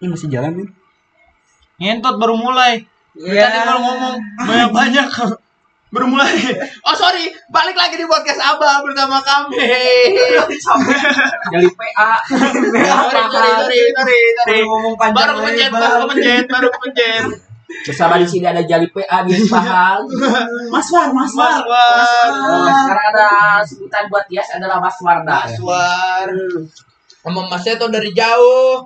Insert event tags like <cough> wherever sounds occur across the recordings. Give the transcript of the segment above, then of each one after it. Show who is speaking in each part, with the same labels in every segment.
Speaker 1: Ini masih jalan nih.
Speaker 2: Ngentot baru mulai.
Speaker 3: Iya.
Speaker 2: Tadi baru ngomong banyak-banyak. <laughs> baru mulai. Oh sorry, balik lagi di podcast Abah bersama kami. <laughs>
Speaker 3: Dari PA.
Speaker 2: sorry, sorry, sorry, sorry, sorry.
Speaker 3: Baru ngomong panjang
Speaker 2: Baru kepencet, baru
Speaker 3: lebar.
Speaker 2: kepencet, baru kepencet.
Speaker 3: Bersama di sini ada Jali PA di
Speaker 2: <laughs>
Speaker 3: Pahal.
Speaker 1: Mas War, Mas
Speaker 2: Mas
Speaker 1: War.
Speaker 2: War,
Speaker 3: Nah, sekarang ada sebutan buat Tias adalah Mas Warda.
Speaker 2: Mas War. Sama Mas Seto dari jauh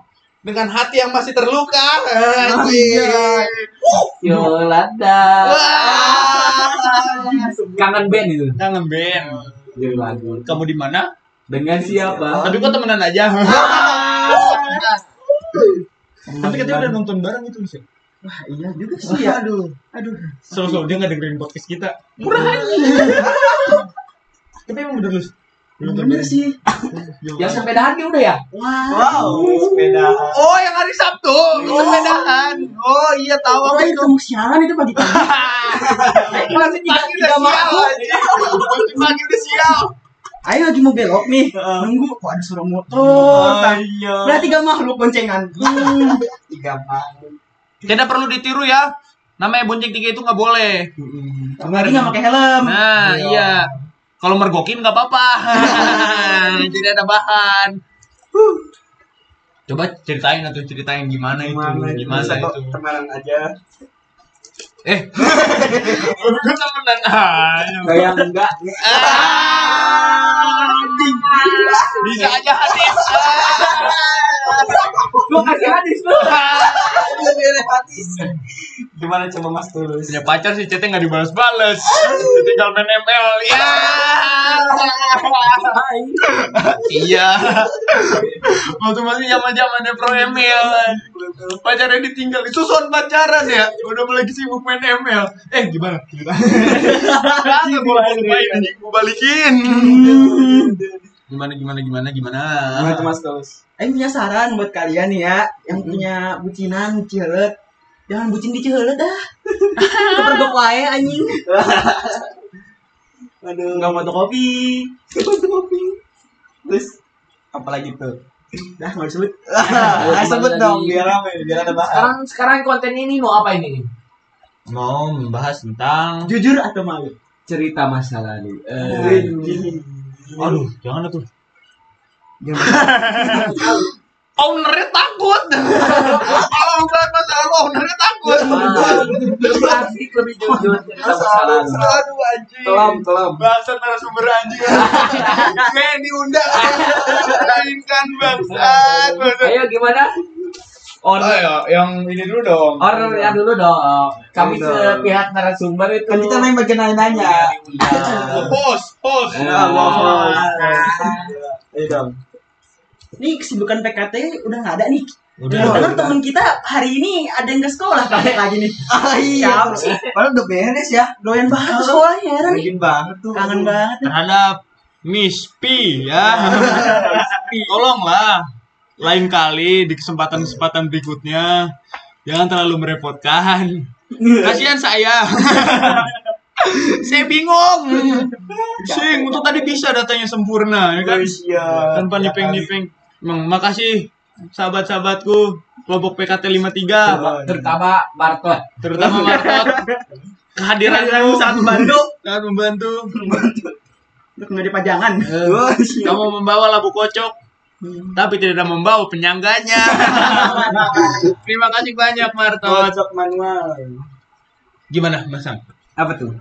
Speaker 2: dengan hati yang masih terluka. Anjir.
Speaker 3: Yolanda.
Speaker 2: Wah.
Speaker 3: Kangen band itu.
Speaker 2: Kangen Ben.
Speaker 3: Jadi lagu.
Speaker 2: Kamu di mana?
Speaker 3: Dengan siapa?
Speaker 2: Tapi kok temenan aja. Ah. <laughs> Tapi katanya udah nonton bareng itu sih.
Speaker 3: Iya juga
Speaker 2: Aduh, aduh. Selalu dia nggak dengerin podcast kita. <laughs> Tapi emang Iya, bener lu.
Speaker 1: Bener sih.
Speaker 3: Yang sepedahan dia udah ya?
Speaker 1: Wow. Sepeda.
Speaker 2: Oh, yang hari Sabtu, kesepedahan. Oh, iya tahu
Speaker 1: Oh,
Speaker 2: aku
Speaker 1: itu
Speaker 2: itu.
Speaker 1: kamu sialan itu pagi pagi.
Speaker 2: Masih pagi udah sial. anjing. Masih pagi udah sial.
Speaker 1: Ayo lagi mau belok nih. Nunggu kok ada suara motor. Berarti tiga makhluk boncengan. Hmm.
Speaker 3: Tiga malam.
Speaker 2: Tidak perlu ditiru ya. Namanya bonceng tiga itu nggak boleh.
Speaker 1: Lagi
Speaker 2: Iya,
Speaker 1: nggak pakai helm.
Speaker 2: Nah, iya. Kalau mergokin nggak <laughs> apa-apa. Jadi ada bahan. Huh. Coba ceritain atau ceritain gimana, itu, di masa Nah, itu.
Speaker 1: Temenan aja.
Speaker 2: <laughs> Eh, lu temenan aja.
Speaker 3: Kayak enggak.
Speaker 2: Ah, anjing. Bisa aja hadis.
Speaker 3: Lu kasih hadis lu.
Speaker 2: Ah. <laughs>
Speaker 1: Gimana coba Mas Tulus?
Speaker 2: Punya pacar sih chatnya nggak dibalas-balas. Tinggal main ML. Ya. Iya. Waktu masih zaman-zamannya pro ML. Pacarnya ditinggal. Itu son pacaran ya. Udah mulai sibuk main ML. Eh gimana? Gimana gue lupain anjing. Gue balikin.
Speaker 1: Hmm.
Speaker 2: Gimana gimana gimana gimana.
Speaker 3: Nah,
Speaker 1: Gimana tuh Mas Tulus? Ayo punya saran buat kalian nih ya yang punya bucinan cilet. Jangan bucin di cilet <laughs> dah. Kepergok wae anjing. <laughs> Aduh. Enggak mau kopi. kopi. Terus apalagi tuh? Dah enggak <laughs> disebut.
Speaker 3: Ah, sebut dong, biar
Speaker 1: rame, biar ada
Speaker 3: Sekarang sekarang konten ini mau apa ini nih?
Speaker 2: Mau membahas tentang
Speaker 1: Jujur atau malu?
Speaker 3: Cerita masa lalu. Eh,
Speaker 1: Aduh.
Speaker 2: Aduh, jangan tuh. ownernya takut kalau bukan masalah ownernya takut
Speaker 3: lebih asik, lebih jujur cerita masa lalu.
Speaker 2: aduh anjing
Speaker 1: telam.
Speaker 2: bangsa narasumber
Speaker 3: <laughs>
Speaker 2: anjing kayak diundang mainkan bangsat
Speaker 3: Ayo gimana? Order
Speaker 2: Ayo, ya, yang ini dulu dong
Speaker 3: Order ya dulu dong. Kami
Speaker 1: Dulu.
Speaker 3: ke pihak narasumber itu. Iya.
Speaker 1: Kan kita main bagian nanya. Iya.
Speaker 2: host host
Speaker 3: Ya, host.
Speaker 1: Ayo dong. Nih kesibukan PKT udah nggak ada nih.
Speaker 2: Udah.
Speaker 1: Kebetulan temen kita hari ini ada yang ke sekolah kakek lagi
Speaker 4: <laughs>
Speaker 1: nih. Ah iya. Padahal udah beres ya. Doyan banget ke sekolah ya heran nih.
Speaker 4: banget tuh.
Speaker 1: Kangen banget.
Speaker 2: terhadap Miss P ya tolonglah lain kali di kesempatan-kesempatan berikutnya jangan terlalu merepotkan kasihan saya saya bingung sing untuk tadi bisa datanya sempurna ya kan
Speaker 4: Iya.
Speaker 2: tanpa nipeng-nipeng Emang, makasih sahabat-sahabatku kelompok PKT 53
Speaker 3: Terutama Bartot.
Speaker 2: terutama <laughs> Martot kehadiranmu sangat membantu sangat membantu
Speaker 1: Udah kena di pajangan.
Speaker 4: Eh.
Speaker 2: kamu membawa labu kocok tapi tidak membawa penyangganya. <laughs> Terima kasih banyak Marto.
Speaker 1: Cocok manual.
Speaker 2: Gimana Mas Sam?
Speaker 1: Apa tuh?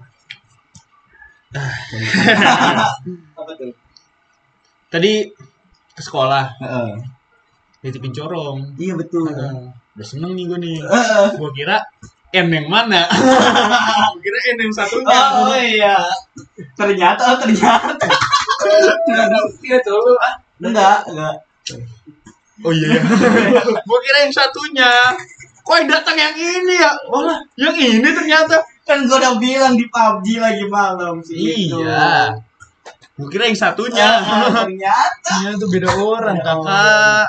Speaker 1: Apa tuh?
Speaker 2: Tadi ke sekolah
Speaker 1: Heeh.
Speaker 2: nitipin corong.
Speaker 1: Iya betul.
Speaker 4: Eh.
Speaker 2: Udah seneng nih gue nih. Gue kira N yang mana? Gua <laughs> kira N yang satunya.
Speaker 4: Oh iya. Ternyata oh, ternyata.
Speaker 3: Iya dulu.
Speaker 4: Enggak, enggak.
Speaker 2: Oh <laughs> iya. gue kira yang satunya. Kok yang datang yang ini ya? Walah, yang ini ternyata.
Speaker 4: Kan gua udah bilang di PUBG lagi malam sih. gitu.
Speaker 2: Iya. Gue kira yang <laughs> satunya.
Speaker 4: Ah,
Speaker 1: <laughs>
Speaker 4: ternyata.
Speaker 2: Ternyata beda orang kakak.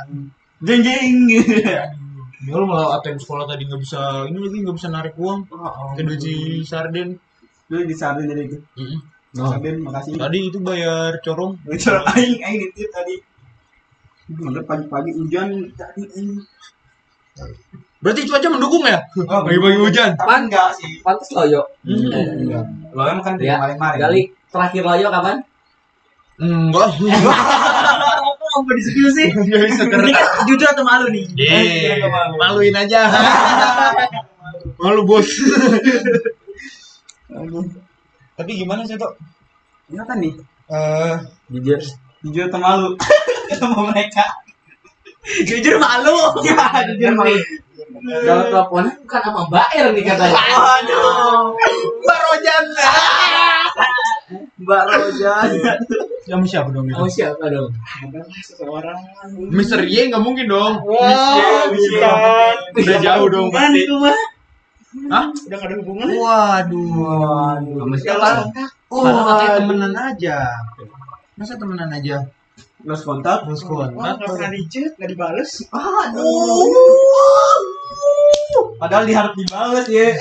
Speaker 4: Jeng jeng.
Speaker 2: Ya lu malah ATM sekolah tadi nggak bisa, ini lagi nggak bisa narik uang. Ke duit si
Speaker 1: Hmm.
Speaker 2: Sarden.
Speaker 4: Oh, Dulu di Sarden jadi itu.
Speaker 2: Oh.
Speaker 4: Sarden makasih. Gitu,
Speaker 2: Tadi itu bayar corong.
Speaker 4: Bocor aing aing di tadi.
Speaker 1: Bener pagi-pagi hujan tadi.
Speaker 2: Berarti cuaca mendukung ya?
Speaker 4: Oh,
Speaker 1: Ah,
Speaker 2: Pagi-pagi hujan.
Speaker 4: Tapi enggak sih.
Speaker 3: Pantes loyo.
Speaker 2: Hmm.
Speaker 4: Enggak. Lo kan kan dari
Speaker 3: Ya,
Speaker 4: maling-maling.
Speaker 3: Gali, terakhir loyo kapan?
Speaker 1: <laughs>
Speaker 2: Enggak.
Speaker 1: Aku nggak mau disebut
Speaker 2: <laughs>
Speaker 1: sih. iya,
Speaker 2: Enggak bisa
Speaker 1: Ini <laughs>
Speaker 2: karena
Speaker 1: kan jujur atau malu nih?
Speaker 2: Eh, maluin
Speaker 1: <laughs>
Speaker 2: aja. Malu bos.
Speaker 1: Aduh.
Speaker 2: Tapi gimana sih Tok?
Speaker 1: Ini apa nih?
Speaker 2: Eh,
Speaker 3: Jujur.
Speaker 4: Iya kan Jujur atau
Speaker 2: <laughs>
Speaker 4: malu? Ketemu mereka.
Speaker 1: Jujur malu.
Speaker 4: Ya, jujur malu.
Speaker 3: Kalau teleponan bukan sama Mbak Er nih katanya.
Speaker 4: Aduh.
Speaker 2: Mbak Rojan.
Speaker 1: Mbak Rojan.
Speaker 2: Sama siapa dong itu?
Speaker 3: Kamu siapa dong?
Speaker 1: Adalah seseorang.
Speaker 2: <laughs> Mister Y nggak mungkin dong.
Speaker 1: Wah, bukan.
Speaker 2: Udah jauh dong
Speaker 1: Bukan
Speaker 2: pasti.
Speaker 1: itu mah.
Speaker 2: Hah?
Speaker 1: Udah gak ada hubungan.
Speaker 2: Waduh.
Speaker 3: Sama siapa?
Speaker 1: Kalau
Speaker 2: Oh,
Speaker 3: Padahal katanya
Speaker 2: temenan aja. Masa temenan aja?
Speaker 4: Los kontak.
Speaker 2: Terus
Speaker 1: Wah, nggak pernah dijet, nggak dibales.
Speaker 4: Padahal diharap dibales ya.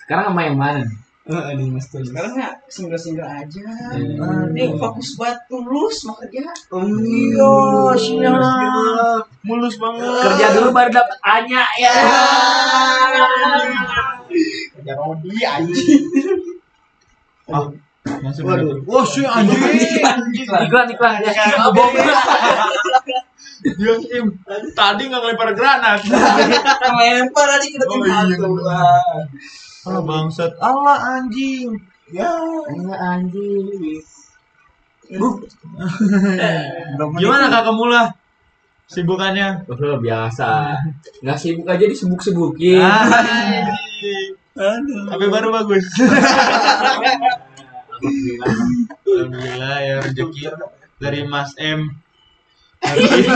Speaker 3: Sekarang sama yang mana? nih?
Speaker 4: Eh, Aduh, mas Tulus.
Speaker 1: Sekarang nggak single-single aja. Ah,
Speaker 3: Hmm.
Speaker 1: Nih fokus buat tulus mau kerja.
Speaker 4: Iya,
Speaker 1: oh, siap.
Speaker 2: Mulus banget.
Speaker 3: Kerja dulu baru dapat Anya ya.
Speaker 2: Kerja rodi Ya, anjing. Ah, masuk
Speaker 1: Waduh.
Speaker 2: dulu. Wah, sih anjing.
Speaker 3: Iklan iklan ya. Abang.
Speaker 2: Dia tim. Tadi nggak ngelempar granat.
Speaker 1: Lempar aja kita tim
Speaker 2: Oh, iya.
Speaker 1: satu.
Speaker 2: Alah Oh, bangsat. Alah anjing.
Speaker 4: Ya.
Speaker 3: Iya anjing. <laughs>
Speaker 2: Gimana kakak mula? Sibukannya.
Speaker 3: Oh, biasa. Nggak sibuk aja disebuk-sebukin.
Speaker 2: Ah. Anjing. Tapi baru bagus.
Speaker 3: Alhamdulillah.
Speaker 2: Alhamdulillah ya rezeki dari Mas M. Rezeki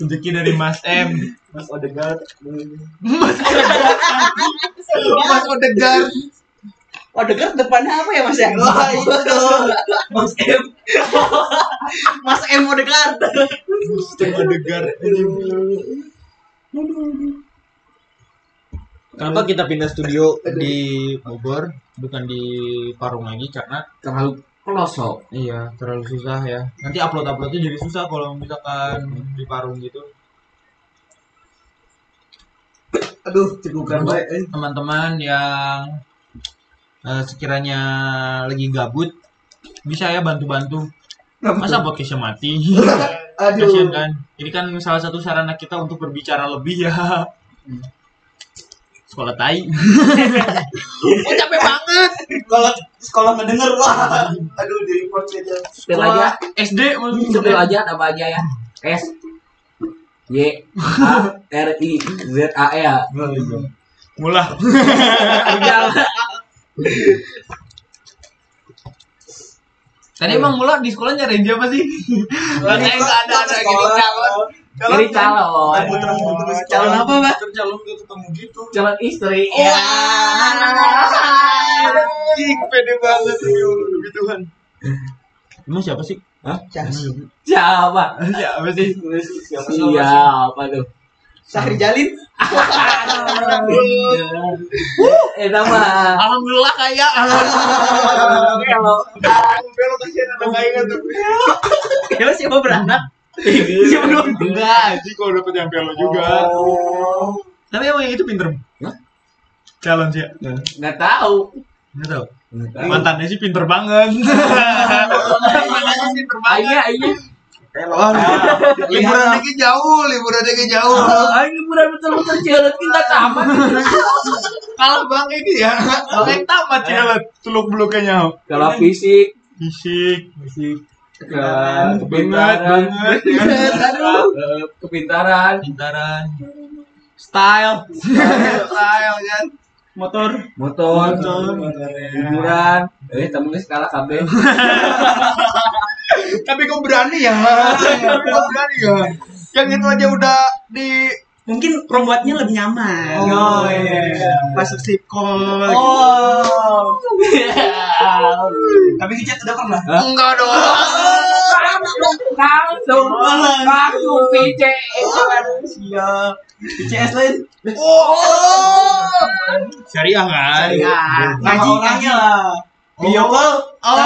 Speaker 2: rezeki dari Mas M.
Speaker 4: Mas Odegaard.
Speaker 2: Mas Odegar.
Speaker 1: Oh denger depannya apa ya Mas ya? Wah itu tuh. Mas M. Mas M mau dekat.
Speaker 2: Odegar. Kenapa kita pindah studio di Bogor bukan di Parung lagi karena
Speaker 3: Terlalu pelosok.
Speaker 2: iya terlalu susah ya. Nanti upload uploadnya jadi susah kalau misalkan di Parung gitu.
Speaker 1: Aduh cekukan
Speaker 2: Buat
Speaker 1: baik.
Speaker 2: teman-teman yang eh, sekiranya lagi gabut bisa ya bantu-bantu masa podcastnya mati <laughs> kasian
Speaker 1: Aduh.
Speaker 2: kan ini kan salah satu sarana kita untuk berbicara lebih ya sekolah <laughs> tai oh, capek banget
Speaker 4: Sekolah sekolah ngedenger wah. Aduh, di report aja.
Speaker 3: Setel aja.
Speaker 2: sekolah SD
Speaker 3: Setel aja apa aja ya. S Y A R I Z A E ya.
Speaker 2: mulah
Speaker 3: Tinggal.
Speaker 2: tadi Kan emang mulah di sekolah nyariin siapa sih Lah, eh, nggak ada ada gitu calon
Speaker 3: Jadi calon.
Speaker 4: Aduh, terus terus
Speaker 1: Calon apa Mbak?
Speaker 2: Terus Iya. calon gak ketemu gitu
Speaker 3: Calon istri.
Speaker 2: Ya. Anjing, pede banget ya Allah, demi Tuhan. Emang siapa sih? Hah?
Speaker 1: iya.
Speaker 3: Siapa?
Speaker 2: Siapa Iya, sih? Siapa sih?
Speaker 4: Iya.
Speaker 3: Siapa tuh?
Speaker 1: Sahri Jalin.
Speaker 3: Eh nama.
Speaker 2: Alhamdulillah ya. kayak
Speaker 3: Kalau
Speaker 2: belok kasihan anak kayaknya tuh.
Speaker 1: Ya Mas siapa beranak? Siapa dong?
Speaker 2: Iya. Enggak, sih Iya, kalau dapet yang belok juga. Tapi emang yang itu pinter.
Speaker 3: Hah?
Speaker 2: Calon sih.
Speaker 3: nggak tahu.
Speaker 2: Enggak tahu.
Speaker 3: Nggak tahu.
Speaker 2: Mantannya sih pinter <laughs> banget. Mantannya sih pinter banget.
Speaker 3: Ayah, ayah.
Speaker 2: Liburannya ke jauh, liburannya ke jauh.
Speaker 3: Ayah murah betul-betul jalan kita tamat.
Speaker 2: Kalah bang ini ya. Kayak tamat sih teluk beluknya.
Speaker 3: Kalau fisik,
Speaker 2: Fisik, fisik.
Speaker 3: ke-
Speaker 2: banget
Speaker 3: kepintaran,
Speaker 2: banget
Speaker 3: eh, kepintaran,
Speaker 2: pintaran style style kan
Speaker 1: Motor.
Speaker 3: motor, hiburan. Eh, temennya skala KB.
Speaker 2: tapi kok berani ya kok berani ya yang itu aja udah di
Speaker 1: Mungkin pembuatnya lebih nyaman.
Speaker 2: Oh, iya.
Speaker 1: Pas sleep call.
Speaker 4: Oh. Tapi ngechat udah pernah.
Speaker 2: enggak dong <laughs>
Speaker 3: Langsung, langsung PC.
Speaker 1: Iya.
Speaker 4: Siap. ICS lain.
Speaker 2: syariah kan
Speaker 1: Syariah.
Speaker 4: Ngaji
Speaker 1: Ngaji,
Speaker 4: Iya, orangnya lah. Video call.
Speaker 2: oh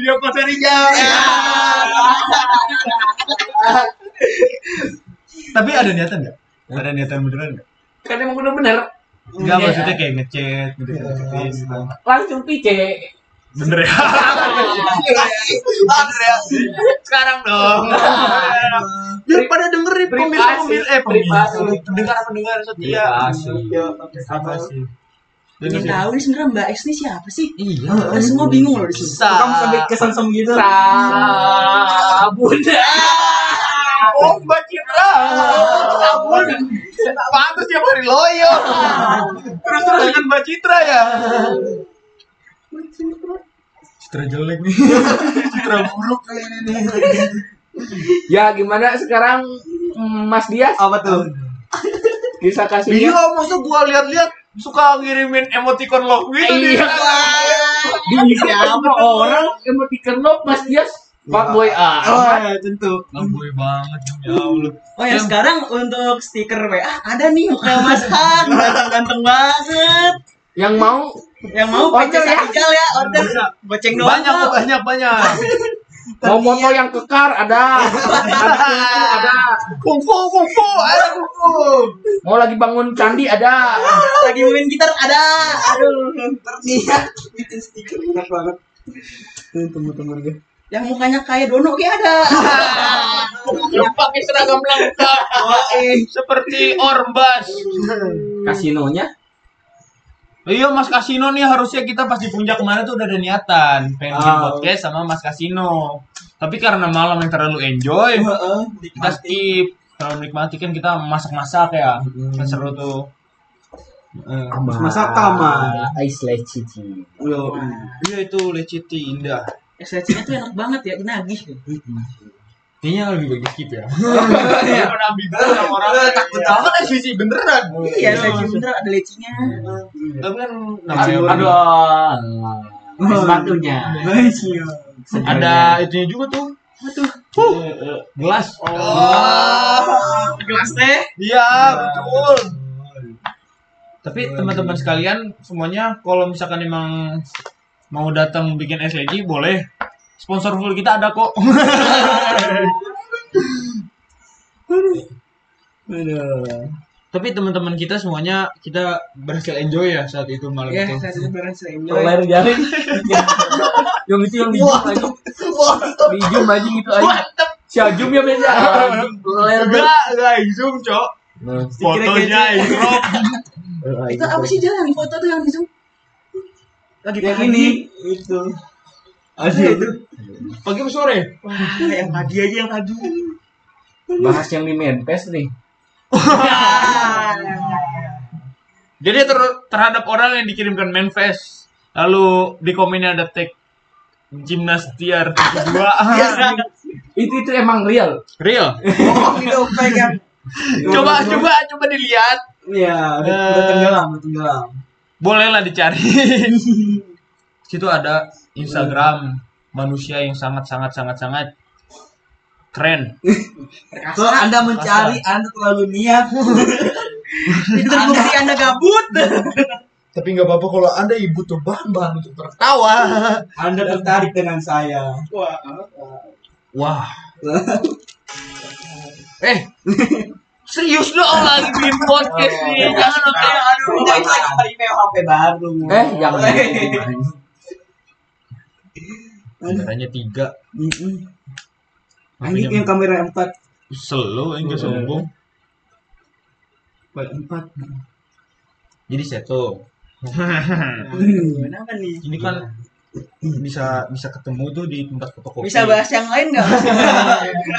Speaker 2: Iya pasar hijau. Tapi ada niatan nggak? Ada niatan beneran nggak?
Speaker 3: kan emang bener bener
Speaker 2: Enggak
Speaker 3: Iya.
Speaker 2: maksudnya kayak ngechat gitu
Speaker 4: Iya,
Speaker 2: ngecetin.
Speaker 4: iya.
Speaker 3: langsung pice
Speaker 2: Bener ya? Bener ya? Sekarang dong. Biar pada dengerin pemirsa
Speaker 3: Privasi,
Speaker 2: pemirsa eh pemirsa
Speaker 3: privasi.
Speaker 2: pendengar pendengar setia.
Speaker 4: Ya,
Speaker 2: Apa sih?
Speaker 1: Ingin tahu nih sebenarnya Mbak X ini siapa sih?
Speaker 2: Iya.
Speaker 1: Kita semua bingung loh di sini.
Speaker 2: Bisa.
Speaker 4: Kamu sampai kesan-sem gitu.
Speaker 3: sabun
Speaker 2: Oh, Mbak Citra. Sabun. Pantes tiap hari loyo. Terus terus dengan Mbak Citra ya. Citra jelek nih. Citra buruk kali ini nih.
Speaker 3: ya gimana sekarang mm, Mas Dias
Speaker 4: Apa tuh?
Speaker 3: bisa
Speaker 2: Iya,
Speaker 3: kasihnya
Speaker 2: masa gua lihat-lihat suka ngirimin emoticon love gitu
Speaker 3: Iya.
Speaker 2: dia. Iya.
Speaker 3: di siapa orang emoticon love Mas Dias fuckboy
Speaker 4: Oh,
Speaker 3: ah
Speaker 4: ya, tentu.
Speaker 2: Lamboy banget ya Allah.
Speaker 1: Oh ya sekarang untuk stiker WA ada nih muka Mas Han ganteng-ganteng banget.
Speaker 3: yang mau
Speaker 1: Yang mau
Speaker 3: Order
Speaker 1: pacar
Speaker 3: ya.
Speaker 1: ya, ya order. Boceng doang.
Speaker 2: Banyak kok,
Speaker 1: kok.
Speaker 2: banyak banyak.
Speaker 3: mau foto yang kekar ada ada kunci, ada
Speaker 2: Kungfu kungfu ada kungfu.
Speaker 3: mau lagi bangun candi ada
Speaker 1: Lagi main gitar ada. Aduh.
Speaker 4: Terniat bikin stiker enak banget. Tuh, Teman-teman gue.
Speaker 1: Yang mukanya kayak Dono kayak ada. <laughs>
Speaker 2: Pakai seragam lengkap. Seperti Orbas.
Speaker 3: kasinonya
Speaker 2: Iya Mas Kasino nih harusnya kita pas di puncak kemarin tuh udah ada niatan pengen bikin
Speaker 4: Ah.
Speaker 2: podcast sama Mas Kasino. Tapi karena malam yang terlalu enjoy,
Speaker 4: Heeh,
Speaker 2: kita skip terlalu menikmati kan kita masak-masak ya. Kan seru tuh.
Speaker 4: Masak kamar.
Speaker 3: ice leci cici
Speaker 4: Yo.
Speaker 2: Iya itu leciti indah.
Speaker 1: SLC-nya tuh enak banget ya, nagih.
Speaker 2: Kayaknya lebih bagus skip ya. <laughs> Iya, orang ambigu orang takut banget SVC beneran.
Speaker 1: Iya, SLC bener ada lecinya.
Speaker 2: Tapi kan namanya
Speaker 3: aduh
Speaker 2: ada
Speaker 3: aduh sepatunya
Speaker 4: Guys, iya.
Speaker 2: ada itunya juga tuh. Tuh. Gelas.
Speaker 1: Oh. Gelas teh.
Speaker 2: Iya, betul. Tapi teman-teman sekalian semuanya kalau misalkan emang mau datang bikin SLG boleh. Sponsor full kita ada <laughs> kok.
Speaker 4: Aduh.
Speaker 2: Tapi teman-teman kita semuanya kita berhasil enjoy ya saat itu malam
Speaker 1: Ya,
Speaker 2: itu.
Speaker 1: saya tuh berasa enjoy.
Speaker 3: perlahan jaring yang itu yang dijum aja dijum aja gitu aja
Speaker 2: Mantep.
Speaker 3: si ajum ya beda perlahan
Speaker 2: Enggak, enggak zoom, Cok. Fotonya crop.
Speaker 1: Itu apa sih jalan di foto tuh yang di Zoom? Lagi
Speaker 4: Yang
Speaker 1: pagi.
Speaker 4: ini itu. Aduh, itu.
Speaker 2: Pagi apa sore?
Speaker 1: Wah, yang pagi aja yang pagi.
Speaker 3: bahas yang di mentes nih
Speaker 2: Jadi ter- terhadap orang yang dikirimkan manifest lalu di komennya ada tag gimnastiar <laughs> 72
Speaker 3: itu itu emang real
Speaker 2: real
Speaker 4: Oh, itu pegang.
Speaker 2: coba coba coba dilihat
Speaker 4: Iya, udah
Speaker 2: Eh.
Speaker 4: udah tenggelam, udah tenggelam.
Speaker 2: bolehlah dicari <laughs> situ ada Instagram manusia yang sangat sangat sangat sangat keren
Speaker 4: Kalau Anda mencari, Anda terlalu niat.
Speaker 1: Itu terbukti Anda gabut.
Speaker 2: tapi nggak apa-apa kalau anda ibu tuh bambang untuk tertawa
Speaker 4: Anda tertarik dengan saya.
Speaker 1: Wah,
Speaker 2: wah eh serius dong lagi bikin podcast nih jangan sampai aduh
Speaker 4: Kita itu lagi terima HP baru.
Speaker 3: eh
Speaker 1: Oh,
Speaker 3: jangan
Speaker 1: iya.
Speaker 2: kameranya tiga
Speaker 4: Mm-mm. Anjing yang kamera 4
Speaker 2: selo enggak eh, sombong
Speaker 4: Buat 4
Speaker 2: jadi seto
Speaker 4: Hmm.
Speaker 1: kenapa nih?
Speaker 2: ini kan bisa bisa ketemu tuh di tempat fotokopi
Speaker 1: Bisa bahas yang lain nggak?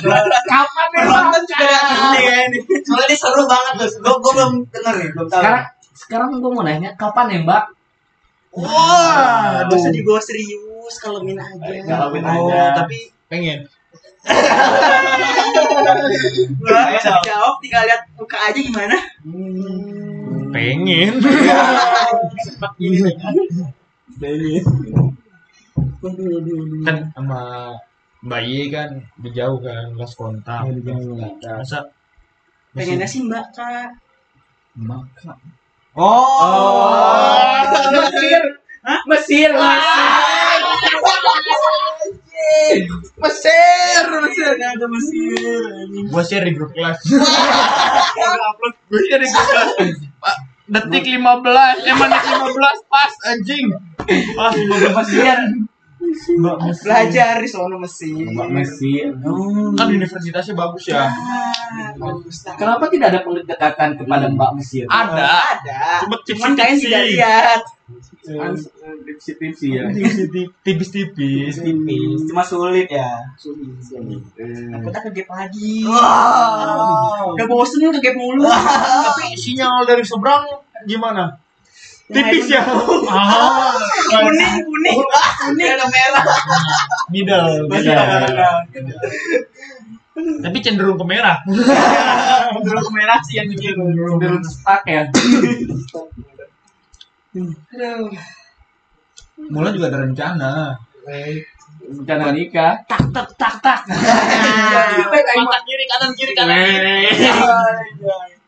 Speaker 3: kapan ya, nih
Speaker 4: Penonton juga ini ya ini. Soalnya ini seru banget bos. Gue gue belum denger nih, belum tahu.
Speaker 3: sekarang sekarang gue mau nanya kapan ya, nembak
Speaker 2: wah
Speaker 1: Gak usah dibawa serius, kalemin aja.
Speaker 4: Kalemin
Speaker 2: oh
Speaker 4: aja.
Speaker 2: tapi pengen
Speaker 1: Gak bisa jawab, tinggal lihat muka aja gimana.
Speaker 2: pengen
Speaker 4: Ini. Aduh, aduh, aduh.
Speaker 2: kan sama bayi kan udah jauh kan lost kontak
Speaker 4: Udah Iya, jauh.
Speaker 2: masa
Speaker 1: Pengennya sih mbak kak.
Speaker 3: maka
Speaker 4: Oh.
Speaker 2: Oh. Ah,
Speaker 3: Mesir Hah? Mesir Mesir
Speaker 2: Mesir,
Speaker 1: ya,
Speaker 2: Mesir.
Speaker 4: Ada Mesir. anjing.
Speaker 2: Gua share di grup kelas. <laughs> Gua upload, gua share di grup kelas. Pak, detik 15, eh menit 15 pas anjing. Pas 15 Mesir.
Speaker 3: Mbak
Speaker 4: Belajar di sono Mesir.
Speaker 3: Mbak Mesir.
Speaker 2: Kan universitasnya bagus ya.
Speaker 1: Nah,
Speaker 4: Ah, bagus. Nah,
Speaker 3: Kenapa tidak ada pendekatan kepada Mbak Mesir?
Speaker 2: Ada.
Speaker 4: Ada.
Speaker 2: Cuma
Speaker 4: Cuman kayaknya
Speaker 2: tipis-tipis.
Speaker 4: tidak lihat. Hmm,
Speaker 3: Tipsi-tipsi ya.
Speaker 2: Iya, Tipis-tipis.
Speaker 4: Tipis. Cuma sulit ya.
Speaker 3: Eh,
Speaker 1: Kita kegep lagi.
Speaker 4: Wow.
Speaker 1: Udah bosen nih kegep mulu.
Speaker 2: Tapi sinyal dari seberang gimana? Tipis ya. Ah,
Speaker 4: Kuning, kuning. Kuning ada merah.
Speaker 2: middle.
Speaker 4: Masih
Speaker 2: middle.
Speaker 4: kadang-kadang.
Speaker 2: Tapi cenderung ke merah.
Speaker 4: Dulu merah sih yang bikin.
Speaker 3: Cenderung stuck ya.
Speaker 4: Aduh.
Speaker 2: Mula juga ada rencana.
Speaker 3: Rencana nikah.
Speaker 2: Tak tak tak tak. Mata kiri kanan kiri kanan. kiri.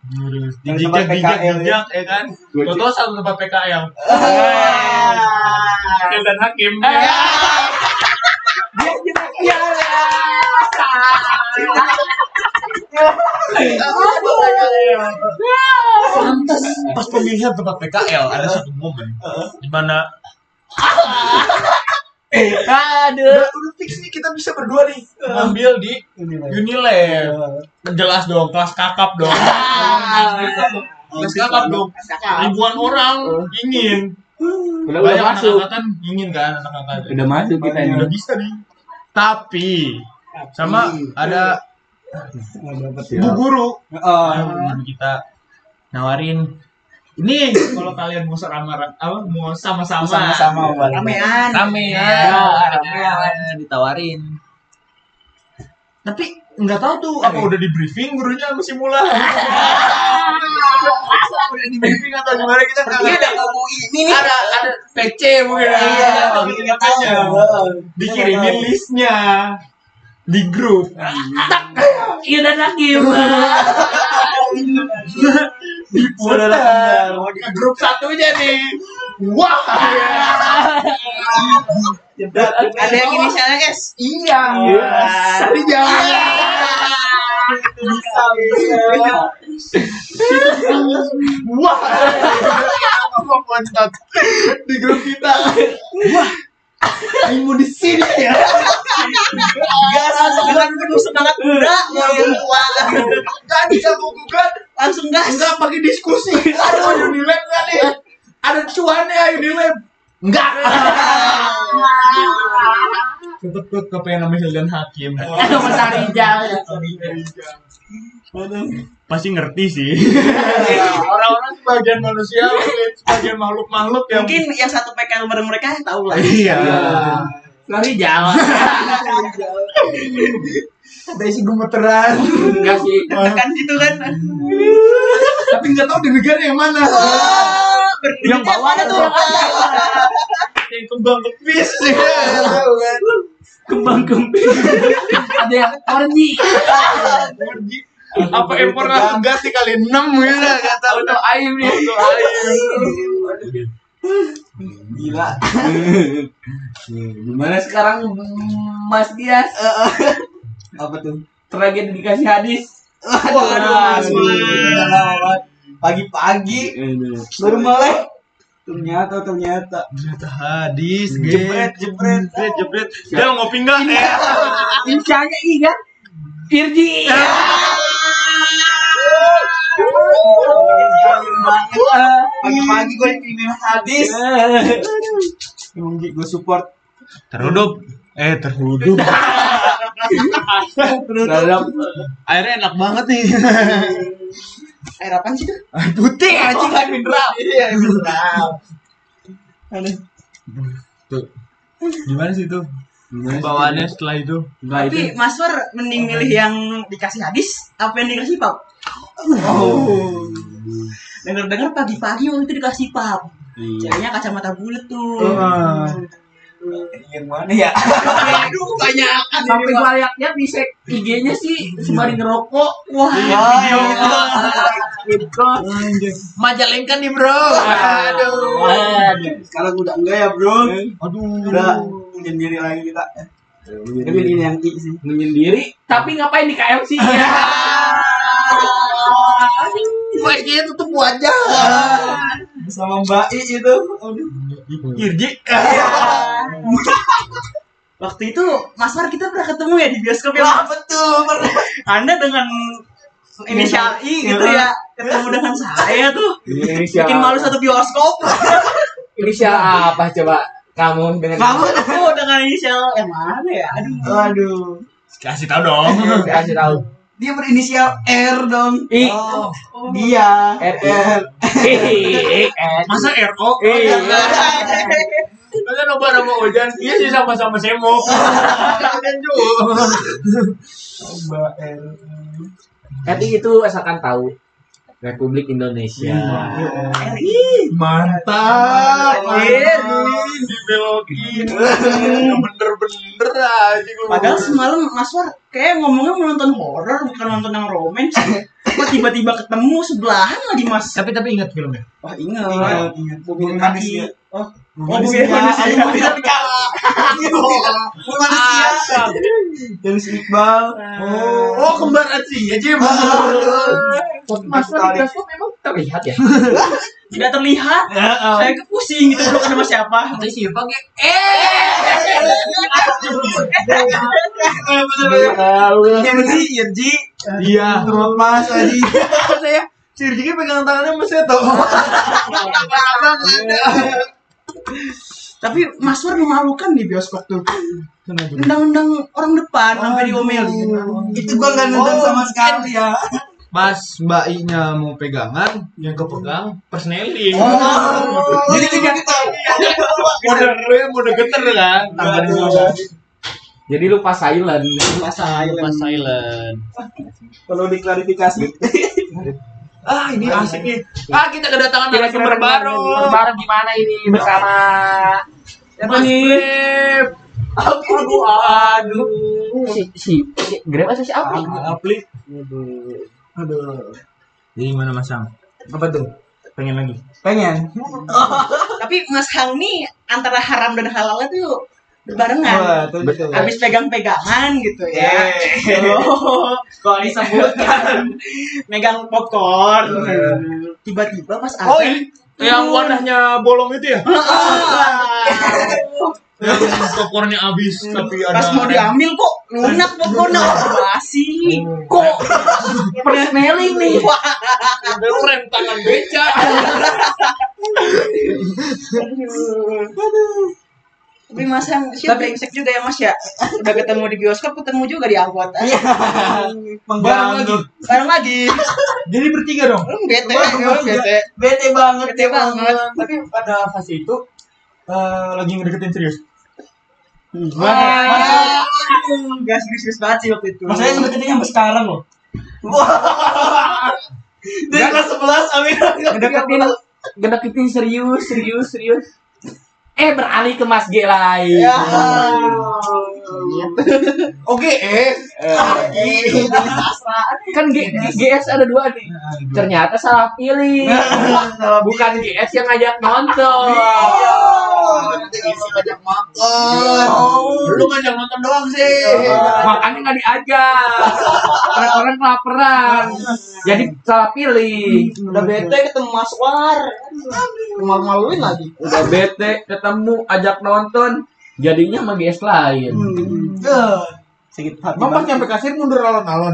Speaker 2: Lurus.
Speaker 4: Dari
Speaker 2: Dijejak
Speaker 4: tempat
Speaker 2: dijejak
Speaker 4: PKL, ya.
Speaker 2: dijejak ya kan.
Speaker 3: Gua
Speaker 2: Toto satu tempat PKL.
Speaker 4: Ah.
Speaker 2: Hakim dan hakim.
Speaker 4: Dia kita
Speaker 3: Iya.
Speaker 4: piala.
Speaker 2: Pantes pas pemilihan tempat PKL ada satu momen di mana
Speaker 4: Aduh.
Speaker 2: udah fix nih kita bisa berdua nih ngambil di Unilever. Jelas dong kelas kakap dong. Kelas kakap dong. Ribuan orang ingin.
Speaker 3: Udah udah
Speaker 2: Banyak
Speaker 3: masuk.
Speaker 2: anak-anak ingin kan anak-anak.
Speaker 3: Udah masuk kita ini.
Speaker 2: Udah bisa nih. Tapi sama ada bu guru
Speaker 4: Oh,
Speaker 2: Aduh, kita nawarin ini kalau kalian mau seramaran apa mau sama-sama
Speaker 4: Sama-sama bareng.
Speaker 1: Ramean.
Speaker 2: rame
Speaker 4: Ya,
Speaker 2: ya
Speaker 1: Iya.
Speaker 4: rame, rame.
Speaker 2: ditawarin tapi nggak tahu tuh apa udah di briefing gurunya masih mulai udah di briefing atau gimana kita nggak
Speaker 4: Dia Iya, udah
Speaker 2: ngerti.
Speaker 4: ngomong ini nih.
Speaker 2: ada ada <laughs> PC mungkin
Speaker 4: Iya,
Speaker 2: ada
Speaker 4: tapi
Speaker 2: gitu
Speaker 4: nggak tahu.
Speaker 2: katanya. dikirimin listnya di grup
Speaker 3: Iya dan lagi.
Speaker 2: diputar ke grup satunya nih wah
Speaker 4: Ada yang inisialnya S.
Speaker 2: iya
Speaker 4: Iya.
Speaker 2: tapi jangan
Speaker 4: Bisa, bisa.
Speaker 2: wah Apa kontak di grup kita wah Aing mau di sini ya
Speaker 4: Gas, semangat penuh semangat muda, mau tua.
Speaker 2: nggak Kan bisa gugat
Speaker 4: Langsung gas.
Speaker 2: nggak pakai diskusi aduh Unilab kali ada cuannya ayo di lab enggak cepet gue kepengen sama Hildan Hakim
Speaker 3: Aduh
Speaker 2: Oh.
Speaker 3: Mas Arijal.
Speaker 2: pasti ngerti sih orang-orang sebagian manusia sebagian makhluk-makhluk yang
Speaker 4: Mungkin yang satu PKL bareng mereka tahu lah.
Speaker 2: iya
Speaker 3: Arijal.
Speaker 2: ada isi gemeteran
Speaker 3: Enggak sih.
Speaker 4: Tekan gitu kan.
Speaker 2: tapi nggak tahu di negara yang mana Ah.
Speaker 1: Oh,
Speaker 4: Yang bawah ada tuh.
Speaker 2: yang kembang kepis ya
Speaker 3: Kembang kempis. Ada yang orni.
Speaker 2: apa impor langsung ganti kali enam gitu nggak tahu
Speaker 3: Auto aim nih.
Speaker 4: Gila.
Speaker 3: Gimana sekarang Mas Dias?
Speaker 4: Apa tuh?
Speaker 3: Tragedi dikasih hadis.
Speaker 4: Waduh,
Speaker 2: Waduh,
Speaker 4: Mas,
Speaker 2: Mas.
Speaker 4: Wah. Pagi-pagi baru mulai. Ternyata, ternyata.
Speaker 2: Ternyata hadis,
Speaker 4: Jebret,
Speaker 2: geng.
Speaker 4: jebret.
Speaker 2: jebret, jebret. Dia mau ngopi nggak?
Speaker 3: Insyanya iya. Irji. iya.
Speaker 4: Pagi-pagi gue dikirimin hadis. Emang gue support.
Speaker 2: <laughs> Terhudup. Eh, <laughs> terhudup.
Speaker 3: Terhadap
Speaker 2: Airnya enak banget nih.
Speaker 4: Air apaan sih tuh?
Speaker 2: <laughs> Putih
Speaker 1: Oh,
Speaker 2: anjing kan mineral. Iya, mineral.
Speaker 4: Aduh.
Speaker 2: Tuh. Gimana sih itu? Bawaannya setelah itu?
Speaker 3: Enggak itu.
Speaker 1: Tapi Mas Far mending milih
Speaker 4: iya.
Speaker 1: yang dikasih hadis apa yang dikasih pap?
Speaker 4: Oh.
Speaker 1: Dengar-dengar pagi-pagi waktu itu dikasih pap.
Speaker 4: Iya.
Speaker 1: Ceweknya kacamata bulat tuh.
Speaker 4: Oh.
Speaker 2: Wah.
Speaker 4: Yang mana ya?
Speaker 1: Aduh, banyak.
Speaker 3: Sampai gua liatnya di sek IG-nya sih sembari ngerokok.
Speaker 1: Wah,
Speaker 2: Oh, iya.
Speaker 4: Video
Speaker 3: Gitu.
Speaker 2: Majalengka nih, Bro. Oh.
Speaker 3: Aduh.
Speaker 4: Sekarang udah enggak ya bro
Speaker 2: Aduh. Ya.
Speaker 4: Udah menyendiri lagi kita
Speaker 1: Dengerin yang I sih.
Speaker 3: menyendiri tapi ngapain di KFC ya
Speaker 2: Gue kayaknya tutup wajah.
Speaker 1: Sama Mbak I itu. Aduh.
Speaker 2: Irji.
Speaker 1: Waktu itu Mas Mar kita pernah ketemu ya di bioskop ya.
Speaker 4: Wah betul pernah.
Speaker 1: Anda dengan inisial I gitu ya ketemu dengan saya tuh
Speaker 2: Ya.
Speaker 3: inisial
Speaker 1: bikin malu satu bioskop
Speaker 3: inisial apa coba kamu dengan
Speaker 1: kamu tuh dengan inisial yang mana ya aduh
Speaker 4: Waduh.
Speaker 2: Kasih tau dong.
Speaker 3: kasih tahu
Speaker 4: Dia berinisial R dong.
Speaker 3: I.
Speaker 4: Oh. Dia.
Speaker 3: R I. I, N.
Speaker 2: Masa RO?
Speaker 3: I.
Speaker 2: Kalian nobar sama Ojan? Iya sih sama-sama semok. Kalian juga.
Speaker 4: Mbak R.
Speaker 3: Tapi itu asalkan tahu Republik Indonesia.
Speaker 4: Hmm.
Speaker 1: RI
Speaker 2: Mantap.
Speaker 1: Anjir.
Speaker 2: Anjir, dibelokin. Bener-bener aja gua.
Speaker 1: padahal semalam Mas War kayak ngomongnya mau nonton horor bukan nonton yang romance kok tiba-tiba ketemu sebelahan lagi Mas
Speaker 2: tapi tapi ingat filmnya.
Speaker 1: wah ingat
Speaker 4: Bumi
Speaker 1: kaki
Speaker 4: manusia.
Speaker 1: oh
Speaker 4: Bumi
Speaker 1: Bumi manusia.
Speaker 4: Ayo, Bumi manusia. Bumi manusia. Dennis Iqbal.
Speaker 2: Oh, oh kembar Aci ya Jim.
Speaker 3: Mas Wan di bioskop memang terlihat <laughs> ya.
Speaker 1: tidak terlihat
Speaker 2: Ah.
Speaker 1: saya ke pusing gitu belum sama siapa
Speaker 3: Tapi siapa kayak
Speaker 1: "Eh!"
Speaker 3: eh.
Speaker 4: Irji, Irji.
Speaker 2: Iya.
Speaker 4: Terus Mas Aji.
Speaker 2: saya si Rizky pegang tangannya Mas Seto. Abang-abang ada.
Speaker 1: tapi Mas War memalukan di bioskop tuh undang-undang orang depan sampai gitu. diomelin
Speaker 4: Itu gua nggak nonton
Speaker 2: Oh,
Speaker 4: sama sekali ya.
Speaker 2: Pas Mbak I-nya mau pegangan, yang kepegang persneling.
Speaker 4: Jadi kita kita.
Speaker 2: Mode lu yang mode geter kan.
Speaker 4: Tangan
Speaker 2: Aduh.
Speaker 4: dua.
Speaker 3: Jadi lupa silent.
Speaker 1: masa
Speaker 2: Lupa silent.
Speaker 4: Perlu
Speaker 1: <laughs>
Speaker 4: diklarifikasi.
Speaker 2: Ah ini asik nih. Ah kita kedatangan
Speaker 3: Kira-kira
Speaker 2: narasumber baru.
Speaker 3: Baru gimana ini bersama
Speaker 2: Mas Flip.
Speaker 3: Aduh, aduh, aduh. Si si si- Grab atau si apa?
Speaker 4: Aplik.
Speaker 2: Jadi gimana Mas Sam?
Speaker 4: Apa tuh?
Speaker 2: Pengen lagi?
Speaker 4: Pengen.
Speaker 1: Nah. Oh, tapi Mas Hang nih antara haram dan halalnya tuh berbarengan
Speaker 4: Wah, Iya. tuh gitu.
Speaker 1: habis pegang-pegangan gitu ya oh, <laughs> kalau disebutkan megang popcorn Iya. tiba-tiba Mas Arta
Speaker 2: Oh
Speaker 4: iya.
Speaker 1: <laughs>
Speaker 2: ini yang warnanya bolong itu ya? Yang Popcornnya habis tapi ada.
Speaker 1: Hmm. pas mau diambil kok lunak popcornnya oh, basi kok
Speaker 3: Persneling nih.
Speaker 2: Ada rem tangan beca.
Speaker 1: tapi Mas Hang siapa brengsek juga ya Mas ya udah ketemu di bioskop ketemu juga di angkot
Speaker 2: Barang lagi.
Speaker 4: Mengganggu.
Speaker 1: bareng lagi
Speaker 2: <laughs> Jadi bertiga dong.
Speaker 1: Hmm, bete
Speaker 4: Wah,
Speaker 1: emang bete
Speaker 4: Bete banget.
Speaker 1: Bete banget.
Speaker 2: Tapi pada fase itu eh, lagi ngedeketin serius.
Speaker 1: Ah. Wah, gak serius-serius banget sih waktu itu.
Speaker 4: Masalahnya sebenarnya sampai sekarang loh. Dari kelas 11 Amir.
Speaker 3: Ngedeketin ngedeketin serius, serius, serius. Eh beralih ke Mas G lain.
Speaker 1: Ya. Iya.
Speaker 2: Oke, eh.
Speaker 3: kan G- G- GS Nah, ada dua Nah. nih ternyata salah pilih bukan GS yang ngajak nonton Iya.
Speaker 4: ngajak makan.
Speaker 2: Lu ngajak nonton doang sih.
Speaker 3: Iya. makanya nggak diajak orang-orang kelaparan jadi salah pilih
Speaker 1: Udah bete ketemu Mas War. Malu-maluin lagi.
Speaker 3: udah bete ketemu ajak nonton jadinya sama GS lain
Speaker 1: Sakit hati.
Speaker 2: Emang pas nyampe kasir mundur alon-alon.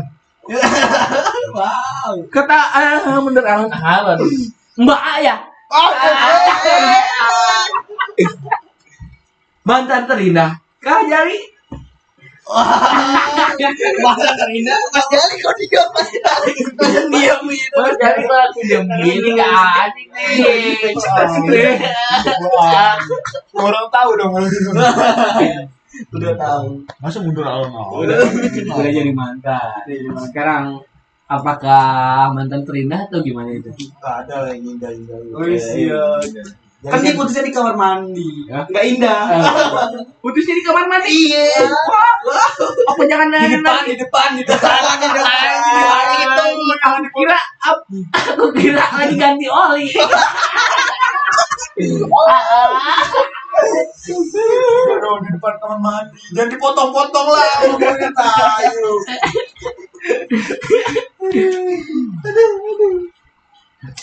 Speaker 3: kata ah mundur alon-alon Mbak A ya
Speaker 4: Oh, eh,
Speaker 3: mantan terindah kah jadi
Speaker 4: Masa terindah Mas Jali kok diam Mas Jali. Mas Jali diam gitu.
Speaker 3: Mas jadi lagi diem gini nggak asik nih
Speaker 2: Orang tahu dong kalau gitu.
Speaker 4: Udah tahu.
Speaker 2: Masa mundur alon-alon?
Speaker 3: udah udah jadi mantan
Speaker 4: Iya,
Speaker 3: sekarang apakah mantan terindah atau gimana itu
Speaker 4: Gak ada lagi indah indah.
Speaker 3: Wih, sial.
Speaker 4: Oh, iya. Kan dia putusnya di kamar mandi.
Speaker 3: Ya.
Speaker 4: Enggak <laughs> indah.
Speaker 3: putusnya di kamar mandi iya apa jangan
Speaker 4: Di
Speaker 3: nanya
Speaker 4: depan, di depan, di depan, di <laughs> depan.
Speaker 3: itu aku kira ap- aku kira lagi ganti oli
Speaker 2: Aduh, di depan kamar mandi. Jangan dipotong-potong lah. Ngomongnya tai lu.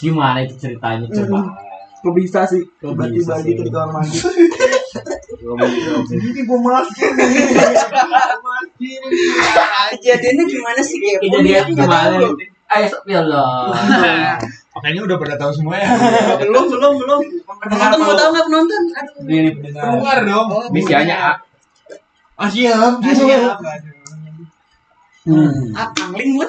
Speaker 3: Gimana itu ceritanya coba?
Speaker 1: Kok bisa sih
Speaker 3: Kok
Speaker 1: tiba-tiba
Speaker 3: bisa sih?
Speaker 1: gitu di kamar mandi?
Speaker 2: Ini gue masukin nih. Masukin.
Speaker 4: Kejadiannya gimana sih? Kepo
Speaker 1: Iya, Oh,
Speaker 3: Kejadian
Speaker 4: nih, aku nggak
Speaker 3: gimana?
Speaker 4: tahu.
Speaker 3: Ayo, ya Allah.
Speaker 2: Makanya udah pada tahu semua ya.
Speaker 4: Belum, belum, belum. Penonton mau tahu nggak penonton? Aduh.
Speaker 3: Ini pendengar.
Speaker 2: <laughs> Keluar dong.
Speaker 3: Misianya A.
Speaker 2: Ah, siap.
Speaker 4: Siap.
Speaker 3: Hmm.
Speaker 4: Ah, angling lu.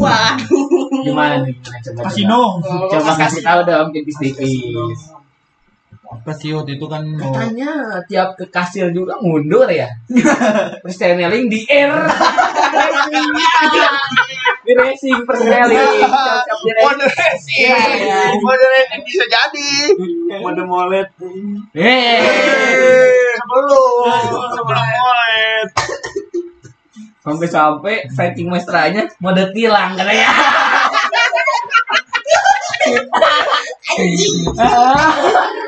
Speaker 4: Waduh.
Speaker 3: Gimana nih? Coba, coba.
Speaker 2: Kasino.
Speaker 3: Coba kasih tahu dong tipis-tipis.
Speaker 2: Kasiot itu kan mau
Speaker 3: Katanya tiap ke kasir juga mundur ya. Perseneling di air. di racing
Speaker 2: Iya,
Speaker 3: perseneling.
Speaker 2: <laughs>
Speaker 3: Tiap-tiap di racing.
Speaker 2: Mode racing.
Speaker 3: Iya.
Speaker 2: Mode racing bisa jadi.
Speaker 4: Mode molet.
Speaker 3: Hei.
Speaker 2: Eh, Sebelum sebelum molet.
Speaker 3: Sampai-sampai fighting mestranya mode tilang ya. katanya.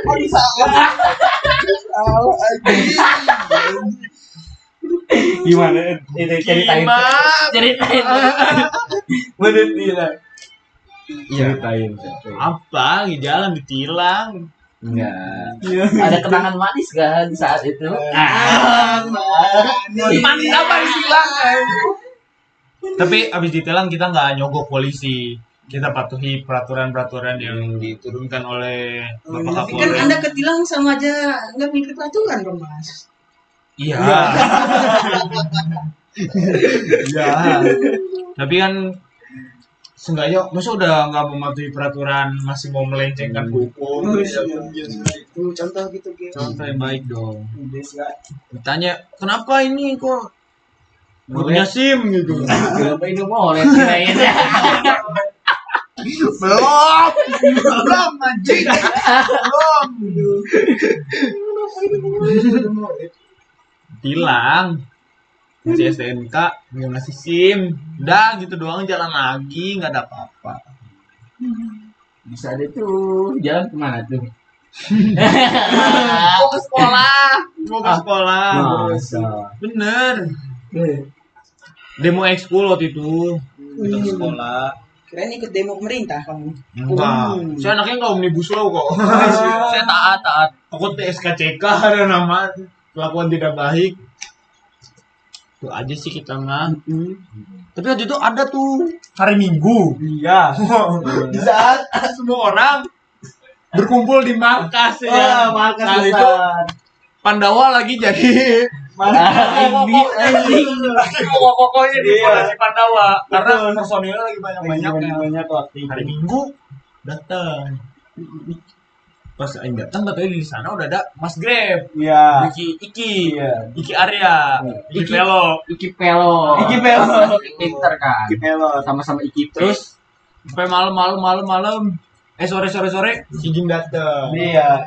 Speaker 2: Kok bisa?
Speaker 3: Gimana itu
Speaker 2: Iya,
Speaker 3: ceritain?
Speaker 2: Gimana?
Speaker 3: Ceritain.
Speaker 4: Mode bilang.
Speaker 3: Ceritain.
Speaker 2: Apa? Jalan ditilang.
Speaker 3: Enggak. Ada kenangan manis gak di saat itu? Ah. Manis apa ditilang?
Speaker 2: Tapi abis ditilang kita nggak nyogok polisi. Kita patuhi peraturan-peraturan yang diturunkan oleh Bapak
Speaker 4: Tapi kan
Speaker 2: Kapolres.
Speaker 4: Anda ketilang sama aja nggak mikir peraturan dong, Mas.
Speaker 2: Iya. Iya. Tapi kan seenggaknya masa udah nggak mematuhi peraturan masih mau melencengkan hukum ya kan?
Speaker 4: Itu contoh gitu, gitu.
Speaker 2: contoh yang baik dong
Speaker 4: Udah, nggak-
Speaker 2: ditanya kenapa ini kok nggak punya sim gitu
Speaker 3: Kenapa ini mau oleh kirain?
Speaker 2: belum belum anjing belum bilang masih STNK nggak ngasih SIM udah gitu doang jalan lagi nggak ada apa-apa
Speaker 3: Bisa deh tuh jalan kemana tuh?
Speaker 2: mau ke sekolah mau ke
Speaker 3: Ah.
Speaker 2: sekolah
Speaker 3: Masa.
Speaker 2: bener
Speaker 4: Iya.
Speaker 2: demo ekskul waktu itu kita ke sekolah
Speaker 4: Kirain ikut demo pemerintah kamu.
Speaker 2: Enggak.
Speaker 4: Hmm.
Speaker 2: Saya anaknya enggak omnibus law kok. <laughs> saya taat taat. Takut SKCK ada nama kelakuan tidak baik. Itu aja sih kita mah. Tapi waktu itu ada tuh hari Minggu. <laughs> Iya. di saat semua orang berkumpul di markas ya.
Speaker 4: Ah, Iya, Markas
Speaker 2: Nah, itu Pandawa lagi jadi Nah, <laughs>
Speaker 3: Ini anjing.
Speaker 2: lagi pokok-pokoknya di
Speaker 4: Iya.
Speaker 2: Polres Pandawa karena personilnya lagi banyak-banyak. kan.
Speaker 4: banyak waktu
Speaker 2: hari Minggu datang pas Aing datang katanya di sana udah ada Mas Grab
Speaker 4: Iya.
Speaker 2: Iki Iki Iki Arya Iya. Iki Pelo
Speaker 3: Iki pelo.
Speaker 4: Iki pelo.
Speaker 3: <laughs> Pinter kan.
Speaker 4: Melon.
Speaker 3: Sama-sama Iki terus.
Speaker 2: terus sampai malam malam malam malam eh sore sore sore si Jim datang
Speaker 4: Iya.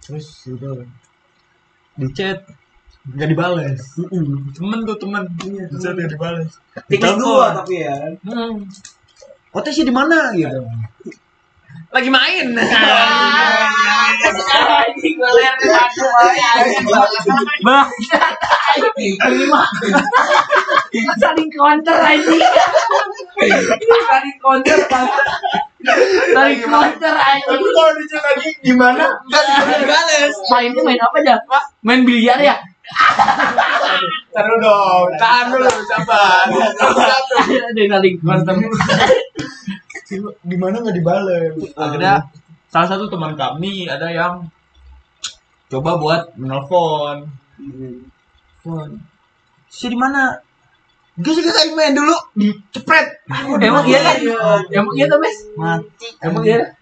Speaker 2: terus udah di chat nggak dibales temen tuh Iya, temen di chat nggak dibales
Speaker 4: Tikus
Speaker 2: Ditelepon.
Speaker 4: dua tapi ya.
Speaker 2: Hmm. Potensi di mana gitu? Lagi <laughs> main. Ah,
Speaker 3: Bah. Ini mah. Saling counter anjing. Saling counter bangsa. Saling counter anjing.
Speaker 2: Tapi kalau di chat lagi gimana? Enggak dibales.
Speaker 3: Mainnya main apa aja? Main biliar ya?
Speaker 2: Tahan dulu dong, tahan dulu, sabar.
Speaker 3: Ada saling counter.
Speaker 2: Di mana nggak dibales? Akhirnya salah satu teman kami ada yang coba buat menelpon. Telepon. Si di mana? Gue juga tadi main dulu, dicepret.
Speaker 3: Emang iya kan? Emang iya tuh, Mes?
Speaker 2: Mati.
Speaker 3: Emang iya?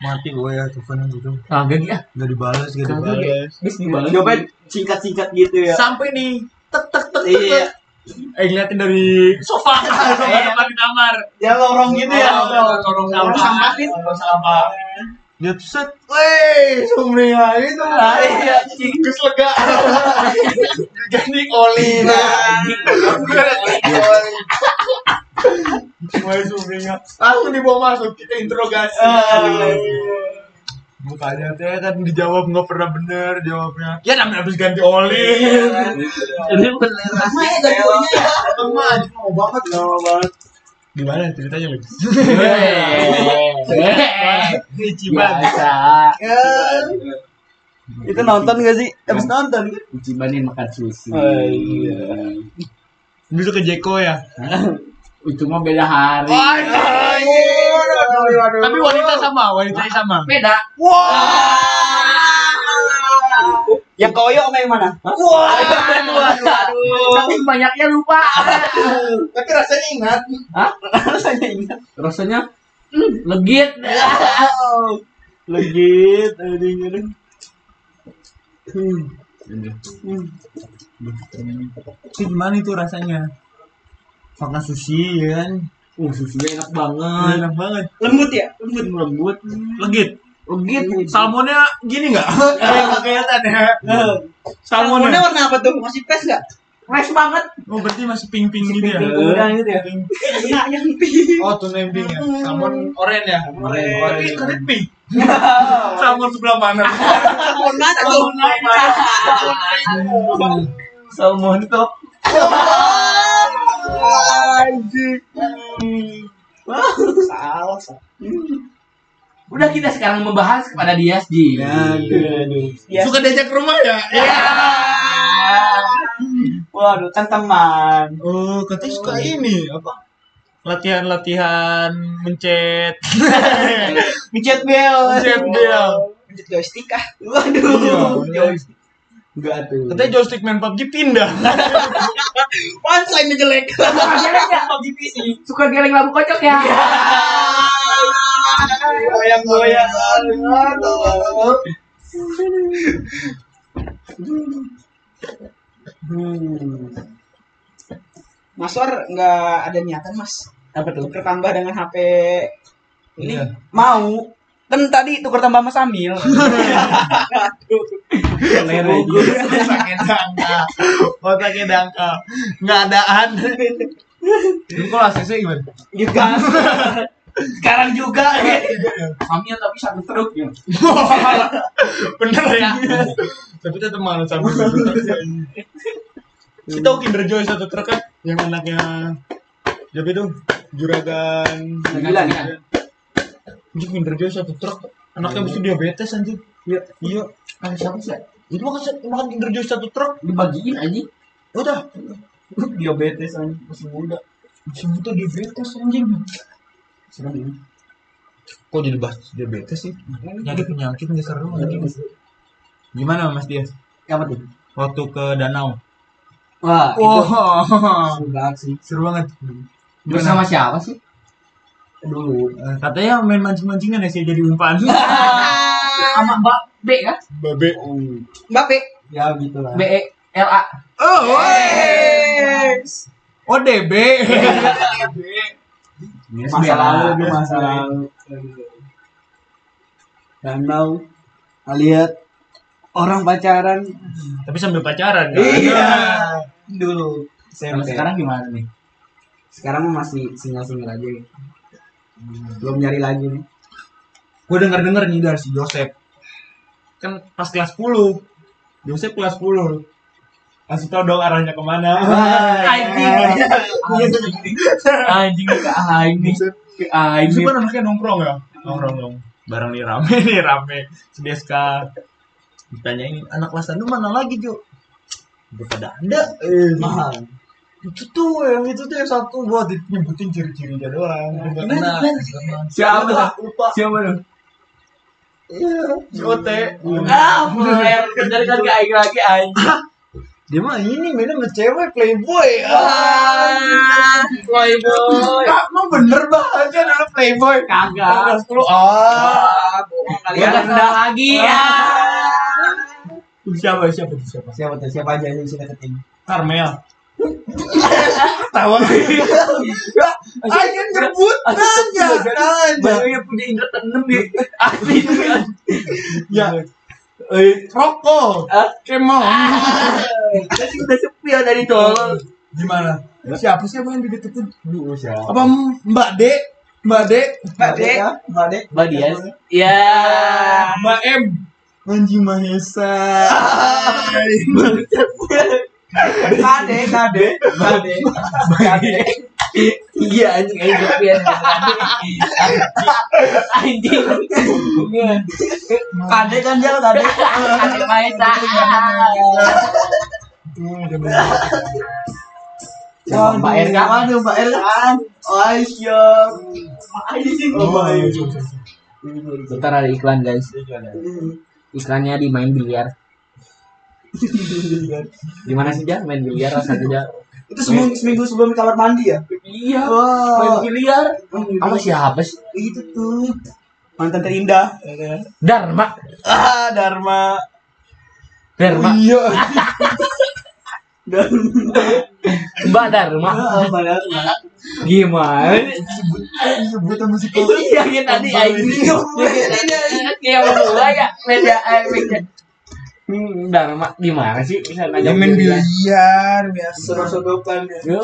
Speaker 2: Mati gue ya teleponnya gitu.
Speaker 3: Kagak iya.
Speaker 2: Gak dibales, gak
Speaker 4: gitu
Speaker 3: Kagak iya.
Speaker 2: dibales.
Speaker 3: Bis dibalik.
Speaker 4: Coba singkat-singkat gitu ya.
Speaker 2: Sampai nih, tek tek tek tek. tek.
Speaker 4: Iya.
Speaker 2: Eh ngeliatin dari sofa, <laughs> sofa depan di kamar.
Speaker 4: Ya lorong gitu ya.
Speaker 2: Lorong
Speaker 4: Lorong
Speaker 2: sampah.
Speaker 4: sampah.
Speaker 2: Lorong sampah. Lihat set, weh, sumringah itu.
Speaker 4: Iya,
Speaker 2: Ah, anjing. Keslega. <laughs> Jadi oli lah. <laughs> Ah, iya. Mulai sumringah. Langsung dibawa masuk kita interogasi. Mukanya teh kan dijawab nggak pernah bener jawabnya. Ya namanya habis ganti oli.
Speaker 3: Ini bener.
Speaker 1: Sama ya gantinya ya.
Speaker 2: Emang aja mau banget Iya. lama banget. Gimana ceritanya <laughs> lu? Iya. Ini cibat.
Speaker 3: Biasa.
Speaker 1: Kan. Itu nonton gak sih? Abis nonton
Speaker 4: gitu.
Speaker 1: kan?
Speaker 3: Ucibanin makan sushi.
Speaker 2: Oh, iya. Bisa ke Jeko ya.
Speaker 3: Itu mah beda hari.
Speaker 2: Tapi wanita sama, wanitanya sama.
Speaker 3: Beda.
Speaker 1: Yang koyo sama yang mana? Hah?
Speaker 3: Aduh, aduh, aduh. Tapi banyaknya lupa.
Speaker 4: Tapi rasanya ingat.
Speaker 1: Rasanya ingat.
Speaker 3: Rasanya hmm, legit.
Speaker 1: Legit. Aduh, aduh. Hmm.
Speaker 2: Itu gimana itu rasanya? Makan sushi ya kan?
Speaker 3: Uh, susunya enak banget.
Speaker 2: Ah, Enak banget.
Speaker 1: Lembut ya? Lembut.
Speaker 3: Lembut.
Speaker 2: Hmm. Legit.
Speaker 3: Legit.
Speaker 2: Salmonnya gini <laughs> nggak? Kayak nggak kelihatan ya.
Speaker 1: Salmonnya
Speaker 2: Salmonnya.
Speaker 1: warna apa tuh? Masih pes gak?
Speaker 3: fresh banget.
Speaker 2: Oh berarti masih pink-pink gitu ya?
Speaker 3: Udah gitu ya.
Speaker 1: Iya, yang pink.
Speaker 2: Oh tulen pink ya? Salmon oren ya? Hmm.
Speaker 3: Oren.
Speaker 2: Berarti keren pink. Salmon sebelah <laughs> mana?
Speaker 1: Salmon mana tuh?
Speaker 2: Salmon lain. Salmon lain.
Speaker 1: Salmon top. Salah, salah.
Speaker 3: Udah kita sekarang membahas kepada Dias Ji.
Speaker 1: Ya.
Speaker 2: Suka diajak ke rumah ya? Iya.
Speaker 1: Waduh, kan teman.
Speaker 2: Oh, katanya suka ini apa? Latihan-latihan <laughs> mencet.
Speaker 1: Micet bel.
Speaker 2: Micet bel.
Speaker 1: Micet joystick ah. Waduh.
Speaker 2: Iya.
Speaker 1: Joystick.
Speaker 3: Enggak tuh.
Speaker 2: Katanya joystick main PUBG pindah.
Speaker 1: Punchline-nya jelek.
Speaker 3: Suka geleng ya? Suka geleng labu kocok ya?
Speaker 1: Goyang-goyang. Mas War nggak ada niatan Mas
Speaker 3: Apa tuh?
Speaker 1: tuker tambah dengan HP ini
Speaker 2: Iya.
Speaker 1: mau kan tadi tuker tambah sama Samil. Aduh.
Speaker 2: Gugur. Sakit dangka. Otaknya dangka. Oh, Nggak adaan. Lu kok ACC gimana?
Speaker 1: Digas. Sekarang juga.
Speaker 3: Samil tapi satu truk ya.
Speaker 2: <laughs> Bener ya? Tapi tetap malu sama gue. Kita tahu Kinder Joy satu truk kan? Yang anaknya Jadi dong juragan
Speaker 3: Gila ya.
Speaker 2: Anjing Kinder Joy satu truk Anaknya mesti diabetes anjing Iya Iya
Speaker 3: Kan siapa sih?
Speaker 2: Itu makan, makan Kinder Joy satu truk
Speaker 3: Dibagiin aja.
Speaker 2: Udah Diabetes anjing Masih muda Masih muda diabetes anjing
Speaker 3: Serem ini.
Speaker 2: Kok jadi bahas diabetes sih? Iya, Nyari penyakit gak seru anjing Gimana Mas Dias?
Speaker 3: Apa tuh?
Speaker 2: Waktu ke danau
Speaker 3: Wah, itu
Speaker 2: Wow <laughs>
Speaker 3: seru banget sih.
Speaker 2: Seru banget Gimana?
Speaker 3: Bersama siapa sih? Dulu.
Speaker 2: Eh, Katanya main mancing-mancingan ya sih jadi umpan
Speaker 3: Sama Mbak B kan?
Speaker 2: <laughs> Babe
Speaker 1: Mbak Pe.
Speaker 4: Oh, Ya gitu lah.
Speaker 3: B E L A.
Speaker 2: Oh, oh DB. <laughs>
Speaker 3: Iya,
Speaker 4: Masa lalu
Speaker 3: Bella.
Speaker 4: itu masa lalu. Danau. Nah, Lihat orang pacaran. Iya.
Speaker 2: Tapi sambil pacaran kan?
Speaker 4: Dulu.
Speaker 3: Iya. Kalau
Speaker 4: SMP.
Speaker 3: sekarang gimana nih?
Speaker 4: sekarang mah masih single-single aja. Belum nyari lagi nih.
Speaker 2: Gue denger denger nih dari si Joseph. Kan pas kelas 10. Joseph kelas 10. Kasih tau dong arahnya kemana.
Speaker 4: iya.
Speaker 3: Anjing. Anjing ke anjing. Ke
Speaker 2: Itu
Speaker 3: anjing.
Speaker 2: kan anaknya nongkrong ya? Nongkrong dong. Barang nih rame nih rame. Sedeska. Ditanyain anak kelas lu mana lagi Jo? Udah pada ada. Eh,
Speaker 4: Mahal.
Speaker 2: itu tuh yang itu tuh yang satu buat nyebutin ciri-cirinya doang.
Speaker 3: Nah,
Speaker 2: gitu Nggak kenal. kan.
Speaker 3: Siapa?
Speaker 2: Lupa, Lupa.
Speaker 3: Siapa lu? Iya,
Speaker 2: JOT.
Speaker 3: Ah, bener. Dari kan ke aing lagi anjing.
Speaker 2: Dia mah ini mainnya sama cewek playboy. <laughs>
Speaker 3: Playboy.
Speaker 2: Ah, emang bener banget dulu playboy.
Speaker 3: Kagak.
Speaker 2: Kelas 10. Ah.
Speaker 3: Kalian rendah lagi ya.
Speaker 2: Siapa siapa siapa?
Speaker 4: Siapa tuh? Siapa aja yang sudah keting?
Speaker 2: Karmel. Tawa. Ayo nyebut aja.
Speaker 3: Barunya punya indra tenem di asli.
Speaker 2: Ya.
Speaker 4: Iya.
Speaker 2: Eh, Roko.
Speaker 3: Ah.
Speaker 2: Kemon.
Speaker 3: Tapi udah sepi ya dari tolol.
Speaker 2: Gimana? Siapa siapa yang dideketin?
Speaker 4: Dulu siapa?
Speaker 2: Apa Mbak D? Mbak D,
Speaker 1: Mbak Dek, Mbak Dek.
Speaker 3: Mbak Dias. Ya.
Speaker 2: Mbak M, Manji Mahesa.
Speaker 1: Kade, kade, kade.
Speaker 3: Iya anjing aja <laughs> Sofian. Anjing.
Speaker 1: Kade kan dia kade.
Speaker 5: Ada Maesa.
Speaker 1: Wah,
Speaker 3: Mbak R kan?
Speaker 1: Waduh, Mbak R kan. Oh, iya. Makasih sih.
Speaker 2: Oh, Mbak M.
Speaker 3: Bentar ada iklan guys. Iklannya di main biliar.
Speaker 2: iya.
Speaker 3: Gimana sih dia main biliar rasanya dia?
Speaker 1: Itu seminggu, seminggu sebelum di kamar mandi ya?
Speaker 3: Iya. Main
Speaker 1: Wah.
Speaker 3: biliar. Sama siapa sih?
Speaker 1: Itu tuh. Mantan terindah.
Speaker 3: Dharma.
Speaker 2: Ah, Dharma.
Speaker 3: Dharma.
Speaker 2: Iya.
Speaker 1: Dan
Speaker 3: Mbak Dharma.
Speaker 1: Ah, padahal malah.
Speaker 3: Gimana?
Speaker 1: Iya,
Speaker 2: Sebut sama si
Speaker 3: Itu dia yang tadi anjing. Kayak berdua ya. Beda beda. Hmm, Dharma gimana sih? Bisa nanya
Speaker 2: Yang main biliar biasa.
Speaker 1: Sodok-sodokan ya.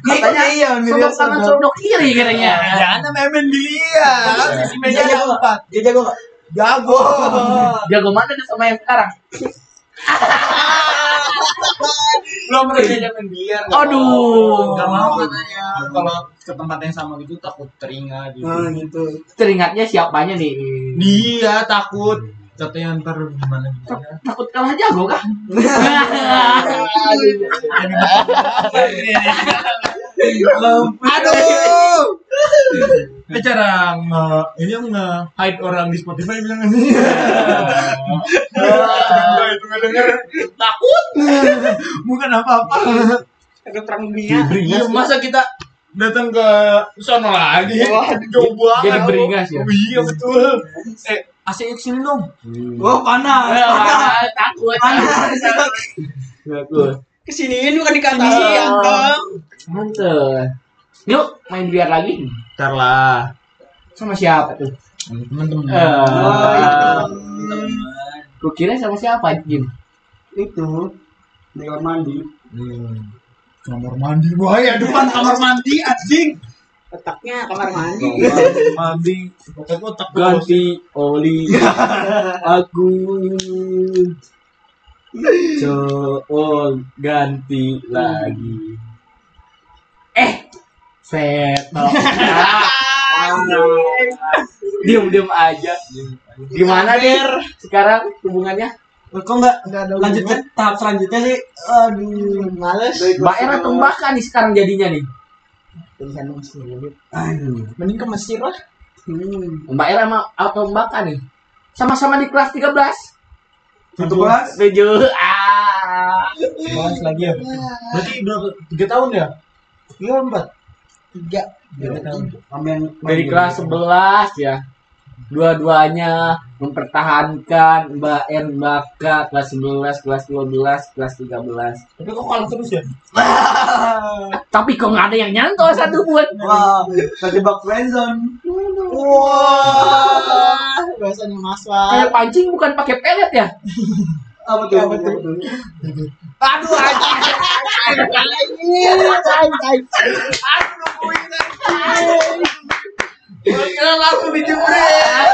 Speaker 3: Katanya iya, sodok kanan sodok kiri katanya.
Speaker 2: Jangan main main biliar. ya. Sisi meja
Speaker 1: Iya,
Speaker 2: ada empat.
Speaker 1: Dia jago nggak?
Speaker 2: Iya. Jago.
Speaker 3: Jago mana dia sama yang sekarang?
Speaker 2: Lo mereka jangan main biliar.
Speaker 3: Aduh.
Speaker 2: Gak mau katanya. Kalau ke tempat yang sama gitu takut teringat gitu.
Speaker 1: Nah, gitu.
Speaker 3: Teringatnya siapanya nih?
Speaker 2: Dia takut. Katanya ntar gimana gimana.
Speaker 3: Takut kalah jago kah?
Speaker 1: <laughs>
Speaker 2: Aduh. Eh cara nge- ini yang nge hide orang di Spotify bilang ini. Gua itu ngedenger takut. Bukan apa-apa.
Speaker 1: Ada perang dunia.
Speaker 2: Iya, masa kita datang ke sono lagi? Jauh banget.
Speaker 3: Jadi beringas ya?
Speaker 2: Oh, Iya betul. Eh, AC yuk sini dong.
Speaker 1: Wah, panas.
Speaker 3: Takut.
Speaker 1: <laughs>
Speaker 3: Takut.
Speaker 1: Kesiniin bukan dikatain,
Speaker 3: Iya.
Speaker 1: Bang.
Speaker 3: Mantep. Yuk main biar lagi.
Speaker 2: Ntar lah.
Speaker 3: Sama siapa tuh?
Speaker 2: Temen-temen.
Speaker 3: Eh, Gue kira sama siapa Jim?
Speaker 1: Itu di kamar mandi.
Speaker 2: Hmm. Kamar mandi bahaya depan kamar mandi anjing.
Speaker 1: Letaknya kamar mandi.
Speaker 2: Kamar mandi. Otak-otak
Speaker 3: Ganti oli aku cool oh, ganti lagi eh <laughs> setok diem diem aja gimana der sekarang hubungannya
Speaker 1: Eh, Kok nggak lanjut ke tahap selanjutnya sih? Aduh, males.
Speaker 3: Mbak Era tembakan nih sekarang jadinya nih
Speaker 2: Mending ke Mesir lah.
Speaker 1: Hmm.
Speaker 3: Mbak Era mau atau tembakan nih sama-sama di kelas 13
Speaker 1: Satu kelas.
Speaker 3: tujuh ah
Speaker 2: Bahas lagi ya. Berarti berapa? Tiga tahun ya? Iya empat.
Speaker 1: Tiga.
Speaker 2: Tiga tahun.
Speaker 3: dari kelas 11 ya dua-duanya mempertahankan Mbak R Mbak K kelas 11 kelas 12 kelas 13
Speaker 2: Tapi kok kalah terus ya?
Speaker 3: <laughs> tapi kok nggak ada yang nyantol satu buat
Speaker 1: Wah, terjebak friendzone.
Speaker 2: Wah.
Speaker 1: Bahasanya masalah.
Speaker 3: kayak pancing bukan pakai pelet ya
Speaker 1: Apa tuh? Apa tuh?
Speaker 3: aduh anjing
Speaker 1: Iya,
Speaker 2: Kira langsung dijebret.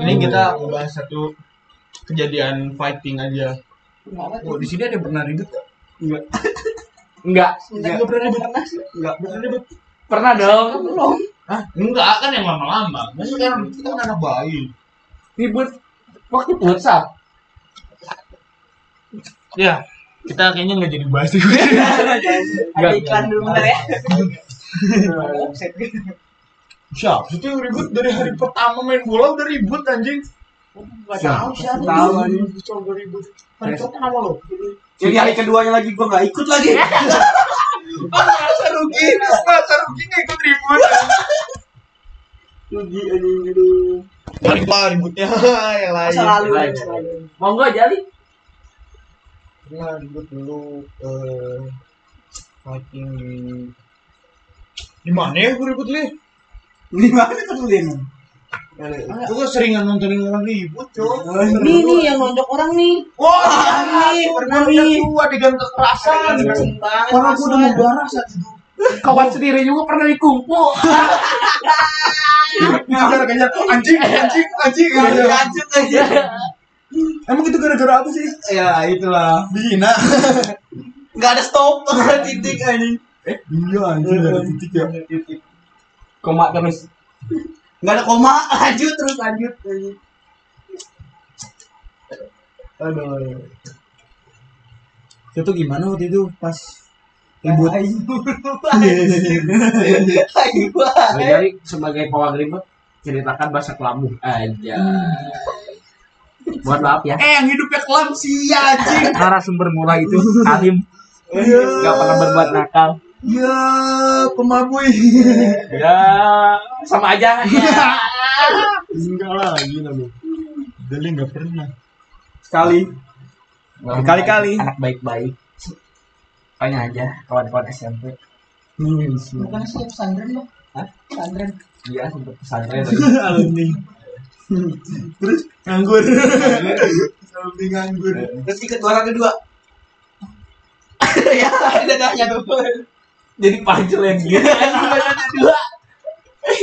Speaker 2: Ini kita membahas satu kejadian fighting aja. Oh, di sini ada yang pernah ribut gak?
Speaker 3: nggak
Speaker 2: Enggak pernah ribut. Enggak pernah
Speaker 1: <laughs>
Speaker 2: ribut.
Speaker 3: pernah dong
Speaker 2: Hah? Enggak kan yang lama-lama. Masa kan kita kan anak bayi.
Speaker 3: ribut waktu futsal
Speaker 2: Ya, kita kayaknya nggak jadi bahas itu.
Speaker 1: Ada iklan dulu bentar ya.
Speaker 2: <laughs> gitu. Siapa sih yang ribut dari hari pertama main bola udah ribut anjing? Gak Oh, tahu siapa.
Speaker 1: Tahu,
Speaker 2: anjing. Coba ribut. Hari pertama lo.
Speaker 1: Jadi hari keduanya lagi gua nggak ikut
Speaker 2: <laughs>
Speaker 1: lagi.
Speaker 2: Masa rugi, masa rugi nggak ikut ribut.
Speaker 1: Rugi anjing aduh.
Speaker 2: Paling parah ributnya <laughs> yang lain.
Speaker 1: Masa lalu.
Speaker 3: Lain. monggo jadi
Speaker 2: Pernah ribut dulu eh fighting di di mana ya gue ribut li?
Speaker 1: Di mana tuh Lin?
Speaker 2: Gue kan seringan nontonin orang ribut coy.
Speaker 1: Ini
Speaker 5: Ini nih yang nonjok orang nih.
Speaker 2: Wah,
Speaker 1: nih, pernah nih.
Speaker 2: Tua dengan kekerasan.
Speaker 1: banget.
Speaker 2: Orang gue udah mau
Speaker 1: Mas.
Speaker 2: darah saat itu.
Speaker 3: Kawan sendiri juga pernah dikumpul. <laughs>
Speaker 2: Iya, Ngejar kejar anjing anjing anjing
Speaker 4: Lanjut
Speaker 2: kejar.
Speaker 4: lanjut aja.
Speaker 2: Emang itu gara-gara apa sih?
Speaker 4: Ya itulah.
Speaker 2: Bina.
Speaker 4: Gak ada stop titik anjing.
Speaker 2: Eh, bina anjing dari titik ya.
Speaker 3: Koma terus.
Speaker 4: Gak ada koma, lanjut terus lanjut. lanjut.
Speaker 2: Aduh.
Speaker 1: Itu tuh gimana waktu itu pas
Speaker 4: Ribut.
Speaker 2: Iya,
Speaker 4: Ayo,
Speaker 3: Nah, Jadi sebagai pawang ribut ceritakan bahasa kelamu aja. Mohon maaf ya.
Speaker 2: Eh, yang hidupnya kelam sih ya, anjing.
Speaker 3: Narasumber mulai <laughs> itu alim
Speaker 2: Iya.
Speaker 3: nggak pernah berbuat nakal.
Speaker 2: Ya, pemabui.
Speaker 3: Ya sama aja. Ya.
Speaker 2: Enggak lah, gila lu. Deli enggak pernah.
Speaker 1: sekali Berkali-kali.
Speaker 3: Anak baik-baik. Tanya aja kawan-kawan SMP.
Speaker 2: Hmm,
Speaker 5: Bukan sih pesantren loh.
Speaker 3: Hah?
Speaker 1: <laughs>
Speaker 5: Pesantren.
Speaker 3: Dia Iya, sempet pesantren.
Speaker 2: alumni. Terus nganggur. Alumni nganggur.
Speaker 4: Terus ikut orang kedua. ya, dadahnya tuh.
Speaker 3: <laughs> Jadi panjel yang <laughs> dia. Dua.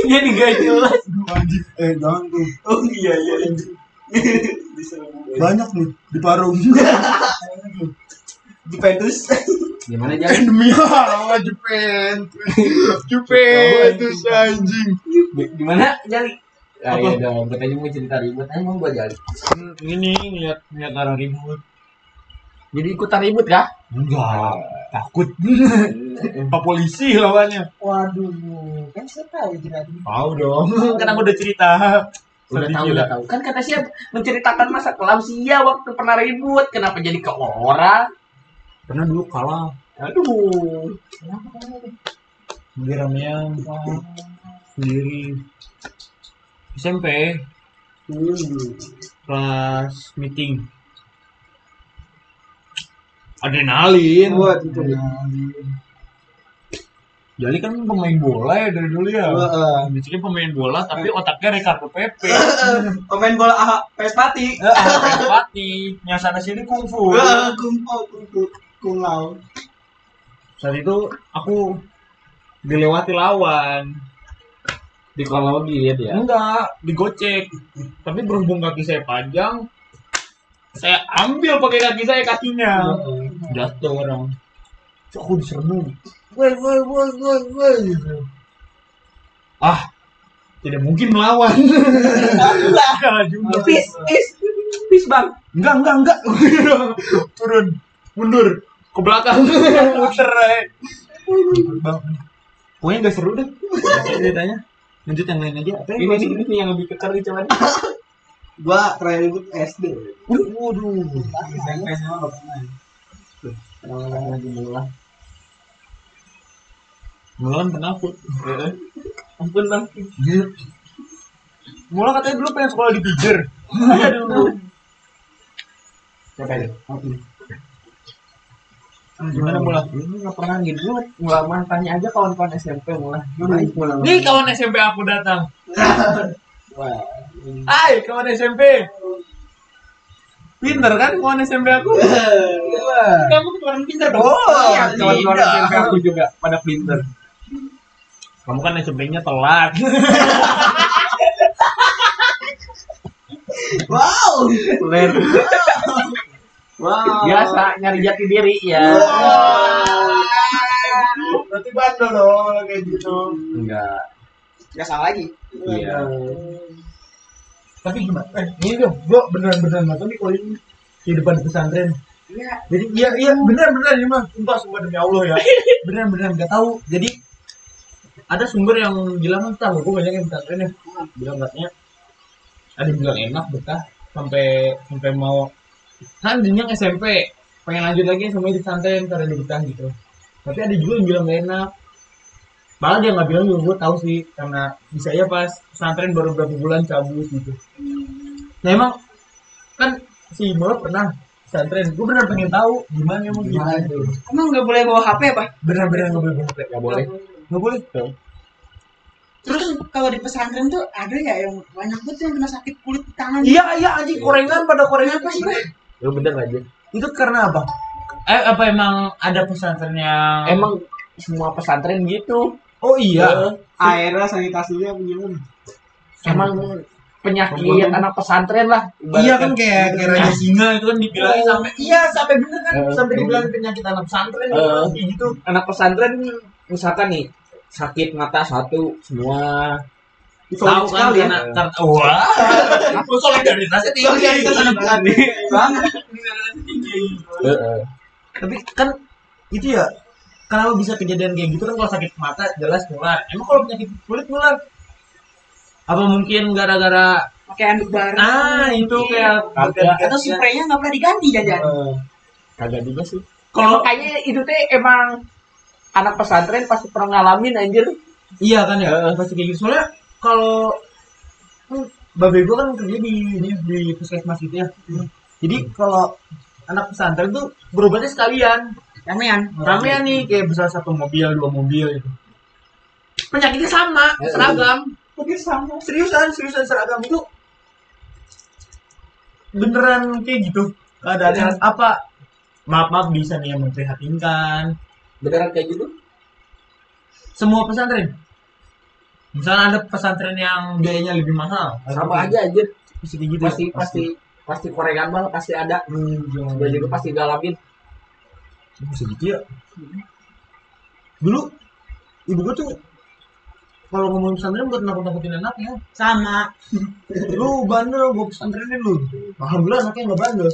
Speaker 3: Dia digaji jelas.
Speaker 2: Anjing, eh jangan tuh.
Speaker 4: Oh iya iya.
Speaker 2: Banyak lu di Parung.
Speaker 4: <laughs> Juventus.
Speaker 3: <laughs> Gimana aja?
Speaker 2: Eh, Demi Allah, Juventus. Juventus anjing.
Speaker 3: Gimana jali? Ah, iya
Speaker 2: Apa?
Speaker 3: dong, katanya mau cerita ribut, emang gua jali.
Speaker 2: Hmm, Ini ngeliat ngeliat orang ribut.
Speaker 3: Jadi ikutan ribut ya?
Speaker 2: Enggak, <laughs> takut. Pak polisi lawannya.
Speaker 5: Waduh, kan saya tahu kira
Speaker 2: Tahu dong. Kan aku udah cerita.
Speaker 3: Udah
Speaker 2: Sedih
Speaker 3: tahu,
Speaker 2: gila.
Speaker 3: udah tahu. Kan kata siapa menceritakan masa kelam sia waktu pernah ribut, kenapa jadi ke orang?
Speaker 2: Pernah dulu kalah.
Speaker 3: Aduh.
Speaker 2: Sendiri ramean. ah, Sendiri. SMP. Pas meeting. Adrenalin.
Speaker 1: buat itu
Speaker 2: Iya. Jali kan pemain bola ya dari dulu ya.
Speaker 4: Heeh.
Speaker 2: Biasanya pemain bola tapi otaknya Ricardo
Speaker 1: <laughs>
Speaker 2: Pepe.
Speaker 4: Pemain bola AH PS Pati.
Speaker 2: Eh, Pati. Yang sana sini kungfu.
Speaker 4: Heeh, Kumpo kumpo kungau.
Speaker 2: Saat itu aku dilewati lawan.
Speaker 3: Dikologin ya.
Speaker 2: Enggak, digocek. Tapi berhubung kaki saya panjang, saya ambil pakai kaki saya kakinya. Jatuh orang. Terus aku diserbu. Woi, woi, woi, woi, woi. gitu. Ah, tidak mungkin <laughs> melawan. Kalah juga.
Speaker 3: Pis, pis, pis bang.
Speaker 2: Enggak, enggak, enggak. <laughs> Turun, mundur ke belakang. Muter. eh. Bang. Pokoknya gak seru deh. Ceritanya. Lanjut yang lain aja.
Speaker 4: Iya,
Speaker 2: Apa yang
Speaker 3: Ini
Speaker 2: gak
Speaker 3: nih,
Speaker 2: seru?
Speaker 3: ini nih yang lebih kekar nih cuman.
Speaker 4: Gua terakhir ribut SD.
Speaker 2: Waduh.
Speaker 3: lagi mulai.
Speaker 2: Mulan penakut.
Speaker 3: Ampun bang.
Speaker 2: Gitu. Mulan katanya dulu pengen sekolah di Pijer.
Speaker 3: Aduh. Siapa itu?
Speaker 2: Gimana Mulan?
Speaker 3: Ini nggak pernah ribut. Mulai mah tanya aja kawan-kawan SMP mulai.
Speaker 1: baik malah
Speaker 2: Nih kawan SMP aku datang.
Speaker 3: Wah.
Speaker 2: Hai kawan SMP. Pinter kan kawan SMP aku? Kamu kawan pinter dong.
Speaker 4: Oh,
Speaker 3: Iya, kawan-kawan
Speaker 4: tidak.
Speaker 3: SMP aku juga pada pinter.
Speaker 2: Kamu kan SMP-nya telat.
Speaker 4: Wow.
Speaker 3: Ler.
Speaker 4: Wow.
Speaker 3: Oh. Biasa nyari jati diri ya.
Speaker 4: Berarti bandel Kan dong kayak gitu.
Speaker 3: Enggak.
Speaker 4: Gak salah lagi.
Speaker 3: Iya.
Speaker 2: Tapi gimana? Eh, ini dong, gua beneran-beneran nggak tahu nih kalau ini kehidupan di pesantren. Iya. Jadi iya iya beneran-beneran ya mas, sumpah sumpah demi Allah ya. Beneran-beneran nggak tahu. Jadi ada sumber yang bilang entah gue banyak yang pesantren ya. Bilang katanya ada yang bilang enak betah sampai sampai mau kan jenjang SMP pengen lanjut lagi sampai di pesantren karena di betah gitu. Tapi ada juga yang bilang gak enak. Malah dia nggak bilang juga gue tahu sih karena bisa ya pas pesantren baru berapa bulan cabut gitu. Nah emang kan si Imola pernah pesantren. Gue bener pengen tahu gimana emang gitu. gimana tuh.
Speaker 4: Emang gak boleh bawa HP apa?
Speaker 2: Bener-bener nggak boleh boleh
Speaker 3: Enggak boleh.
Speaker 2: nggak boleh tuh.
Speaker 5: Terus kalau di pesantren tuh ada ya yang banyak banget yang kena sakit kulit di tangan.
Speaker 2: Iya iya anjing korengan pada korengan
Speaker 5: Kenapa sih? Bang?
Speaker 3: Lu bener aja.
Speaker 2: Itu karena apa? Eh apa emang ada pesantren yang
Speaker 3: Ah. Emang semua pesantren gitu.
Speaker 2: Oh
Speaker 3: Eh,
Speaker 2: iya.
Speaker 5: Airnya sanitasinya punya lu.
Speaker 3: Emang penyakit
Speaker 2: Pembunuhan.
Speaker 3: anak pesantren lah.
Speaker 2: Iya kan kayak kayak raja singa itu kan dibilangin
Speaker 1: Oh.
Speaker 2: sampai iya sampai bener kan
Speaker 3: Eh,
Speaker 2: sampai
Speaker 3: eh.
Speaker 2: dibilang penyakit anak pesantren
Speaker 3: Eh.
Speaker 2: gitu, kayak gitu.
Speaker 3: anak pesantren misalkan nih sakit mata satu semua
Speaker 2: Tahu
Speaker 5: Solid
Speaker 2: kan
Speaker 5: sekali ya.
Speaker 2: karena kan karena <laughs> wah solidaritasnya tinggi.
Speaker 5: Solidaritas anak
Speaker 2: Iya.
Speaker 5: pesantren.
Speaker 2: Banget. Solidaritasnya tinggi. Tapi kan itu ya kenapa bisa kejadian kayak gitu kan kalau sakit mata jelas nular. Emang kalau penyakit kulit nular? Apa mungkin gara-gara
Speaker 5: Pakai anduk bareng. Iya.
Speaker 2: ah itu kayak gitu
Speaker 3: Kagak.
Speaker 5: atau spraynya nggak pernah diganti jajan.
Speaker 3: Eh, kagak juga sih
Speaker 2: kalau
Speaker 3: makanya itu teh emang anak pesantren pasti pernah ngalamin anjir
Speaker 2: Iya kan ya, pasti kayak gitu. Soalnya kalau hmm, babe gue kan kerja di di, di puskesmas gitu ya. Jadi kalau anak pesantren tuh berobatnya sekalian.
Speaker 5: Ramean.
Speaker 3: ya
Speaker 2: Ramean nih kayak bisa satu mobil, dua mobil gitu. Ya, Penyakitnya sama,
Speaker 3: Eh,
Speaker 2: seragam.
Speaker 5: Mungkin sama.
Speaker 2: Seriusan, seriusan seragam itu beneran kayak gitu. Keadaannya apa? Maaf maaf bisa nih yang memprihatinkan.
Speaker 3: beneran kayak gitu
Speaker 2: Semua pesantren. Misalnya ada pesantren yang biayanya lebih mahal.
Speaker 3: sama aja anjir
Speaker 2: Pasti kayak gitu.
Speaker 3: pasti pasti pasti korengan banget pasti ada gue juga pasti galamin
Speaker 2: Bisa gitu ya. Dulu ibu gua tuh kalau ngomongin pesantren buat nakut-nakutin anaknya.
Speaker 5: Sama.
Speaker 2: Lu bandel, gua pesantrenin lu. Alhamdulillah anaknya nggak bandel.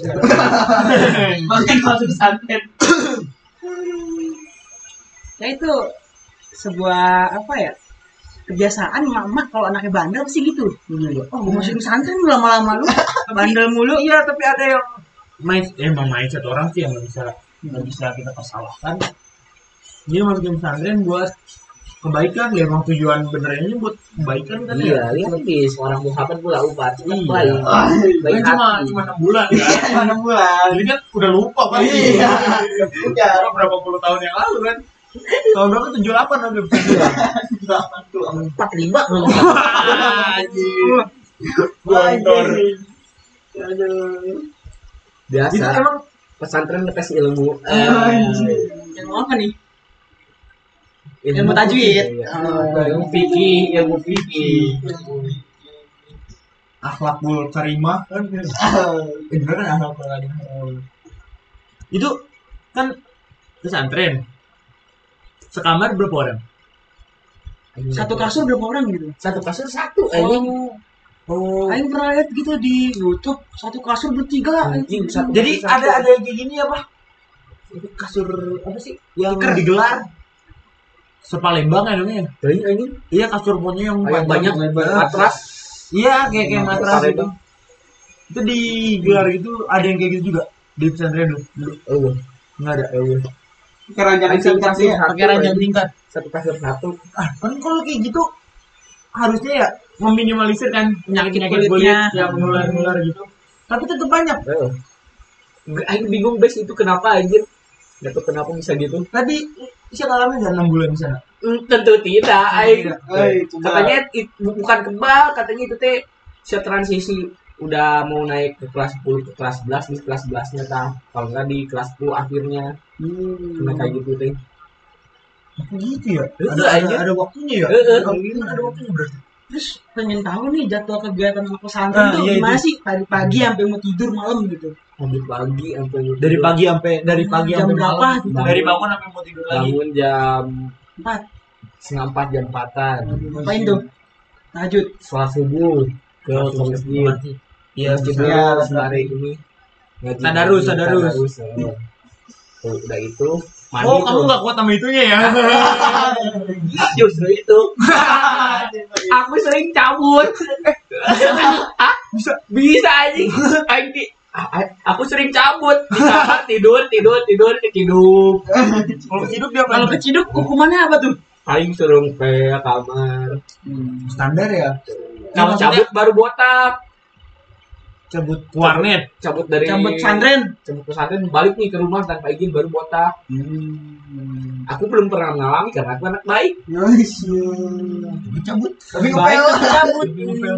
Speaker 5: Makanya masuk pesantren. ya itu sebuah apa ya kebiasaan mama kalau anaknya bandel sih gitu. Oh, gue masuk pesantren lu lama-lama lu bandel mulu.
Speaker 2: Iya, tapi ada yang main eh emang mindset orang sih yang nggak bisa nggak bisa kita persalahkan. Dia masukin pesantren buat kebaikan ya emang tujuan bener ini buat kebaikan kan ya.
Speaker 3: iya lihat nih seorang muhammad pula ubat Cuma
Speaker 2: Iya.
Speaker 3: baik
Speaker 2: Kan
Speaker 3: baik
Speaker 2: cuma
Speaker 3: hati.
Speaker 2: cuma enam bulan kan.
Speaker 4: Mana bulan?
Speaker 2: Jadi kan udah lupa kan.
Speaker 4: Iya.
Speaker 2: Udah berapa puluh tahun yang lalu kan. Tahun berapa 78 udah bisa.
Speaker 3: empat lima
Speaker 2: Anjir. Gondor. Itu
Speaker 3: biasa
Speaker 2: emang
Speaker 3: pesantren ngetes ilmu Eh,
Speaker 5: Yang mau apa nih?
Speaker 3: Iya. ilmu
Speaker 5: tajwid.
Speaker 3: iya. ilmu fikih ilmu fikih
Speaker 2: akhlakul karimah kan. Eh bener kan akhlakul karimah. Itu kan pesantren. Sekamar berapa orang?
Speaker 5: Satu kasur berapa orang gitu?
Speaker 3: satu kasur satu anjing
Speaker 2: Oh.
Speaker 5: Aing pernah lihat gitu di YouTube satu kasur bertiga.
Speaker 3: Anjing, satu
Speaker 2: Jadi
Speaker 3: kasur satu.
Speaker 2: ada ada yang kayak gini apa? Itu kasur apa sih? Yang
Speaker 5: Tikar.
Speaker 2: digelar. Sepalembang ya namanya.
Speaker 3: Anjing, anjing
Speaker 2: Iya kasur punya yang
Speaker 3: yang banyak
Speaker 2: panjang, lebar.
Speaker 3: matras
Speaker 2: Iya kayak kayak
Speaker 3: Matras
Speaker 2: matras
Speaker 3: itu.
Speaker 2: itu. Itu digelar gitu ada yang kayak gitu juga di pesantren dulu. dulu.
Speaker 3: oh
Speaker 2: Enggak ada.
Speaker 3: oh
Speaker 5: keranjang
Speaker 3: Anjing,
Speaker 5: singkat
Speaker 3: kasur
Speaker 5: sih.
Speaker 3: satu,
Speaker 2: Pakai ranjang
Speaker 3: anjing.
Speaker 2: tingkat.
Speaker 3: satu kasur satu
Speaker 2: Ah, kan kalau kayak gitu harusnya ya meminimalisir kan penyakit-penyakit
Speaker 5: Kulitnya.
Speaker 2: kulit yang menular-nular gitu. Tapi tetap banyak.
Speaker 3: oh Gue- Aing bingung bes itu kenapa anjir Gak tau kenapa bisa gitu
Speaker 2: Tadi siapa alami nggak enam bulan di sana?
Speaker 3: Hmm, Tentu tidak Aing
Speaker 4: Eh,
Speaker 3: katanya it- bu- bukan kebal katanya itu teh bisa transisi udah mau naik ke kelas 10 ke kelas 11 di kelas 11 nya tah kalau nggak di kelas 10 akhirnya
Speaker 2: Hmm.
Speaker 3: kena kayak gitu teh
Speaker 2: Gitu ya.
Speaker 3: Itu
Speaker 2: Ada ada,
Speaker 3: aja.
Speaker 2: ada waktunya ya.
Speaker 3: Eh, eh.
Speaker 2: Kalau gitu kan ada waktunya berarti.
Speaker 5: Terus pengen tahu nih jadwal kegiatan anak pesantren
Speaker 2: Ah,
Speaker 5: tuh
Speaker 2: iya Hmm.
Speaker 5: gimana
Speaker 2: itu.
Speaker 5: sih? Pagi-pagi sampai mau tidur malam gitu.
Speaker 3: pagi pagi sampai
Speaker 2: Dari pagi sampai dari pagi
Speaker 5: Jam
Speaker 2: sampai
Speaker 5: berapa
Speaker 2: malam.
Speaker 5: gitu?
Speaker 2: Dari bangun sampai mau tidur lagi.
Speaker 3: bangun jam
Speaker 5: Empat.
Speaker 3: setengah empat jam empatan
Speaker 4: Iya.
Speaker 5: Ngapain
Speaker 3: iya.
Speaker 5: tuh? Tahajud.
Speaker 3: setelah subuh ke ke masjid
Speaker 2: Iya,
Speaker 3: masjid
Speaker 2: gitu.
Speaker 3: ya, sembari ini Ngaji,
Speaker 2: Tadarus,
Speaker 3: ngaji,
Speaker 2: tadarus.
Speaker 3: eh. Tuh, udah itu mandi
Speaker 2: Oh, kamu
Speaker 3: tuh.
Speaker 2: gak kuat sama itunya ya?
Speaker 3: justru itu <laughs> aku sering cabut Ah, bisa bisa anjing Aing di- A- a- aku sering cabut di kamar tidur tidur tidur keciduk
Speaker 2: Kalau hidup dia Oh.
Speaker 5: Kalau keciduk hukumannya apa tuh?
Speaker 3: paling suruh ke kamar
Speaker 2: standar ya.
Speaker 3: kalau cabut baru botak
Speaker 2: cabut warnet.
Speaker 3: cabut dari
Speaker 5: Cabut pesantren.
Speaker 3: cabut pesantren balik nih ke rumah tanpa izin baru botak
Speaker 4: Hmm.
Speaker 3: aku belum pernah mengalami karena aku anak baik
Speaker 2: Cabut. Tapi
Speaker 5: Baik
Speaker 2: ngepel.
Speaker 5: tapi cabut.
Speaker 2: Tapi ngepel.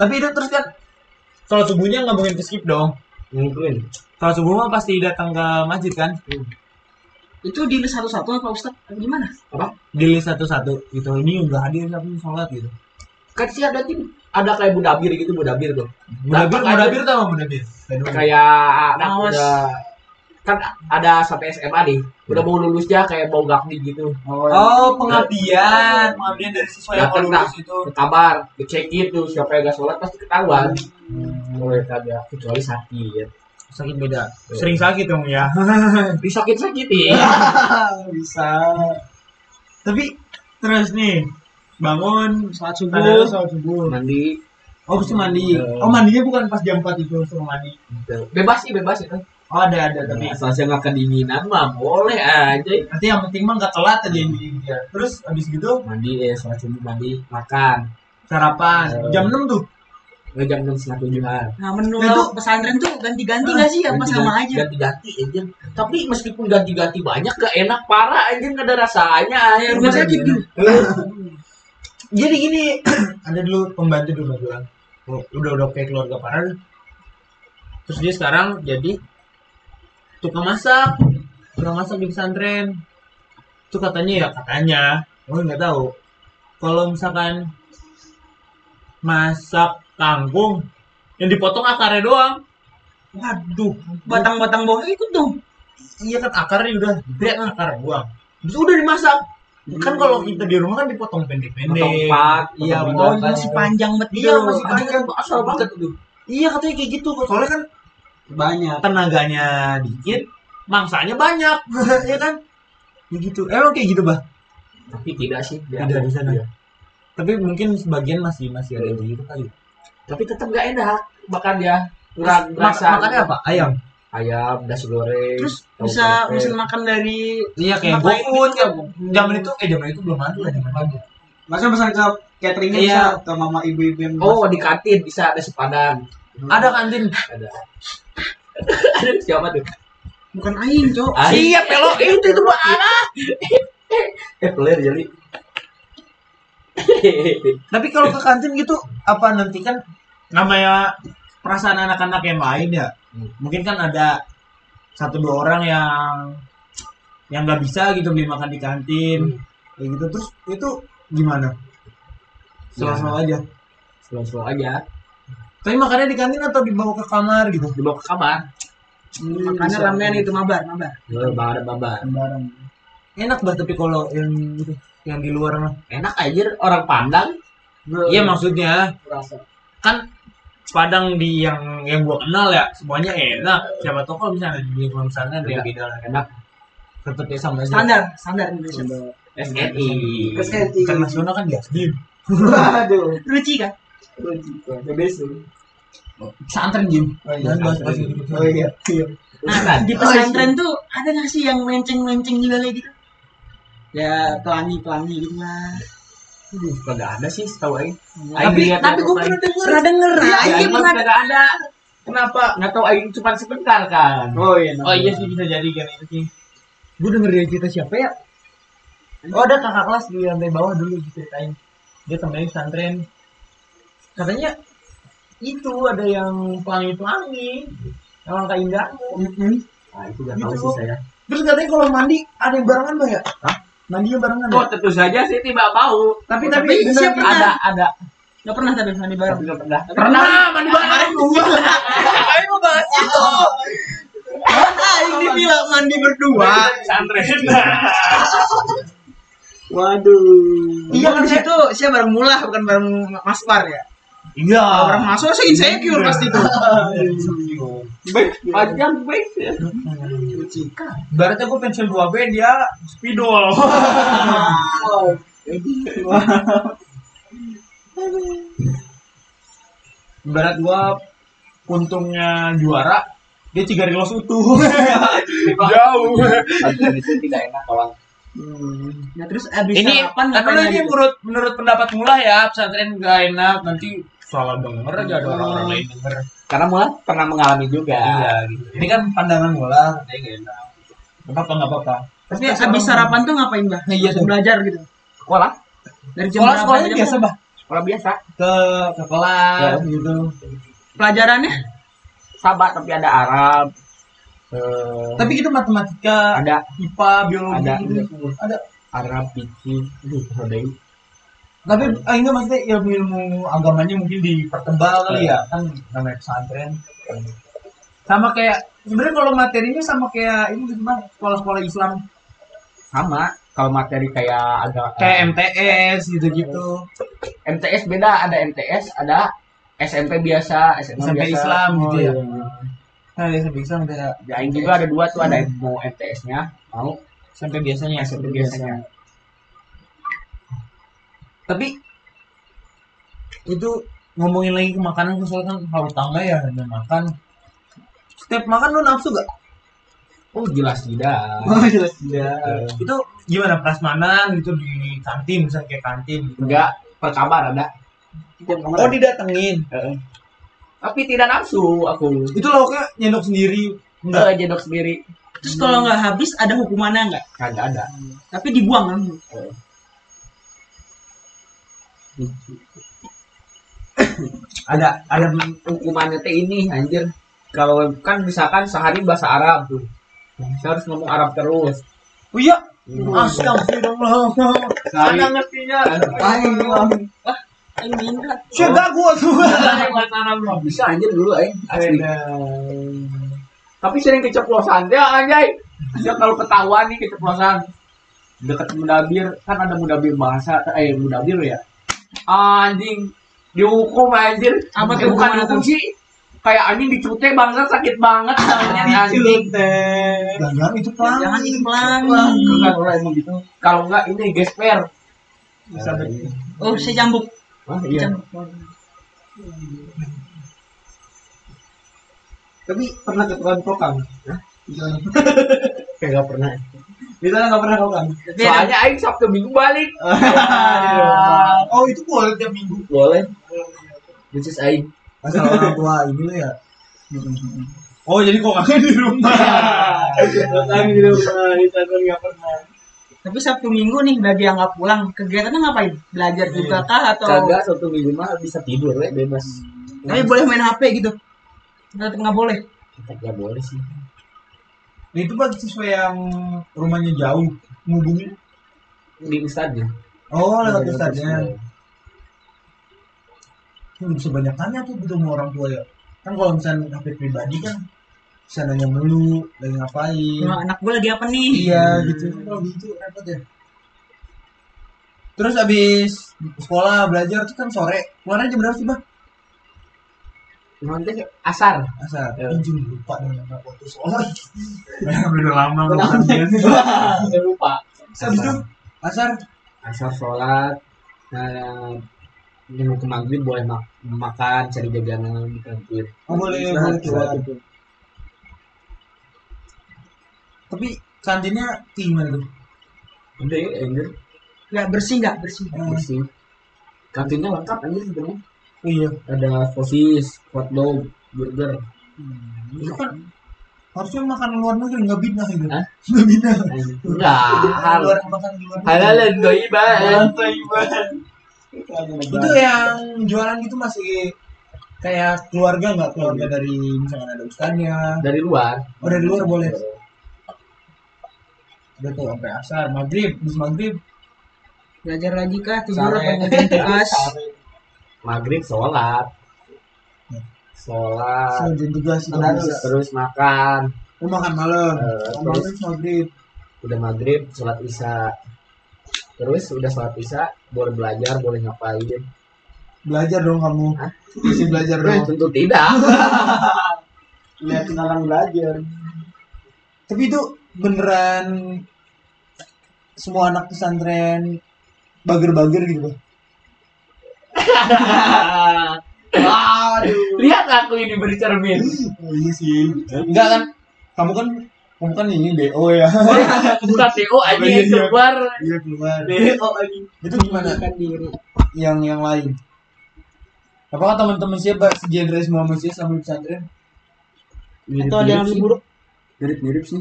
Speaker 2: Tapi itu terus kan kalau subuhnya nggak mungkin ke skip dong.
Speaker 3: mungkin
Speaker 2: Kalau subuh mah pasti datang ke masjid kan.
Speaker 1: Itu deal satu-satu apa Ustaz? Apa Gimana?
Speaker 2: Dili satu-satu gitu. Ini udah hadir tapi sholat gitu.
Speaker 3: kan sih ada tim ada kayak budabir gitu budabir tuh
Speaker 2: Mudabir,
Speaker 3: Dapat aja.
Speaker 2: mudabir tau nggak mudabir?
Speaker 3: kayak anak
Speaker 1: Awas.
Speaker 3: muda kan ada sampai SMA nih udah mau lulus ya kayak mau gakti gitu
Speaker 2: Oh,
Speaker 4: pengabdian pengabdian dari siswa yang mau lulus itu
Speaker 3: ke kabar dicek gitu siapa yang gak sholat pasti ketahuan mulai ada kecuali sakit
Speaker 2: sakit beda. Sering sakit dong ya.
Speaker 3: disakit sakitin
Speaker 2: Bisa. Tapi terus nih bangun
Speaker 1: Saat
Speaker 2: tanda
Speaker 1: subuh.
Speaker 2: sholat subuh.
Speaker 3: mandi
Speaker 2: Oh, habis itu mandi.
Speaker 3: Iya.
Speaker 2: Oh, mandinya bukan pas jam 4 itu suruh mandi.
Speaker 3: bebas sih bebas itu
Speaker 2: Oh, ada ada tapi.
Speaker 3: Nah, asal saya nggak kedinginan mah boleh aja
Speaker 2: Nanti yang penting mah nggak telat aja ini dia. Terus habis gitu
Speaker 3: mandi eh sholat subuh mandi makan
Speaker 2: sarapan jam 6 tuh.
Speaker 3: nggak jam enam setengah tujuan
Speaker 1: Nah, menu
Speaker 2: Nah, itu-
Speaker 1: pesantren tuh ganti-ganti nggak sih? Apa sama Iya, aja?
Speaker 3: ganti-ganti aja tapi meskipun ganti-ganti banyak gak enak parah aja nggak ada rasanya air
Speaker 1: Rumah sakit gitu.
Speaker 2: Jadi gini, <clears throat> ada dulu pembantu dulu bilang, "Oh, udah udah kayak keluarga Farhan. Terus dia sekarang jadi tukang masak, tukang masak di pesantren. Itu katanya ya katanya, gue nggak tahu. Kalau misalkan masak kangkung yang dipotong akarnya doang. Waduh,
Speaker 1: Batang-batang bawahnya ikut dong.
Speaker 2: iya kan akarnya udah gede kan akar buang terus udah dimasak kan kalau kita di rumah kan dipotong
Speaker 3: Hmm.
Speaker 2: pendek-pendek
Speaker 3: Potong empat,
Speaker 2: iya
Speaker 3: potong kan.
Speaker 2: betul
Speaker 1: Oh, masih panjang banget
Speaker 2: iya
Speaker 1: gitu.
Speaker 2: masih
Speaker 3: Ada
Speaker 2: panjang
Speaker 3: kan asal banget tuh
Speaker 2: iya katanya kayak gitu soalnya kan
Speaker 4: banyak
Speaker 2: tenaganya dikit mangsanya banyak <laughs> iya kan ya gitu emang kayak gitu bah
Speaker 3: tapi tidak sih di
Speaker 2: Tidak
Speaker 3: Ambon.
Speaker 2: di sana.
Speaker 3: Iya.
Speaker 2: tapi mungkin sebagian masih masih ada yang gitu kali
Speaker 3: tapi tetap gak enak makan ya
Speaker 2: Terus
Speaker 3: kurang
Speaker 2: mak-
Speaker 3: rasa
Speaker 2: makannya apa ayam
Speaker 3: ayam nasi goreng
Speaker 1: Terus
Speaker 3: tahu
Speaker 1: bisa
Speaker 3: tempe.
Speaker 1: bisa makan dari
Speaker 2: iya kayak
Speaker 1: Ngapain
Speaker 2: gofood
Speaker 1: gitu?
Speaker 2: zaman itu eh zaman itu belum ada lah zaman itu
Speaker 4: masa pesan ke cateringnya
Speaker 2: Iya.
Speaker 4: bisa ke mama ibu-ibu yang
Speaker 3: oh di kantin bisa ada sepadan <laughs>
Speaker 2: ada kan, kantin
Speaker 3: ada ada siapa tuh
Speaker 1: bukan aing, Cok.
Speaker 3: iya <laughs> pelok itu itu mah anak Iya. eh peler <laughs> jadi
Speaker 2: Tapi kalau ke kantin gitu apa nanti kan namanya perasaan anak-anak yang lain ya.
Speaker 4: Hmm.
Speaker 2: Mungkin kan ada satu dua orang yang yang nggak bisa gitu beli makan di kantin
Speaker 4: Hmm.
Speaker 2: kayak gitu terus itu gimana? Selalu aja.
Speaker 3: slow slow aja
Speaker 2: Tapi makannya di kantin atau dibawa ke kamar gitu?
Speaker 3: dibawa ke kamar
Speaker 1: Makannya ramean itu mabar, mabar.
Speaker 3: lebar babar
Speaker 2: Bareng. Enak banget tapi kalau yang gitu, yang di luar mah.
Speaker 3: enak aja orang pandang
Speaker 2: Iya maksudnya
Speaker 3: Berasa.
Speaker 2: kan Padang di yang yang gua kenal ya semuanya enak. Siapa tahu kalau misalnya di lingkungan pesantren dia beda lah.
Speaker 3: enak
Speaker 2: tetap Iya. ya sama aja.
Speaker 1: Standar, standar Indonesia.
Speaker 3: SNI
Speaker 2: internasional kan ya
Speaker 4: aduh
Speaker 1: Ruci kan?
Speaker 2: pesantren gym
Speaker 4: iya.
Speaker 2: Jangan bahas-bahas gitu. oh iya
Speaker 3: Ah,
Speaker 1: Nah, di pesantren tuh ada nggak sih yang menceng-menceng juga kayak gitu? Ya, pelangi-pelangi gitu lah.
Speaker 3: kagak ada sih setahu aing
Speaker 2: tapi
Speaker 3: Aing lihat
Speaker 2: tapi
Speaker 3: yang
Speaker 2: gue
Speaker 3: online.
Speaker 2: pernah denger
Speaker 1: Pernah denger?
Speaker 3: Iya,
Speaker 1: Nah, Aing
Speaker 3: Aing mah
Speaker 1: pernah
Speaker 3: kagak ada kenapa nggak tahu aing cuma sebentar kan
Speaker 4: oh iya
Speaker 2: oh iya sih bisa jadi kan itu sih gue denger dari cerita siapa ya oh ada kakak kelas di lantai bawah dulu diceritain dia temennya di pesantren katanya itu ada yang pelangi pelangi yang langkah indah
Speaker 3: nah itu nggak
Speaker 2: Gitu
Speaker 3: tahu sih
Speaker 2: loh.
Speaker 3: saya
Speaker 2: terus katanya kalau mandi ada yang barengan bah ya mandinya barengan ya?
Speaker 3: oh tentu saja sih tidak mau
Speaker 2: tapi
Speaker 1: tapi
Speaker 2: tapi bener.
Speaker 1: siapa pernah?
Speaker 3: ada ada Iya,
Speaker 1: Nggak pernah tapi mandi bareng.
Speaker 3: tapi nggak pernah
Speaker 2: pernah mandi bareng <laughs>
Speaker 3: aing mau bahas itu
Speaker 2: Ah,
Speaker 1: Aing dibilang mandi berdua.
Speaker 3: pesantren
Speaker 4: waduh
Speaker 1: Iya kan situ saya bareng mula bukan bareng Mas Par ya.
Speaker 2: iya
Speaker 1: Kalau bareng Mas Par saya insecure pasti tuh.
Speaker 3: panjang baik ya
Speaker 2: Baratnya gue pensil 2B dia spidol. <laughs> Barat gua untungnya juara, dia tiga rilos utuh. Jauh.
Speaker 3: itu tidak enak kawan
Speaker 1: Nah, terus abis
Speaker 2: ini kan
Speaker 1: sarapan ngapain
Speaker 2: dulu ini
Speaker 1: lagi tuh?
Speaker 2: menurut menurut pendapat mula ya pesantren gak enak nanti salah denger aja ada orang-orang lain denger.
Speaker 3: karena mulan pernah mengalami juga
Speaker 2: Iya gitu. Ini kan pandangan mula, katanya gak enak. Gak apa-apa, gak apa-apa.
Speaker 1: Tapi abis sarapan tuh ngapain, Mbah?
Speaker 2: Nah, iya tuh.
Speaker 1: Belajar gitu.
Speaker 3: sekolah
Speaker 1: Dari jam
Speaker 2: Sekolah
Speaker 1: berapa
Speaker 2: sekolahnya
Speaker 1: aja
Speaker 2: biasa
Speaker 1: tuh?
Speaker 2: bah
Speaker 3: sekolah biasa
Speaker 2: ke ke kelas gitu.
Speaker 1: Pelajarannya?
Speaker 3: sabar tapi ada Arab eh,
Speaker 4: Tapi
Speaker 2: gitu
Speaker 4: kita matematika,
Speaker 3: ada
Speaker 4: IPA, biologi.
Speaker 3: ada
Speaker 4: gitu. Ada.
Speaker 3: Arab fikih aduh ada yang
Speaker 4: Tapi ah, enggak maksudnya ilmu-ilmu agamanya mungkin dipertebal kali
Speaker 3: Iya.
Speaker 4: ya. Kan namanya pesantren. Sama kayak sebenarnya kalau materinya sama kayak ini gimana? Sekolah-sekolah Islam
Speaker 3: sama kalau materi kayak ada
Speaker 4: kayak MTS gitu-gitu.
Speaker 3: MTS beda ada MTS ada SMP biasa SMA
Speaker 4: SMP
Speaker 3: Iya. biasa
Speaker 4: Islam gitu
Speaker 3: Oh,
Speaker 4: ya.
Speaker 3: iya.
Speaker 4: Nah, ya, SMP Islam ada
Speaker 3: Ya, yang juga ada dua tuh
Speaker 4: Hmm.
Speaker 3: ada yang mau MTS-nya mau
Speaker 4: SMP biasanya,
Speaker 3: SMP biasanya
Speaker 4: Tapi itu ngomongin lagi ke makanan gua soalnya kan kalau tambah ya hanya makan. Setiap makan lu nafsu gak?
Speaker 3: oh jelas tidak
Speaker 4: Oh
Speaker 2: iya.
Speaker 4: jelas tidak. Itu gimana prasmanan gitu di kantin misalnya kayak kantin gitu.
Speaker 3: enggak per kabar ada
Speaker 4: Oh didatengin.
Speaker 3: tapi tidak nafsu aku
Speaker 4: Itu lauknya nyendok sendiri. Enggak.
Speaker 3: enggak jedok sendiri
Speaker 1: Terus kalau nggak habis ada hukumannya nggak?
Speaker 3: kagak ada
Speaker 1: Tapi dibuang kan? langsung.
Speaker 3: ada ada hukumannya teh ini anjir kalau kan misalkan sehari bahasa Arab tuh saya harus ngomong Arab terus
Speaker 4: Oh iya. Astagfirullah.
Speaker 3: sehari
Speaker 2: Mana ngertinya?
Speaker 3: <laughs>
Speaker 4: Aing
Speaker 1: Ini minta.
Speaker 4: Sudah gua tuh.
Speaker 3: bisa anjir dulu aing asli tapi sering keceplosan ya anjay ya kalau ketahuan nih keceplosan deket mudabir kan ada mudabir bahasa eh mudabir ya anjing dihukum anjir
Speaker 1: Apa
Speaker 3: Eh,
Speaker 1: tuh
Speaker 3: bukan
Speaker 1: hukuman
Speaker 3: dihukum
Speaker 1: tuh?
Speaker 3: sih kayak anjing dicute banget sakit banget namanya anjing
Speaker 4: Jangan itu pelan. Hmm.
Speaker 1: Jangan ini pelan.
Speaker 3: Enggak, kalau emang gitu kalau enggak ini gesper
Speaker 1: Oh, saya cambuk.
Speaker 3: Wah, iya. Tapi pernah ketuaan kokang? Kayak gak pernah.
Speaker 4: Di sana nggak pernah
Speaker 1: <laughs>
Speaker 4: kau kan?
Speaker 1: Tapi ada-
Speaker 3: Soalnya Aing Sabtu Minggu balik.
Speaker 4: Oh itu boleh tiap minggu.
Speaker 3: Boleh. Which is Aing.
Speaker 4: Masalah orang tua ini lo ya. Oh jadi kok kakek di rumah. Kakek di rumah di sana nggak pernah.
Speaker 1: tapi Sabtu Minggu nih bagi yang nggak pulang, kegiatannya ngapain? Belajar juga kah atau
Speaker 3: Kagak Sabtu Minggu mah bisa tidur we, bebas.
Speaker 1: tapi boleh main HP gitu? Tetap nggak boleh.
Speaker 3: Kagak boleh sih.
Speaker 4: Nah, itu buat siswa yang rumahnya jauh ngubungin.
Speaker 3: Di ustadnya.
Speaker 4: Oh lewat ustaznya. Lu bisa banyak tanya tuh gitu sama orang tua ya. Kan kalau misalnya HP pribadi kan bisa nanya mulu, lagi ngapain.
Speaker 1: Nah, anak gue lagi apa nih?
Speaker 4: Iya gitu. Kalau gitu repot ya. Terus abis sekolah belajar tuh kan sore. Keluarnya jam berapa sih bang?
Speaker 3: Nanti asar.
Speaker 4: Asal.
Speaker 1: Iya.
Speaker 3: Ya.
Speaker 4: Anjing lupa nih nama waktu sekolah. Udah lama
Speaker 3: <laughs> lupa. Saya lupa.
Speaker 4: Terus abis itu asar.
Speaker 3: asar sholat nah yang ke maghrib boleh mak- makan cari jajanan Nah, di kantin
Speaker 4: Oh, boleh
Speaker 3: Istirahat,
Speaker 4: boleh keluar.
Speaker 3: istirahat itu.
Speaker 4: Tapi kantinnya gimana tuh?
Speaker 3: udah ya anjir
Speaker 1: Nggak bersih nggak bersih?
Speaker 3: bersih kantinnya lengkap anjir sebenarnya
Speaker 4: Oh iya.
Speaker 3: ada sosis hotdog burger
Speaker 4: Itu kan harusnya makan luar negeri nggak bina gitu.
Speaker 3: Hah?
Speaker 4: Nggak bina.
Speaker 3: enggak hal
Speaker 4: Luar makan di luar. negeri.
Speaker 3: halal dan toiban
Speaker 4: Itu yang jualan gitu masih kayak keluarga nggak keluarga dari misalnya ada ustaznya
Speaker 3: dari luar
Speaker 4: oh dari luar boleh udah tuh sampai asar maghrib bis maghrib
Speaker 1: Belajar lagi kah? Tidur
Speaker 3: Sare.
Speaker 1: apa ngerjain <laughs> tugas?
Speaker 3: maghrib sholat sholat
Speaker 4: selesai tugas itu bisa.
Speaker 3: terus makan
Speaker 4: lu makan malam
Speaker 3: Eh,
Speaker 4: makan malam maghrib
Speaker 3: udah maghrib sholat isya terus udah sholat isya boleh belajar boleh ngapain
Speaker 4: belajar dong kamu
Speaker 3: Hah?
Speaker 4: masih belajar
Speaker 3: Eh,
Speaker 4: dong
Speaker 3: tentu tidak
Speaker 6: Liatin orang belajar.
Speaker 4: tapi itu beneran semua anak pesantren bager-bager gitu Bang.
Speaker 2: Lihat aku ini bercermin.
Speaker 4: oh, iya sih enggak kan kamu kan kamu kan ini do ya
Speaker 2: Buka TO aja
Speaker 4: Iya,
Speaker 2: yang
Speaker 4: iya.
Speaker 2: keluar.
Speaker 4: iya keluar
Speaker 2: TO aja.
Speaker 4: itu gimana yang yang lain apakah teman-teman siapa segenre semua manusia sama di pesantren
Speaker 1: Atau ada yang lebih buruk?
Speaker 3: mirip mirip sih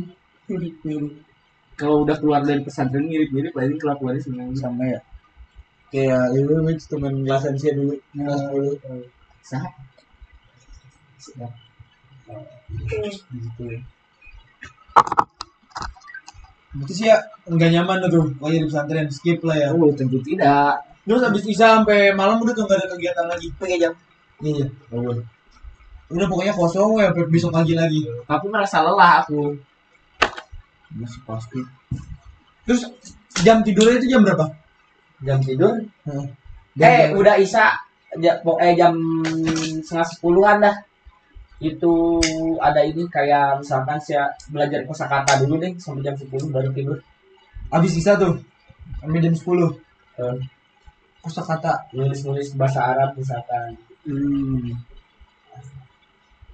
Speaker 3: kalau udah keluar dari pesantren mirip mirip lain keluar keluarnya sebenarnya
Speaker 4: sama ya Oh, kayak ya itu mix teman kelasan sih dulu kelas dulu
Speaker 3: sah Sah. gitu ya.
Speaker 4: Berarti sih ya nggak nyaman tuh bro, pokoknya di pesantren skip lah ya.
Speaker 7: Oh, tentu tidak.
Speaker 4: Terus habis isa sampai malam udah tuh nggak ada kegiatan lagi. Pakai jam. Iya iya. Udah pokoknya kosong ya sampai besok pagi lagi.
Speaker 2: Aku merasa lelah aku.
Speaker 7: Masih pasti.
Speaker 4: Terus jam tidurnya itu jam berapa?
Speaker 3: Jam tidur?
Speaker 4: Heeh.
Speaker 2: Eh, udah Isa ja- po- eh jam setengah sepuluhan dah. Itu ada ini kayak misalkan saya belajar kosakata dulu deh sampai jam 10 baru tidur.
Speaker 4: Habis isa tuh sampai jam 10.
Speaker 3: Eh.
Speaker 4: Hmm. Kosa kata.
Speaker 3: Nulis-nulis bahasa Arab misalkan.
Speaker 7: Hmm.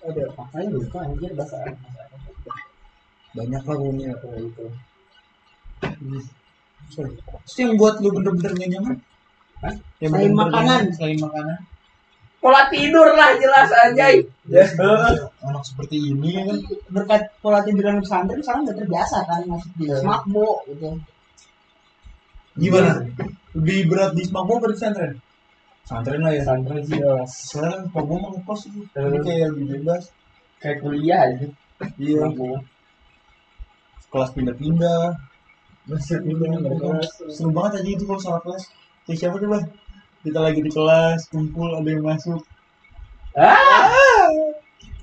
Speaker 3: Ada makanya lupa anjir bahasa Arab. bahasa Arab.
Speaker 7: Banyak lah punya.
Speaker 3: Kayak gitu.
Speaker 4: Hmm. Terus yang buat lu bener-bener nggak nyaman?
Speaker 3: Hah?
Speaker 4: Yang
Speaker 1: Selain
Speaker 4: bener-bener
Speaker 1: makanan.
Speaker 4: nyaman, Selain makanan.
Speaker 2: Pola tidur lah jelas anjay.
Speaker 4: Ya. Anak seperti ini ya kan.
Speaker 1: berkat pola tiduran pesantren sekarang udah terbiasa kan maksudnya
Speaker 3: Iya.
Speaker 1: mabuk gitu
Speaker 4: Gimana? Lebih berat di Smakbo apa di pesantren? Pesantren lah ya. Eh.
Speaker 3: Pesantren sih jelas.
Speaker 4: Sekarang Smakbo mah ngekos sih. Jadi kayak lebih bebas.
Speaker 3: Kayak kuliah aja.
Speaker 4: Iya. Kelas pindah-pindah. Kelas pindah Seru banget aja itu kalau salah kelas. Kayak siapa tuh bang? Kita lagi di kelas, kumpul, ada yang masuk. Ah!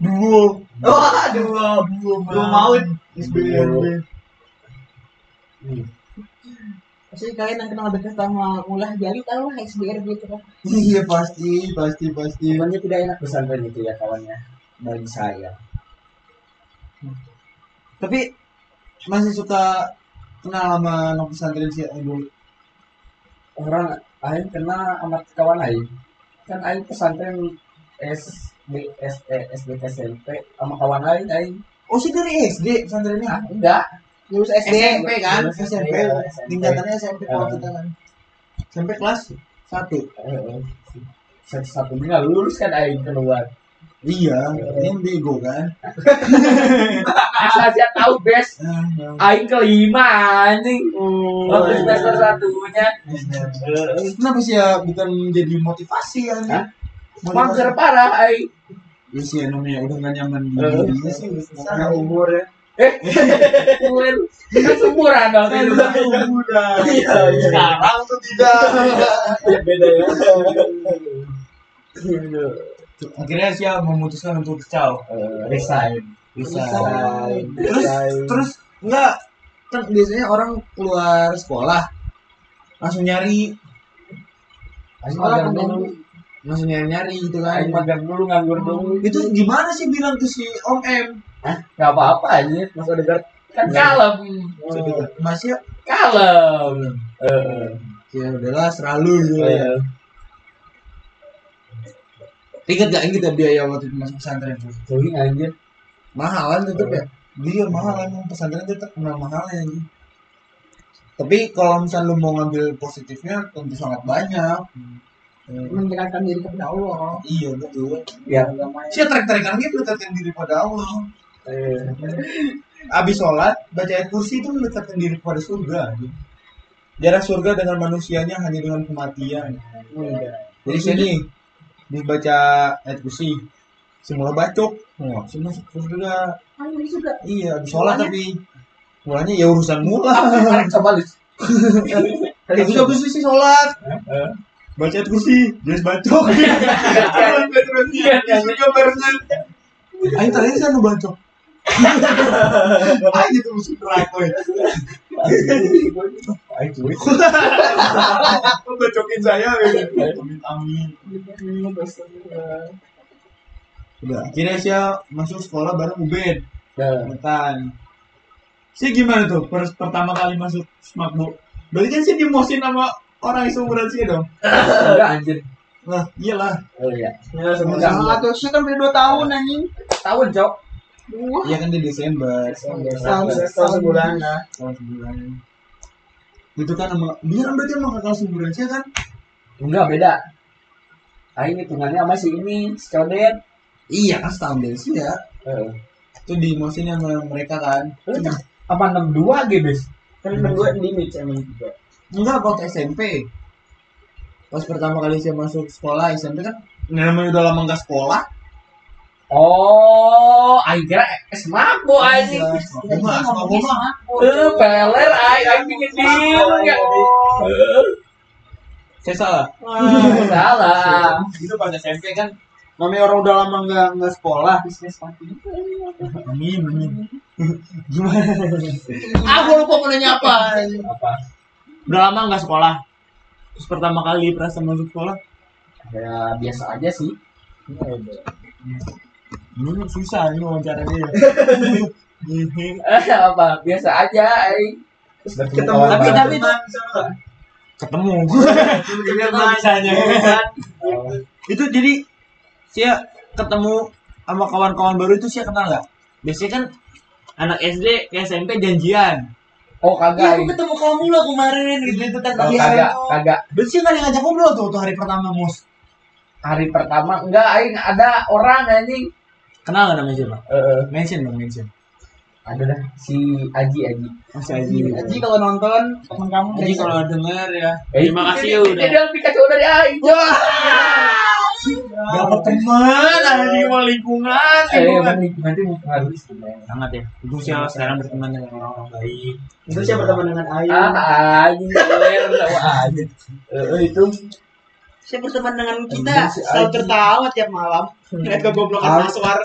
Speaker 4: Duo.
Speaker 7: Wah, aduh.
Speaker 4: Duo,
Speaker 7: Duo maut.
Speaker 4: SBRB.
Speaker 3: Hmm.
Speaker 1: Maksudnya kalian yang kenal dekat sama ulah jali tahu lah SBR gitu kan
Speaker 4: Iya pasti, pasti, pasti.
Speaker 3: Cuman dia tidak enak pesantren itu ya kawannya. Bagi saya.
Speaker 4: Tapi masih suka kenal sama anak pesantren sih yang dulu.
Speaker 3: Orang Aing kena sama kawan Aing. Kan Aing pesantren SD, SD, SD, SMP sama kawan Aing Aing.
Speaker 4: Oh sih dari SD pesantrennya?
Speaker 3: Ah, enggak.
Speaker 1: lulus SD
Speaker 4: SMP kan?
Speaker 3: Lulus
Speaker 4: SMP.
Speaker 3: SMP.
Speaker 4: Tingkatannya SMP
Speaker 3: Eh.
Speaker 4: kalau kita kan. SMP kelas satu.
Speaker 3: Satu-satu nggak lulus kan Aing keluar.
Speaker 4: Iya, yang bego kan.
Speaker 2: Asal saya tahu best
Speaker 4: Ah,
Speaker 2: aing kelima anjing. Waktu
Speaker 4: iya.
Speaker 2: semester satunya
Speaker 4: eh, Kenapa sih ya bukan jadi motivasi ya?
Speaker 3: Hah?
Speaker 4: Motivasi.
Speaker 2: mager parah aing.
Speaker 4: Ya sih ya, namanya udah gak nyaman di
Speaker 3: Eh.
Speaker 4: dirinya sih. Karena umur ya.
Speaker 2: Umur kan seumuran dong.
Speaker 4: <laughs> Iya, iya. Sekarang tuh tidak.
Speaker 3: Beda ya.
Speaker 4: Iya, Akhirnya ya, dia memutuskan untuk kecau.
Speaker 3: Resign.
Speaker 4: Resign. Terus terus enggak kan biasanya orang keluar sekolah langsung nyari
Speaker 3: Aing
Speaker 4: sekolah
Speaker 3: magang
Speaker 4: kan
Speaker 3: dulu.
Speaker 4: langsung nyari nyari gitu kan
Speaker 3: Aing magang dulu nganggur dulu.
Speaker 4: itu gimana sih bilang tuh si Om M
Speaker 3: Gak apa-apa aja. Mas Odegaard
Speaker 2: Kan kalem.
Speaker 4: masih
Speaker 2: Kalem.
Speaker 3: Eh,
Speaker 4: ya udahlah selalu gitu lah ya
Speaker 3: eh,
Speaker 4: ingat gak kita biaya waktu itu masuk pesantren tuh
Speaker 3: Tuhin anjir.
Speaker 4: mahalan tetep ya dia mahalan yang pesantren tetep kenal mahalnya gitu. tapi kalau misalnya lu mau ngambil positifnya tentu sangat banyak
Speaker 1: menyerahkan diri kepada Allah
Speaker 4: iya betul Iya,
Speaker 3: Ya.
Speaker 4: Saya tarik-tarikan lagi mendekatkan diri pada Allah.
Speaker 3: Eh,
Speaker 4: Abis sholat, baca ayat kursi itu mendekatkan diri kepada surga. Jarak surga dengan manusianya hanya dengan kematian. Jadi sini dibaca ayat kursi, semula bacok, semua masuk surga.
Speaker 1: kan ini juga
Speaker 4: Iya, abis sholat tapi mulanya ya urusan mula.
Speaker 3: <laughs> coba lu.
Speaker 4: Abis itu abis sih sholat, baca ayat kursi, jelas <laughs> bacok. Iya,
Speaker 8: Ya, juga barusan.
Speaker 4: Ayo terakhir saya nu <laughs> bacok. Ayo itu musuh neraka. ya.
Speaker 3: Aing cuy.
Speaker 8: Membacokin saya.
Speaker 4: ya. Amin amin. Udah, akhirnya Sia masuk sekolah bareng Ubed,
Speaker 3: Nah,
Speaker 4: Betan. Sia gimana tuh per- pertama kali masuk Smakbo? Berarti kan Sia dimosin sama orang yang seumuran Sia dong?
Speaker 3: Enggak anjir.
Speaker 4: Lah, iyalah.
Speaker 3: Oh iya.
Speaker 4: Iya,
Speaker 3: seumuran.
Speaker 1: salah tuh sih kan udah dua tahun anjing
Speaker 3: Tahun, Cok.
Speaker 1: wah
Speaker 4: Iya kan di Desember. Iya,
Speaker 1: Setahun, setahun sebulan
Speaker 4: lah. Tahun sebulan. Itu kan sama, dia kan berarti sama kakak seumuran Sia kan?
Speaker 3: Enggak beda. Aing hitungannya sama si ini, si Codet.
Speaker 4: Iya kan setahun dari Sia.
Speaker 3: Eh,
Speaker 4: Itu dimosin sama mereka kan?
Speaker 3: apa 62 gitu, Bis? Kan 62 di mix emang juga.
Speaker 4: Enggak waktu SMP. Pas pertama kali saya masuk sekolah SMP kan namanya udah lama nggak sekolah.
Speaker 3: Oh, aing kira
Speaker 2: eh,
Speaker 3: es mabo
Speaker 4: Iya,
Speaker 3: anjing.
Speaker 2: Gua asma gua mah.
Speaker 3: Eh, peler aing aing bikin diem ya. Eh,
Speaker 4: Saya salah. <laughs> Iya.
Speaker 3: Salah.
Speaker 4: Itu Nah, pas SMP kan namanya orang udah lama nggak nggak sekolah. Amin amin. Gimana?
Speaker 2: Ah, gua lupa mau nanya apa. anjing.
Speaker 4: Udah lama nggak sekolah. Terus pertama kali perasaan masuk sekolah.
Speaker 3: Ya biasa aja sih.
Speaker 4: Ini Hmm, susah ini wawancaranya ya.
Speaker 3: Eh, apa? Biasa aja aing.
Speaker 2: Ketemu
Speaker 9: Tapi tapi itu
Speaker 4: Ketemu. Ketemu bisanya. itu jadi saya ketemu sama kawan-kawan baru itu saya kenal nggak? Biasanya kan anak SD ke SMP janjian.
Speaker 3: Oh,
Speaker 4: Ya,
Speaker 3: kagak.
Speaker 4: aku
Speaker 3: aing.
Speaker 4: ketemu kamu lah kemarin gitu itu kan
Speaker 3: Oh,
Speaker 4: tadi
Speaker 3: kagak,
Speaker 4: hari.
Speaker 3: kagak.
Speaker 4: Berarti sih nggak ada yang ngajak ngobrol tuh tuh hari pertama mus.
Speaker 3: Hari pertama enggak aing ada orang anjing.
Speaker 4: Kenal nggak namanya siapa?
Speaker 3: Eh,
Speaker 4: Mention dong mention.
Speaker 3: ada dah si Aji Aji.
Speaker 4: Masih Aji.
Speaker 1: Aji kalau nonton teman kamu
Speaker 4: Aji kalau denger ya. Terima kasih
Speaker 3: Dia
Speaker 4: ya udah.
Speaker 3: bilang Pikachu dari aing.
Speaker 4: Dapat teman, Aji mau lingkungan,
Speaker 3: Eh,
Speaker 4: lingkungan.
Speaker 3: emang nanti mempengaruhi sebenarnya.
Speaker 4: Sangat ya. Itu saya sekarang berteman dengan orang-orang baik.
Speaker 1: itu siapa teman dengan Ayu
Speaker 3: Ah, anjing peler tahu aja. Eh, itu
Speaker 1: saya berteman dengan kita
Speaker 3: Teman si
Speaker 1: selalu
Speaker 3: Aji.
Speaker 1: tertawa tiap malam ngeliat kegoblokan Mas War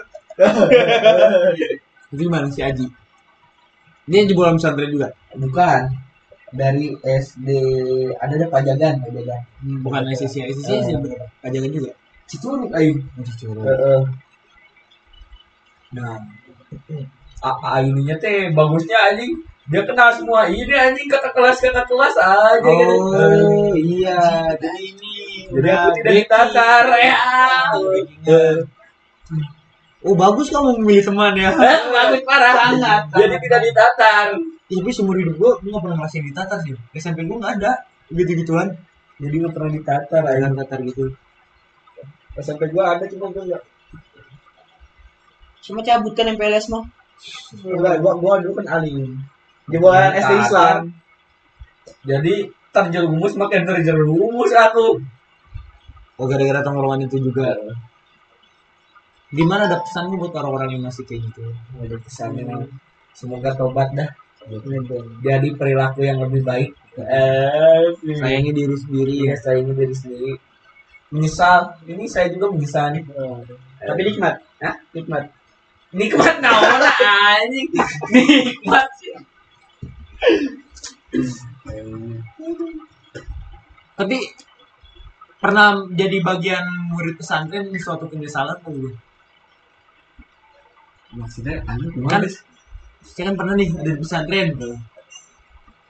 Speaker 4: Itu gimana si Aji? Dia yang jebolan pesantren juga.
Speaker 3: bukan dari SD ada ada pajagan pajagan
Speaker 4: Hmm, Bukan SSI,
Speaker 3: Eh.
Speaker 4: SSI sih berapa? Kajangan juga. Oh,
Speaker 3: Cituruk Eh, aing
Speaker 4: Aduh, curang.
Speaker 3: heeh
Speaker 4: Nah,
Speaker 3: aininya teh bagusnya anjing dia kenal semua ini anjing kakak kelas kakak kelas aja
Speaker 4: oh iya, jadi ini
Speaker 3: jadi aku tidak ditakar ya
Speaker 4: Oh bagus kamu memilih teman ya.
Speaker 3: Eh, bagus parah sangat jadi tidak ditatar
Speaker 4: Ih, Tapi seumur hidup gua, gua gak pernah ngerasain ditatar sih. SMP gua gak ada gitu-gituan.
Speaker 3: jadi nggak pernah ditatar ya.
Speaker 4: Jangan tatar gitu.
Speaker 3: SMP gua ada cuma gua nggak
Speaker 1: cuma cabut kan MPLS mah
Speaker 4: Iya.
Speaker 3: Enggak, gua gua dulu kan alim
Speaker 1: jebolan SD Islam
Speaker 3: jadi terjerumus makin terjerumus aku
Speaker 4: Oh gara-gara tongkrongan itu juga.
Speaker 3: Iya.
Speaker 4: Gimana ada pesan lu buat orang-orang yang masih kayak gitu?
Speaker 3: udah pesan memang semoga tobat dah
Speaker 4: Iya,
Speaker 3: jadi perilaku yang lebih baik eh
Speaker 4: Iya. Sayangi diri sendiri.
Speaker 3: iya saya ini diri sendiri menyesal ini saya juga menyesal nih
Speaker 4: Iya.
Speaker 1: tapi nikmat
Speaker 3: Hah?
Speaker 1: nikmat
Speaker 3: nikmat Kan naon lah, anjing <laughs> nikmat sih.
Speaker 4: Tapi pernah jadi bagian murid pesantren di suatu penyesalan atau belum?
Speaker 2: Maksudnya anjing
Speaker 4: Kan,
Speaker 2: gimana?
Speaker 4: saya kan pernah nih ada di pesantren.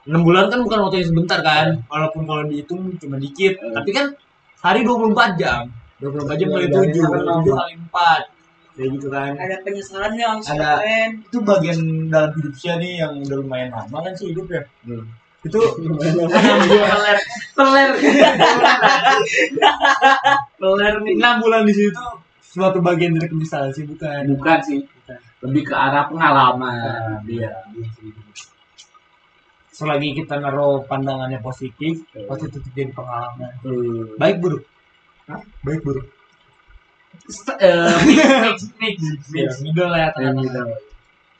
Speaker 4: Enam bulan kan bukan waktu yang sebentar kan, walaupun kalau dihitung cuma dikit. Tapi kan hari 24 jam, 24 jam kali
Speaker 3: Iya, iya,
Speaker 4: 7,
Speaker 3: iya.
Speaker 4: 7 kali 4. Kayak gitu kan.
Speaker 9: ada penyesalannya
Speaker 1: ya,
Speaker 9: yang
Speaker 4: Ada.
Speaker 9: keren.
Speaker 4: itu bagian dalam hidup saya nih yang udah lumayan lama kan sih hidup ya
Speaker 3: Hmm. <laughs>
Speaker 4: itu <laughs>
Speaker 1: <laughs>
Speaker 9: Peler.
Speaker 4: peler nih enam bulan di situ suatu bagian dari penyesalan sih bukan
Speaker 3: bukan Iya. sih lebih ke arah pengalaman dia
Speaker 4: selagi kita naruh pandangannya positif pasti itu jadi pengalaman baik buruk baik buruk
Speaker 3: Se- eh, mix, mix, mix, mix.
Speaker 4: middle lah ya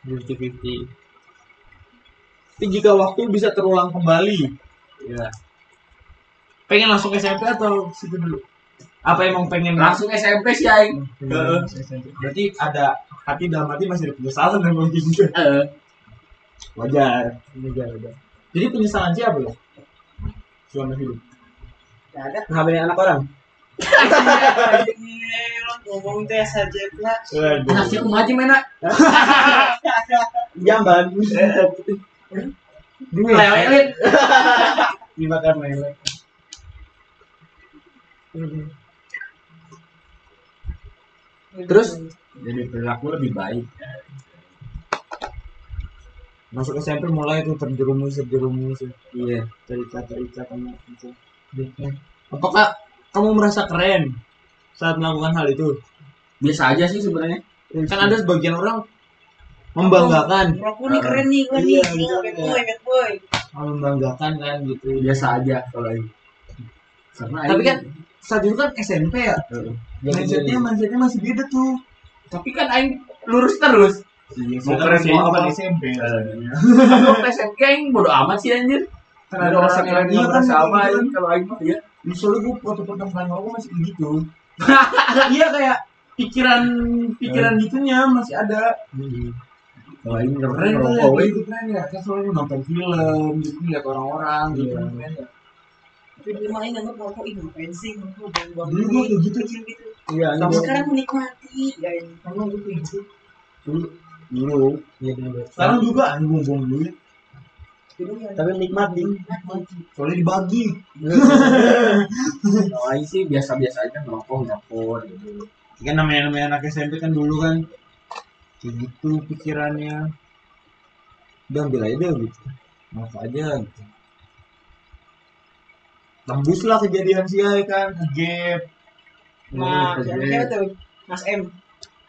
Speaker 3: Yang
Speaker 4: fifty tapi jika waktu bisa terulang kembali
Speaker 3: Ya.
Speaker 4: pengen langsung SMP atau situ dulu apa emang pengen
Speaker 3: langsung SMP sih aing
Speaker 4: Heeh. Berarti ada hati dalam hati masih ada penyesalan dan mungkin <laughs>
Speaker 3: Eh,
Speaker 4: wajar. Wajar, wajar. Jadi penyesalan siapa ya? Selama hidup.
Speaker 1: Gak ada
Speaker 4: Ngapain anak orang?
Speaker 1: ngomong teh saja lah
Speaker 3: anak sih kumaha aja mana
Speaker 4: <laughs> Jamban. Eh.
Speaker 3: lewelin
Speaker 4: <laughs> Dimakan lele.
Speaker 3: terus
Speaker 2: Jadi perilaku lebih baik.
Speaker 4: Masuk SMP mulai tuh terjerumus terjerumus. Iya. Terikat terikat sama itu. Apakah kamu merasa keren saat melakukan hal itu?
Speaker 3: biasa aja sih sebenarnya
Speaker 4: Kan ada sebagian orang membanggakan.
Speaker 9: Aku nih keren nih gua nih.
Speaker 4: Iya,
Speaker 9: Ini
Speaker 4: iya.
Speaker 9: bad boy, bad boy.
Speaker 4: membanggakan kan gitu.
Speaker 3: biasa aja kalau ini karena aing-
Speaker 4: Tapi kan saat itu kan SMP ya.
Speaker 3: Heeh. Jadi-
Speaker 4: Iya, Mindsetnya mindsetnya masih beda tuh.
Speaker 3: tapi kan aing lurus terus
Speaker 4: Iya,
Speaker 2: Mau keren mau apa nih?
Speaker 3: kalau pesen geng bodo amat sih anjir
Speaker 10: Kan
Speaker 3: ada orang yang
Speaker 10: iya
Speaker 3: nggak
Speaker 10: kan
Speaker 3: merasa apa
Speaker 10: gitu
Speaker 3: anjing kalau aing mah ya
Speaker 10: kan. Soalnya gue waktu pertama kali ngomong masih
Speaker 4: <laughs>
Speaker 10: gitu.
Speaker 3: iya kayak
Speaker 10: Pikiran pikiran gitunya masih ada.
Speaker 2: Kalau ini
Speaker 10: Keren
Speaker 2: keren
Speaker 10: tuh ya,
Speaker 2: kok.
Speaker 10: kayak gitu keren ya. Kan soalnya nonton film, gitu lihat orang-orang gitu.
Speaker 2: Iya.
Speaker 10: Keren ya.
Speaker 1: Jadi main nggak merokok ini ngapain sih ngerokok buang-buang
Speaker 10: Dulu gue
Speaker 1: duit,
Speaker 10: kayak gitu.
Speaker 1: kecil gitu.
Speaker 2: Iya,
Speaker 1: Tapi sekarang menikmati ya ini.
Speaker 10: Karena gue kayak gitu.
Speaker 2: dulu.
Speaker 4: Iya, bener.
Speaker 10: Sekarang juga anjing buang duit.
Speaker 1: Dulu ya
Speaker 4: tapi ya. nikmat di
Speaker 10: Soalnya dibagi.
Speaker 2: Kalau aing sih biasa-biasa aja ngerokok ngerokok gitu.
Speaker 4: kan namanya namanya anak SMP kan dulu kan kayak gitu pikirannya udah ambil aja deh, gitu maaf aja gitu tembuslah kejadian si Ai kan ke gap
Speaker 2: Iya,
Speaker 1: Nah, siapa
Speaker 2: iya.
Speaker 1: siapa tuh? Mas M.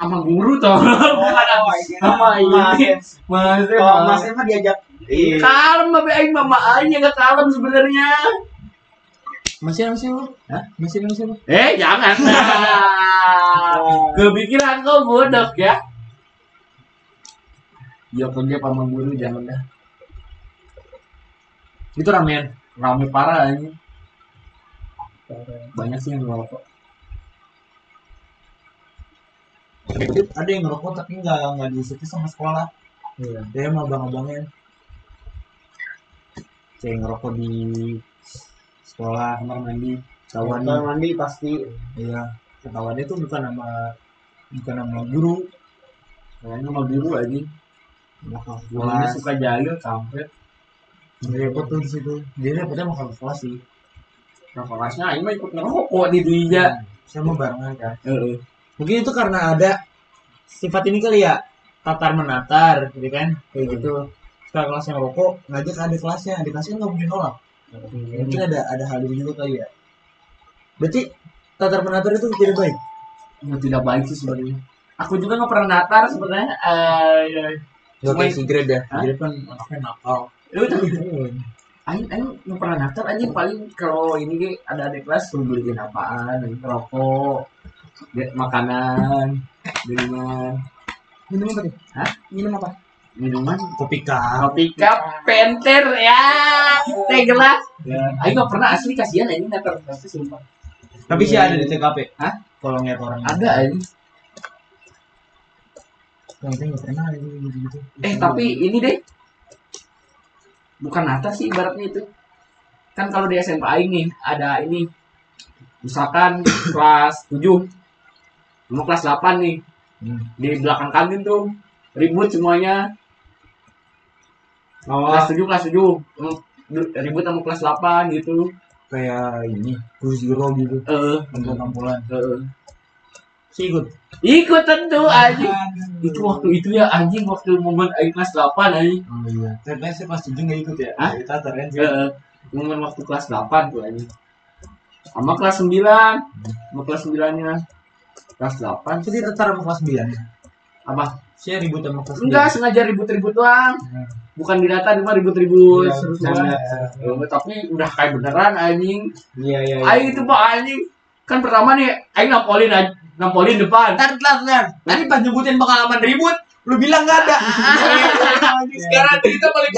Speaker 3: sama guru toh bukan sama sama
Speaker 1: iya.
Speaker 3: ini
Speaker 2: Mas,
Speaker 4: kalau
Speaker 2: mas.
Speaker 4: Mas Emma diajak iya
Speaker 3: kalem babe aing mama aing yang nggak kalem sebenarnya
Speaker 4: masih masih lu Hah? masih masih lu
Speaker 3: eh <laughs> jangan kepikiran kau bodoh ya Iya,
Speaker 2: Ya kerja sama guru jangan dah.
Speaker 4: itu ramen
Speaker 2: Rame parah ini. Banyak sih yang ngerokok.
Speaker 10: Ada yang ngerokok tapi nggak nggak diikuti sama sekolah.
Speaker 4: iya
Speaker 10: Dia sama abang-abangnya.
Speaker 4: saya ngerokok di sekolah kamar mandi
Speaker 2: Kawan.
Speaker 4: kamar mandi pasti
Speaker 10: Iya.
Speaker 4: ketahuannya tuh bukan sama bukan sama guru
Speaker 2: Kayaknya sama biru aja.
Speaker 4: belakang
Speaker 2: Gurunya
Speaker 4: kelas
Speaker 2: suka jahil sampai
Speaker 4: repot tuh di situ dia repotnya sama kakak kelas sih
Speaker 2: nah, kelasnya aing mah ikut ngerokok di dia.
Speaker 4: sama barengan kan
Speaker 2: Heeh.
Speaker 4: mungkin itu karena ada sifat ini kali ya tatar menatar gitu kan kayak gitu setelah kelasnya ngerokok
Speaker 10: Ngajak adik kelasnya, adik kelasnya nggak mungkin nolak. Mungkin ada ada hal itu juga kali ya.
Speaker 4: berarti tatar menatar itu tidak baik
Speaker 2: Nah, tidak baik sih sebenarnya.
Speaker 3: aku juga nggak pernah natar sebenarnya eh
Speaker 4: Gak
Speaker 3: kayak
Speaker 4: si grade ya
Speaker 3: Hah?
Speaker 4: grade kan anaknya nakal
Speaker 3: lu tuh Aing, aing nggak pernah daftar aja paling kalau ini ge, ada adik kelas lu beliin apaan, aing rokok, ge, makanan, minuman,
Speaker 1: Minum apa tuh?
Speaker 3: Hah?
Speaker 1: Minum apa?
Speaker 3: minuman,
Speaker 4: kopi kah
Speaker 3: kopi cup, penter ya, teh gelas.
Speaker 4: Ya.
Speaker 3: Aing nggak pernah asli kasihan aing daftar kelas tuh, sumpah.
Speaker 4: tapi sih ada di TKP
Speaker 3: Hah?
Speaker 4: kalau ngeliat orang
Speaker 3: Ada aing.
Speaker 4: yang saya nggak pernah gitu gitu
Speaker 3: Eh tapi ini deh, bukan natar sih ibaratnya itu. Kan kalau di SMA aing nih ada ini, misalkan <coughs> kelas 7 mau kelas 8 nih
Speaker 1: Hmm.
Speaker 3: di belakang kantin tuh ribut semuanya
Speaker 4: oh
Speaker 3: kelas 7 kelas 7 Hmm, ribut sama kelas 8 gitu
Speaker 4: kayak ini kurus zero gitu
Speaker 3: eh
Speaker 4: untuk kampulan
Speaker 3: eh.
Speaker 4: sih ikut
Speaker 3: ikut tentu anjing itu waktu itu ya anjing waktu momen aing kelas 8 anjing
Speaker 4: oh iya tapi saya pas tujuh nggak ikut ya
Speaker 3: Hah?
Speaker 4: Dari tatar kan sih
Speaker 3: Eh, momen waktu kelas 8 tuh anjing sama kelas 9 sama kelas 9 nya kelas 8
Speaker 4: jadi tatar sama kelas sembilan
Speaker 3: apa
Speaker 4: saya ribut sama kelas
Speaker 3: enggak sengaja ribut-ribut doang bukan di data cuma
Speaker 4: Iya,
Speaker 3: ribut-ribut seru-seruan Eh, tapi udah kayak beneran anjing
Speaker 4: Iya iya.
Speaker 3: Aing itu pak anjing kan pertama nih Aing nampolin aj- nampolin depan.
Speaker 4: Ntar ntar ntar. Tadi pas nyebutin pengalaman ribut, lu bilang gak ada.
Speaker 3: <laughs> Sekarang kita paling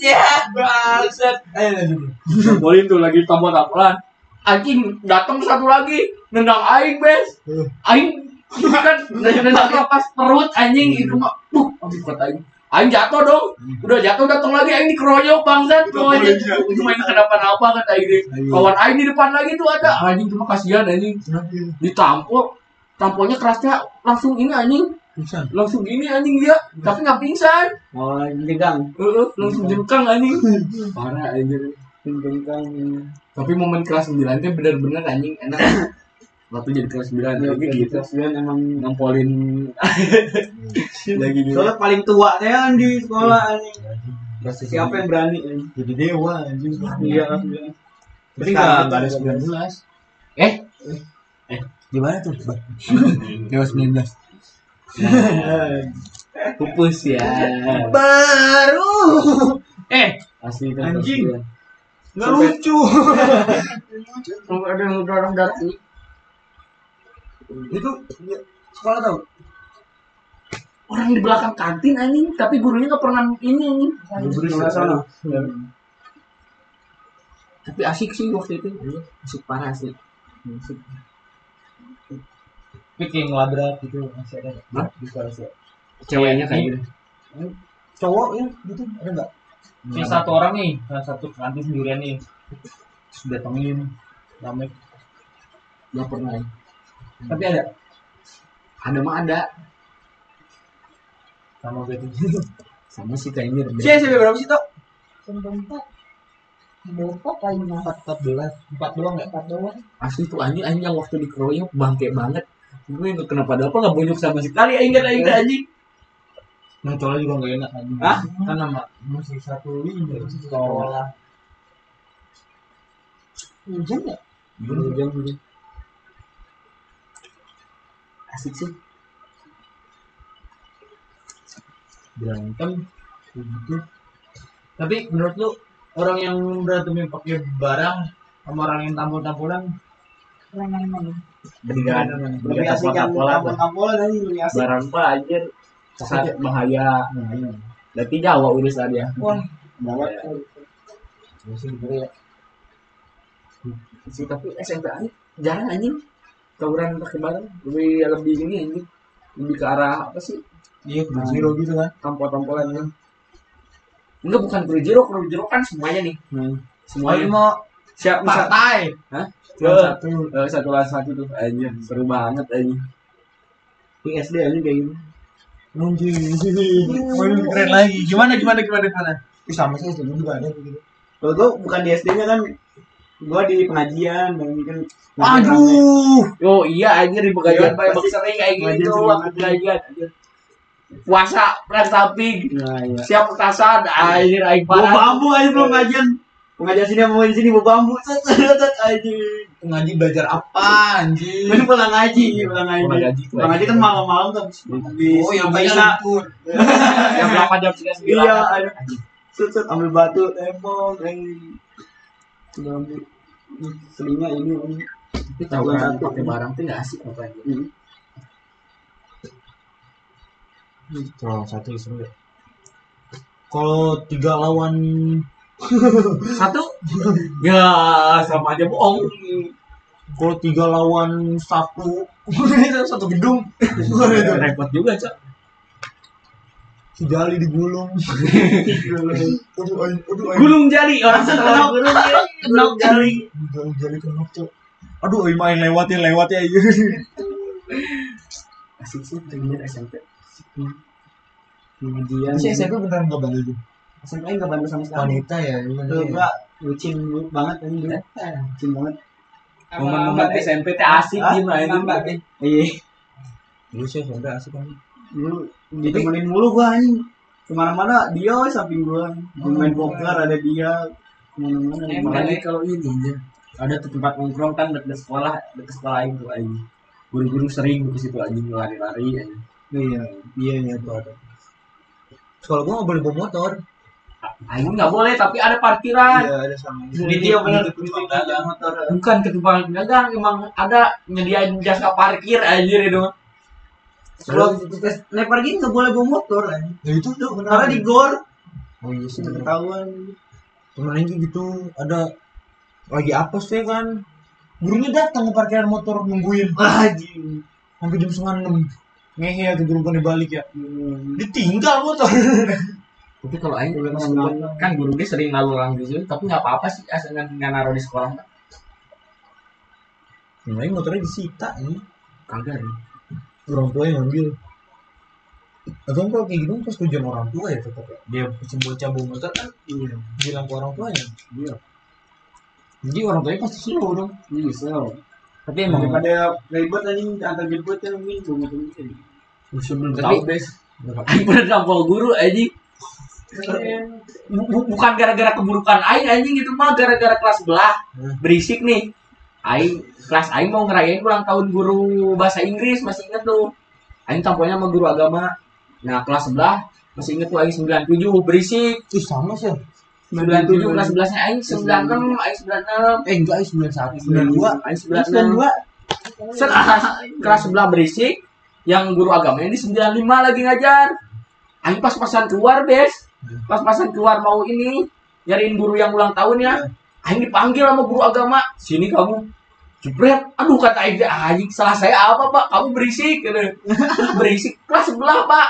Speaker 4: ya. Bangsat. Ayo lanjut.
Speaker 3: Nampolin tuh lagi tambah tampolan. Anjing datang satu lagi nendang Aing bes. Aing itu kan nendang lepas perut anjing itu mah. Buh, anjing kuat Aing. Aing jatuh dong. Udah jatuh datang lagi Aing dikeroyok bangsat tuh anjing. Itu main kenapa-napa kata Aing. deh. Kawan Aing di depan lagi tuh ada. Anjing cuma kasihan anjing. Ditampol. Tampolnya kerasnya langsung ini anjing.
Speaker 4: Bisa.
Speaker 3: langsung gini anjing dia tapi nggak pingsan
Speaker 4: Oh, jegang.
Speaker 3: Heeh, langsung jengkang anjing parah anjir
Speaker 4: Jegang.
Speaker 3: tapi momen kelas 9 teh bener-bener anjing enak waktu jadi kelas 9 tapi gitu
Speaker 4: Kasihan emang
Speaker 3: nampolin <laughs> lagi gitu
Speaker 4: Soalnya paling tua teh kan di sekolah anjing. Siapa yang berani? anjing?
Speaker 10: Jadi dewa anjing.
Speaker 4: Iya kan. Berarti
Speaker 10: Sekarang itu
Speaker 4: nggak- nggak
Speaker 10: ada
Speaker 4: ada sembilan belas.
Speaker 3: eh
Speaker 4: Gimana tuh?
Speaker 3: <laughs> kelas 19 <laughs> pupus ya
Speaker 4: Baru.
Speaker 3: eh asli itu kelas
Speaker 4: Anjing.
Speaker 3: 9.
Speaker 4: Nggak lucu.
Speaker 3: kalau ada yang dorong darah ini
Speaker 4: Itu sekolah tau?
Speaker 3: orang di belakang kantin anjing tapi gurunya nggak pernah ini anjing
Speaker 4: Nggak sana.
Speaker 3: tapi asik sih waktu itu asik parah sih asik.
Speaker 2: Tapi kayak ngelabrak gitu masih ada nggak? di kelas ya.
Speaker 3: ceweknya kayak gitu
Speaker 2: Cowok ya gitu ada nggak? Kayak satu orang nih, salah satu kantin sendirian nih. Terus datengin rame.
Speaker 3: nggak pernah ya.
Speaker 2: Tapi ada
Speaker 3: ada mah ada
Speaker 2: sama Iya, gitu.
Speaker 3: sama si Taimir
Speaker 4: Si SMP berapa sih, Tok?
Speaker 1: Sempat. Bapak paling mahal.
Speaker 2: Empat empat belas, empat doang ya?
Speaker 1: Empat doang.
Speaker 3: asli tuh anjing anjing yang waktu dikeroyok bangke banget gue nggak kenapa apa nggak bonyok sama sekali anjing kan anjing anjing
Speaker 2: Yang cowok Iya. Nah, juga nggak enak kan?
Speaker 3: Hah? Iya.
Speaker 2: Kan nama masih satu ini masih sekolah.
Speaker 1: Hujan ya?
Speaker 3: Hujan, hujan. asik sih
Speaker 2: berantem gitu. Tapi menurut lu orang yang berantem yang pakai barang sama orang yang tampol-tampolan
Speaker 1: Lengan-lengan.
Speaker 3: dengan
Speaker 4: Lebih asik yang
Speaker 3: pola
Speaker 4: kampung-kampung tadi lebih asik.
Speaker 3: barang pak anjir sangat bahaya
Speaker 2: Iya,
Speaker 3: tapi nyawa urusan dia
Speaker 1: Wah.
Speaker 4: Banget.
Speaker 3: Iya, ya. sih tapi SMP aja jarang anjing tawuran pakai barang lebih lebih ini anjing lebih ke arah apa sih
Speaker 2: iya nah. zero gitu kan
Speaker 3: tampol-tampolan kan enggak bukan kerujero kerujero kan semuanya nih
Speaker 4: Nah.
Speaker 3: semuanya
Speaker 2: mau
Speaker 3: siap misal
Speaker 2: partai
Speaker 3: Hah?
Speaker 2: Cuma
Speaker 3: Eh.
Speaker 2: satu
Speaker 3: Eh, satu lawan satu tuh aja seru banget aja di SD aja kayak gitu
Speaker 2: Anjing. Waduh, keren lagi gimana gimana gimana gimana Ih, sama sih itu juga ada gitu
Speaker 4: Kalau gua bukan di SD-nya kan gua di pengajian dan kan
Speaker 2: aduh
Speaker 3: yo iya aja di pengajian
Speaker 4: Iya,
Speaker 3: pak emang
Speaker 4: pasti.
Speaker 3: sering kayak
Speaker 4: Pengajian
Speaker 3: gitu
Speaker 4: sering
Speaker 3: waktu
Speaker 4: banget.
Speaker 3: pengajian anjir. puasa perang samping
Speaker 4: Nah, iya.
Speaker 3: siap petasan air air
Speaker 4: Bawa
Speaker 3: parah
Speaker 4: bambu aja belum pengajian. Pengajian sini sama pengajian sini bawa bambu. Cet, cet, cet, Anjing.
Speaker 2: ngaji belajar apa anjing
Speaker 4: Ini pulang ngaji, pulang
Speaker 3: Pulang
Speaker 4: ngaji.
Speaker 3: ngaji,
Speaker 4: Pulang ngaji kan malam-malam tuh. Habis
Speaker 2: oh yang banyak
Speaker 4: habis isya.
Speaker 2: lumpur
Speaker 3: yang berapa jam sudah
Speaker 4: Iya,
Speaker 3: sembilan
Speaker 4: ada. Set, set, ambil batu, tembok, anjing. Udah ambil. Ih, Seninya ini, ini.
Speaker 3: tapi tawuran pakai barang tuh nggak asik apa aja
Speaker 4: Hmm.
Speaker 11: Kalau satu seru ya. Kalau tiga lawan
Speaker 3: satu ya sama aja bohong
Speaker 11: kalau tiga lawan satu <laughs>
Speaker 2: satu
Speaker 4: <laughs>
Speaker 2: gedung Iya.
Speaker 3: repot juga cok
Speaker 11: si Jali
Speaker 4: <laughs>
Speaker 11: digulung. aduh, aduh, aduh, aduh,
Speaker 3: gulung jali orang setelah gulung jali gulung jali
Speaker 11: Jali, Jali kenok, Cok. Aduh, ayo main lewatin, lewatin
Speaker 4: <laughs>
Speaker 11: aja.
Speaker 3: asik sih pengajian SMP pengajian
Speaker 11: Si SMP beneran gak bandel tuh.
Speaker 4: SMP nggak bantu sama sekali.
Speaker 11: Wanita ya, gimana
Speaker 4: Tuh,
Speaker 11: ya?
Speaker 4: gua bucin banget ini dulu. Bucin banget.
Speaker 3: momen-momen SMP teh asik
Speaker 4: Ah,
Speaker 3: gimana
Speaker 4: nambah, eh. Iya.
Speaker 11: Dulu sih SMP asik kan.
Speaker 4: dulu ditemenin mulu gua anjing kemana-mana dia woy, samping gua main poker ada dia kemana-mana
Speaker 3: apalagi kalau ini ya. ada tuh tempat nongkrong kan dekat sekolah dekat sekolah itu aja guru-guru sering ke situ aja lari-lari aja
Speaker 4: iya iya iya tuh ada
Speaker 11: Sekolah gua gak boleh bawa motor.
Speaker 3: ayo nggak boleh tapi ada parkiran
Speaker 4: iya ada sama
Speaker 3: Ini dia bener. bukan ketumpangan dagang emang ada nyediain jasa parkir aja itu
Speaker 4: kalau tes naik parking nggak boleh bawa motor
Speaker 1: kan?
Speaker 4: anjing
Speaker 11: Ya itu tuh
Speaker 4: karena di gor
Speaker 11: Oh iya sih. bener.
Speaker 4: ketahuan
Speaker 11: Kemarin tuh gitu ada lagi apa sih kan? Gurunya datang ke parkiran motor nungguin
Speaker 4: anjing
Speaker 11: sampai jam setengah enam. Ngehe ya tuh guru bukan balik ya. Ditinggal motor.
Speaker 3: tapi kalau ayo kan guru dia sering lalu lalang di situ tapi nggak apa-apa sih asal nggak nggak naruh di sekolah
Speaker 11: Kemarin motornya disita ini.
Speaker 3: kagak ya.
Speaker 11: Orang tua yang ngambil. Atau kalau kayak gitu pas tujuan orang tua ya tetap ya. Dia bocah bawa motor kan
Speaker 4: iya,
Speaker 11: bilang ke orang tuanya.
Speaker 3: Iya.
Speaker 11: Jadi orang tuanya pasti slow dong. kan
Speaker 3: iya Hmm. so tapi emang
Speaker 4: daripada ribet anjing antar jemput kan mungkin bawa motor mungkin
Speaker 3: sebelum tahu
Speaker 11: Tapi-
Speaker 3: bes Aing pernah nampol guru aja
Speaker 11: Iya.
Speaker 3: bukan gara-gara keburukan aing anjing itu mah gara-gara kelas belah berisik nih aing kelas aing mau ngerayain ulang tahun guru bahasa Inggris masih inget tuh aing tampolnya sama guru agama nah kelas sebelah masih inget tuh aing 97 berisik
Speaker 11: Ih sama sih.
Speaker 3: 97 kelas 11 nya aing 96 aing 96
Speaker 11: Eh enggak, sembilan satu, sembilan dua.
Speaker 3: aing 96 Set, ah, kelas sebelah berisik
Speaker 11: yang guru agamanya di 95 lagi ngajar. Aing pas-pasan keluar, Bes. Pas-pasan keluar mau ini nyariin guru yang ulang tahun ya. Aing dipanggil sama guru agama, "Sini kamu." Jebret, aduh kata Aing, "Anjing, salah saya apa, Pak? Kamu berisik." gitu. <laughs> Terus berisik, kelas sebelah, Pak.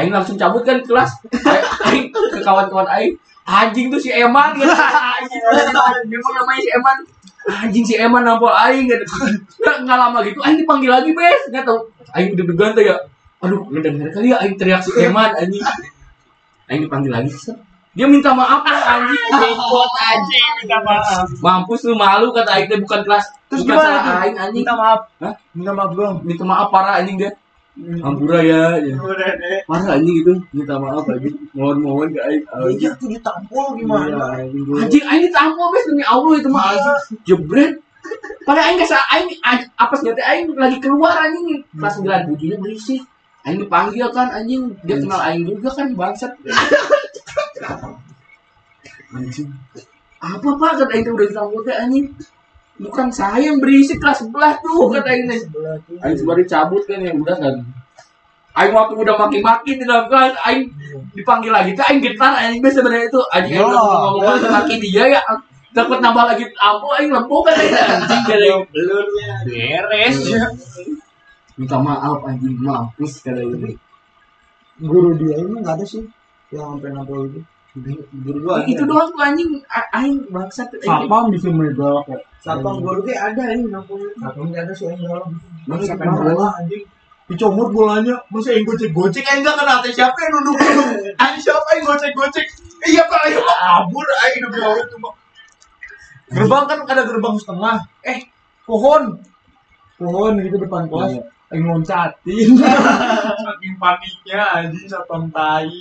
Speaker 11: Aing langsung cabut kan kelas. <laughs> Aing ke kawan-kawan Aing, anjing tuh si Eman gitu. <laughs> Anjing, Emang namanya si Eman. Anjing si Eman nampol Aing gitu. Nggak, nggak lama gitu, Aing dipanggil lagi bes. Nggak tahu, Aing deg-degan tuh ya. Aduh, ngedenger kali ya Aing teriak si Eman anjing. Aing dipanggil lagi. set. Dia minta maaf lah anjing.
Speaker 2: Buat anjing minta maaf.
Speaker 11: Mampus lu malu kata Aing teh bukan kelas.
Speaker 4: Terus
Speaker 11: bukan
Speaker 4: gimana
Speaker 11: salah
Speaker 4: tuh?
Speaker 11: Aing anjing.
Speaker 4: Minta maaf.
Speaker 11: Hah?
Speaker 4: Minta maaf doang.
Speaker 11: Minta maaf parah anjing dia. Ampura ya, ya.
Speaker 2: Udah deh.
Speaker 11: Parah anjing itu. Minta maaf anjing. Mohon-mohon ke Aing. Anjing.
Speaker 4: Iya, tuh ditampol gimana?
Speaker 11: Iya, anjing gua- Anjing aing ditampol bes demi Allah itu mah anjing. Jebret. Padahal aing kasa aing aing- apa sih teh aing lagi keluar anjing kelas 9 bujinya berisik. Aing dipanggil kan anjing dia kenal aing juga kan bangsat. anjing. Apa Pak kata aing teh udah ditampol teh anjing. Bukan saya yang berisik kelas 11 tuh kata aing teh. Aing sebari cabut kan ya udah kan. Aing waktu udah maki-maki di dalam kelas, Aing dipanggil lagi, tuh Aing getar, Aing biasa sebenarnya itu, Aing
Speaker 4: Iya.
Speaker 11: ngomong ngomong maki dia ya, takut nambah lagi ampo, Aing lempo kan Aing anjing kata Aing.
Speaker 2: Beres.
Speaker 11: Minta maaf anjing mampus kata Aing.
Speaker 4: Guru dia ini nggak ada sih yang sampai nampol itu. Guru
Speaker 11: Ih, Itu doang tuh anjing, A- Aing bangsat. Eh, Aing
Speaker 4: Satpam bisa megalak ya?
Speaker 3: Satpam gua tuh ada ini nampol.
Speaker 4: Satpam nggak ada sih yang galak. Mana
Speaker 11: Bangsat,
Speaker 4: kita malah anjing. Dicomot bolanya, masa yang gocek-gocek Eh,
Speaker 2: Cek aing enggak kenal teh siapa yang nunduk dulu. Aing siapa aing gocek-gocek. Iya Pak, ayo Pak. ah, abur aing demi Allah cuma.
Speaker 4: Gerbang kan ada gerbang setengah. Eh, pohon. Pohon gitu depan kelas. Yang loncatin.
Speaker 2: Saking paniknya anjing satpam tai.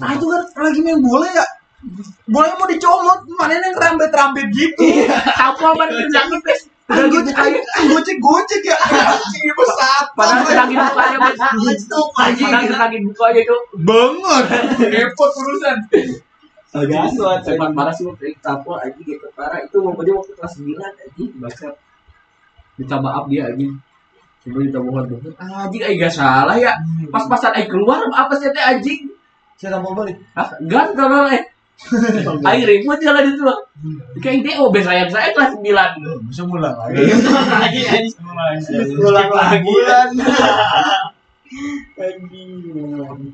Speaker 4: ah itu kan lagi main bola ya. Bolanya mau dicomot, mana yang rambet-rambet gitu.
Speaker 11: tampol banget pedangnya bes.
Speaker 4: Udah gitu, ayo, gocek-gocek ya.
Speaker 2: Anjing ini pesat.
Speaker 11: Padahal pedangin bukanya bes. Padahal pedangin bukanya itu.
Speaker 2: Banget. Repot urusan.
Speaker 11: Agak
Speaker 4: Gitu,
Speaker 11: suat. Cuman parah sih waktu itu tampol anjing gitu parah. Itu momennya waktu kelas 9 anjing bangsat. Minta maaf dia anjing. Coba minta mohon banget. Anjing aing gak salah ya. Pas-pasan aing keluar apa sih teh anjing?
Speaker 4: Saya tampol balik.
Speaker 11: Hah? Gan
Speaker 3: <laughs>
Speaker 11: kalau eh. Aing ribut jalan itu. Kayak DO bes sayap saya kelas 9.
Speaker 4: Bisa mulai lagi.
Speaker 2: Lagi anjing.
Speaker 3: Ulang lagi.
Speaker 4: Iya.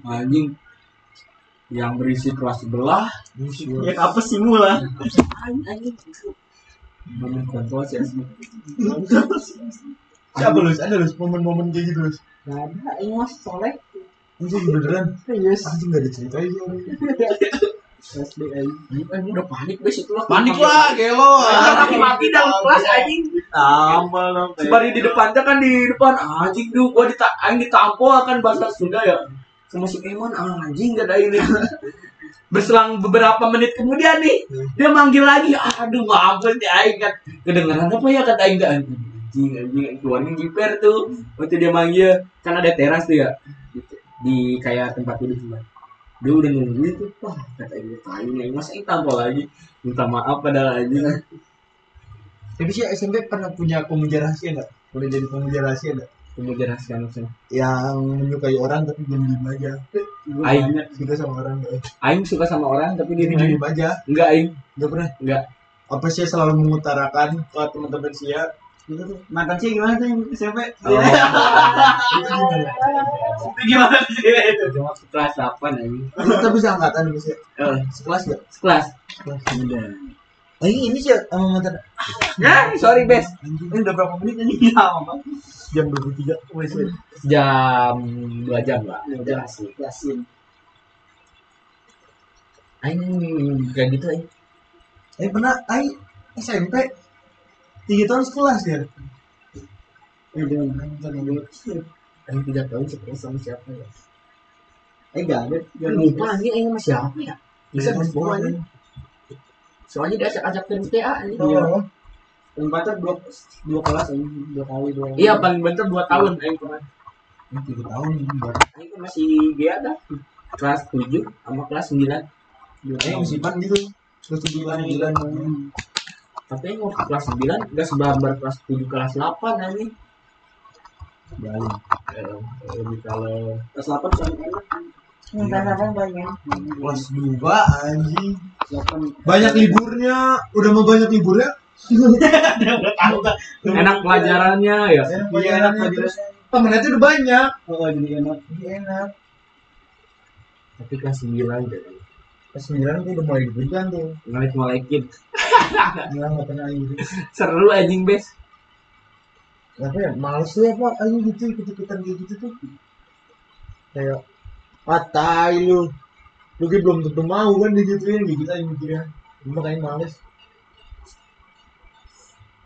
Speaker 11: Anjing yang berisi kelas sebelah Iya.
Speaker 3: Ya apa sih mula?
Speaker 11: momen kontrol sih asli.
Speaker 4: Siapa lulus? Ada lulus momen-momen kayak gitu lulus.
Speaker 1: ada ini mas soleh
Speaker 4: Itu beneran. Yes. Anjing nggak ada cerita itu.
Speaker 11: Anjing, Aing Eh, udah panik bes itu lah.
Speaker 2: Panik lah, gelo.
Speaker 11: Maki-maki dalam kelas anjing.
Speaker 2: Tambah lah.
Speaker 11: Sebari di depannya kan di depan anjing duh gua dita aing ditampol kan bahasa Sunda ya. Sama si Eman anjing gak ada ini. <laughs> Berselang beberapa menit kemudian nih dia manggil lagi. Aduh mampus nih aing kan kedengeran apa ya kata aing dah. anjing anjing keluarnya jiper tuh. Waktu dia manggil kan ada teras tuh ya di kayak tempat duduk cuman dia udah nungguin tuh wah kata aing tai nih mas aing tampol lagi minta maaf padahal anjing
Speaker 4: Tapi sih SMP pernah punya pemuja rahasia nggak? Boleh jadi pemuja rahasia nggak?
Speaker 11: kemudian hasil langsung
Speaker 4: Yang menyukai orang tapi diam-diam aja.
Speaker 11: aing
Speaker 4: Suka sama orang nggak?
Speaker 11: aing suka sama orang tapi dia
Speaker 4: Diam-diam aja.
Speaker 11: Enggak, Aing.
Speaker 4: Gak pernah.
Speaker 11: Enggak.
Speaker 4: Apa sih selalu mengutarakan ke teman-teman Sia?
Speaker 3: Mantan sih gimana tuh yang SMP?
Speaker 11: Iya.
Speaker 3: Iya.
Speaker 4: <laughs>
Speaker 2: Gimana sih itu?
Speaker 11: Jawab sekelas 8, Aing.
Speaker 4: Lu tapi seangkatan sama Sia.
Speaker 11: Eh,
Speaker 4: Sekelas gak?
Speaker 11: sekelas.
Speaker 4: Eh ini Sia sama mantan.
Speaker 11: Ya, sorry, Bes.
Speaker 3: Ini udah berapa menit ini? Lama banget.
Speaker 4: Jam 23. Wes, wes.
Speaker 11: Jam 2 jam lah.
Speaker 3: Iya,
Speaker 11: Jam asli.
Speaker 3: Yasin.
Speaker 11: Aing kayak gitu, Aing.
Speaker 4: Eh pernah, ay SMP. Tiga tahun sekelas Eh, ya?
Speaker 11: Aing 3 tahun sekelas sama siapa ya?
Speaker 3: Eh gak ada.
Speaker 11: Yang lupa anjing Aing sama siapa ya? Bisa
Speaker 4: Iya,
Speaker 11: Mas
Speaker 4: lupa,
Speaker 11: Bowo anjing. Soalnya dia ajak-ajak ke MTA anjing.
Speaker 4: Iya.
Speaker 3: Tempatnya dua dua kelas ini dua kali dua.
Speaker 11: Iya, paling bentar 2 tahun Aing pernah.
Speaker 4: Tiga tahun.
Speaker 11: Aing kan masih dia dah. Kelas 7 sama kelas 9.
Speaker 3: Dua
Speaker 4: Eh
Speaker 3: tahun.
Speaker 4: musiban gitu. Terus tujuan bulan.
Speaker 11: Tapi Aing waktu kelas 9 enggak sebarbar kelas 7 kelas 8 anjing.
Speaker 12: banyak Eh, lebih kalau
Speaker 3: Kelas 8 soalnya enak.
Speaker 1: Sementara banyak.
Speaker 4: Kelas dua anjing.
Speaker 3: Kelas 8.
Speaker 4: Banyak liburnya, udah mau banyak liburnya.
Speaker 11: Enak pelajarannya ya.
Speaker 4: Iya enak terus temennya tuh udah banyak.
Speaker 3: Oh, jadi enak.
Speaker 4: Iya enak.
Speaker 11: Tapi kelas 9 jadi.
Speaker 4: Pas sembilan tuh udah mulai liburkan tuh.
Speaker 11: Ngelek-ngelekin.
Speaker 4: Nggak nggak pernah libur.
Speaker 11: Seru anjing, Bes.
Speaker 4: Tapi ya, males ya pak, ayo gitu ikut ikutan kayak gitu tuh. Kayak ah tai lu, lu kayak belum tentu mau kan digituin gitu aja mikirnya. Cuma kayak males.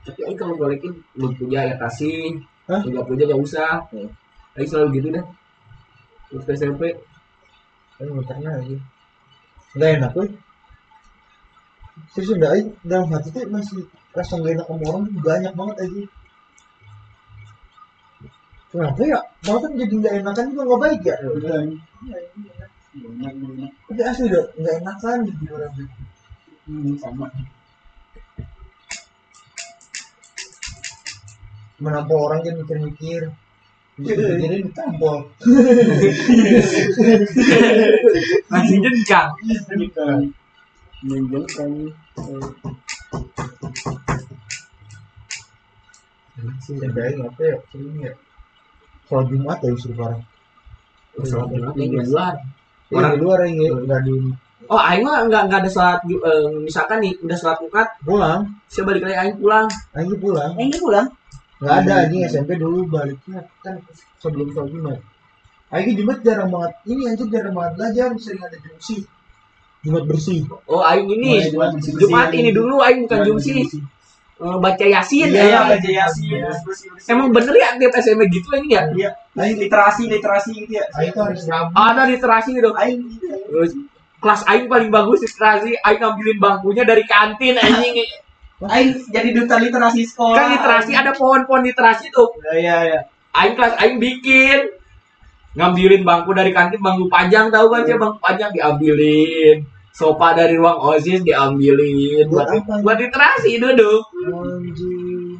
Speaker 11: Tapi aing kalau ngolekin belum punya ya kasih.
Speaker 4: Hah? Hmm.
Speaker 11: Enggak punya enggak usah. Aing selalu gitu dah. Terus ke SMP
Speaker 4: Tapi nggak pernah aja. Nggak enak tuh. Terus udah aja dalam hati tuh masih rasa nggak enak sama orang tuh banyak banget aja. Kenapa ya? Malah kan jadi nggak enakan juga nggak baik ya.
Speaker 3: Banyak, banyak.
Speaker 4: Tapi asli udah nggak enakan gitu orang.
Speaker 3: Hmm, sama.
Speaker 4: menampol orang dia mikir-mikir mikirin ditampol
Speaker 11: anjing dengkang.
Speaker 3: Menjengkan.
Speaker 4: yang baik apa ya sering ya soal jumat ya justru parah
Speaker 11: Salat Jumat yang di luar.
Speaker 4: orang di luar yang nggak di
Speaker 11: Oh, aing mah enggak enggak ada salat Ju- eh, misalkan nih udah salat Jumat,
Speaker 4: pulang
Speaker 11: saya balik lagi aing pulang.
Speaker 4: aja pulang
Speaker 1: Eh, ini pulang.
Speaker 4: nggak
Speaker 3: Iya,
Speaker 4: ada aja SMP dulu baliknya kan sebelum soal jumat Ayo Jumat jarang banget, ini anjir jarang banget belajar, sering ada jumsi Jumat bersih
Speaker 11: Oh, aing ini
Speaker 3: Mulai Jumat bersih-bersih
Speaker 11: Jumat
Speaker 3: aing.
Speaker 11: ini dulu aing bukan
Speaker 3: Jumat
Speaker 11: jumsi.
Speaker 3: bersih-bersih.
Speaker 11: Eh, baca Yasin
Speaker 3: Iya,
Speaker 11: ya.
Speaker 3: baca Yasin. bersih-bersih.
Speaker 11: Emang bener ya tiap SMP gitu anjing ya?
Speaker 3: Iya, Aing literasi, literasi gitu ya.
Speaker 4: Ayo tuh Nah, harus rapi
Speaker 11: Ada literasi dong.
Speaker 3: Aing gitu ya.
Speaker 11: Terus, kelas aing paling bagus literasi aing ngambilin bangkunya dari kantin
Speaker 3: <laughs>
Speaker 11: anjing
Speaker 3: Aing jadi duta literasi sekolah.
Speaker 11: kan literasi ada pohon-pohon literasi tuh
Speaker 3: Iya, Iya, iya.
Speaker 11: aing kelas aing bikin ngambilin bangku dari kantin bangku panjang tahu kan sih
Speaker 4: Iya.
Speaker 11: bangku panjang diambilin sofa dari ruang osis diambilin buat
Speaker 4: Buat apa?
Speaker 11: buat literasi duduk
Speaker 4: Anjir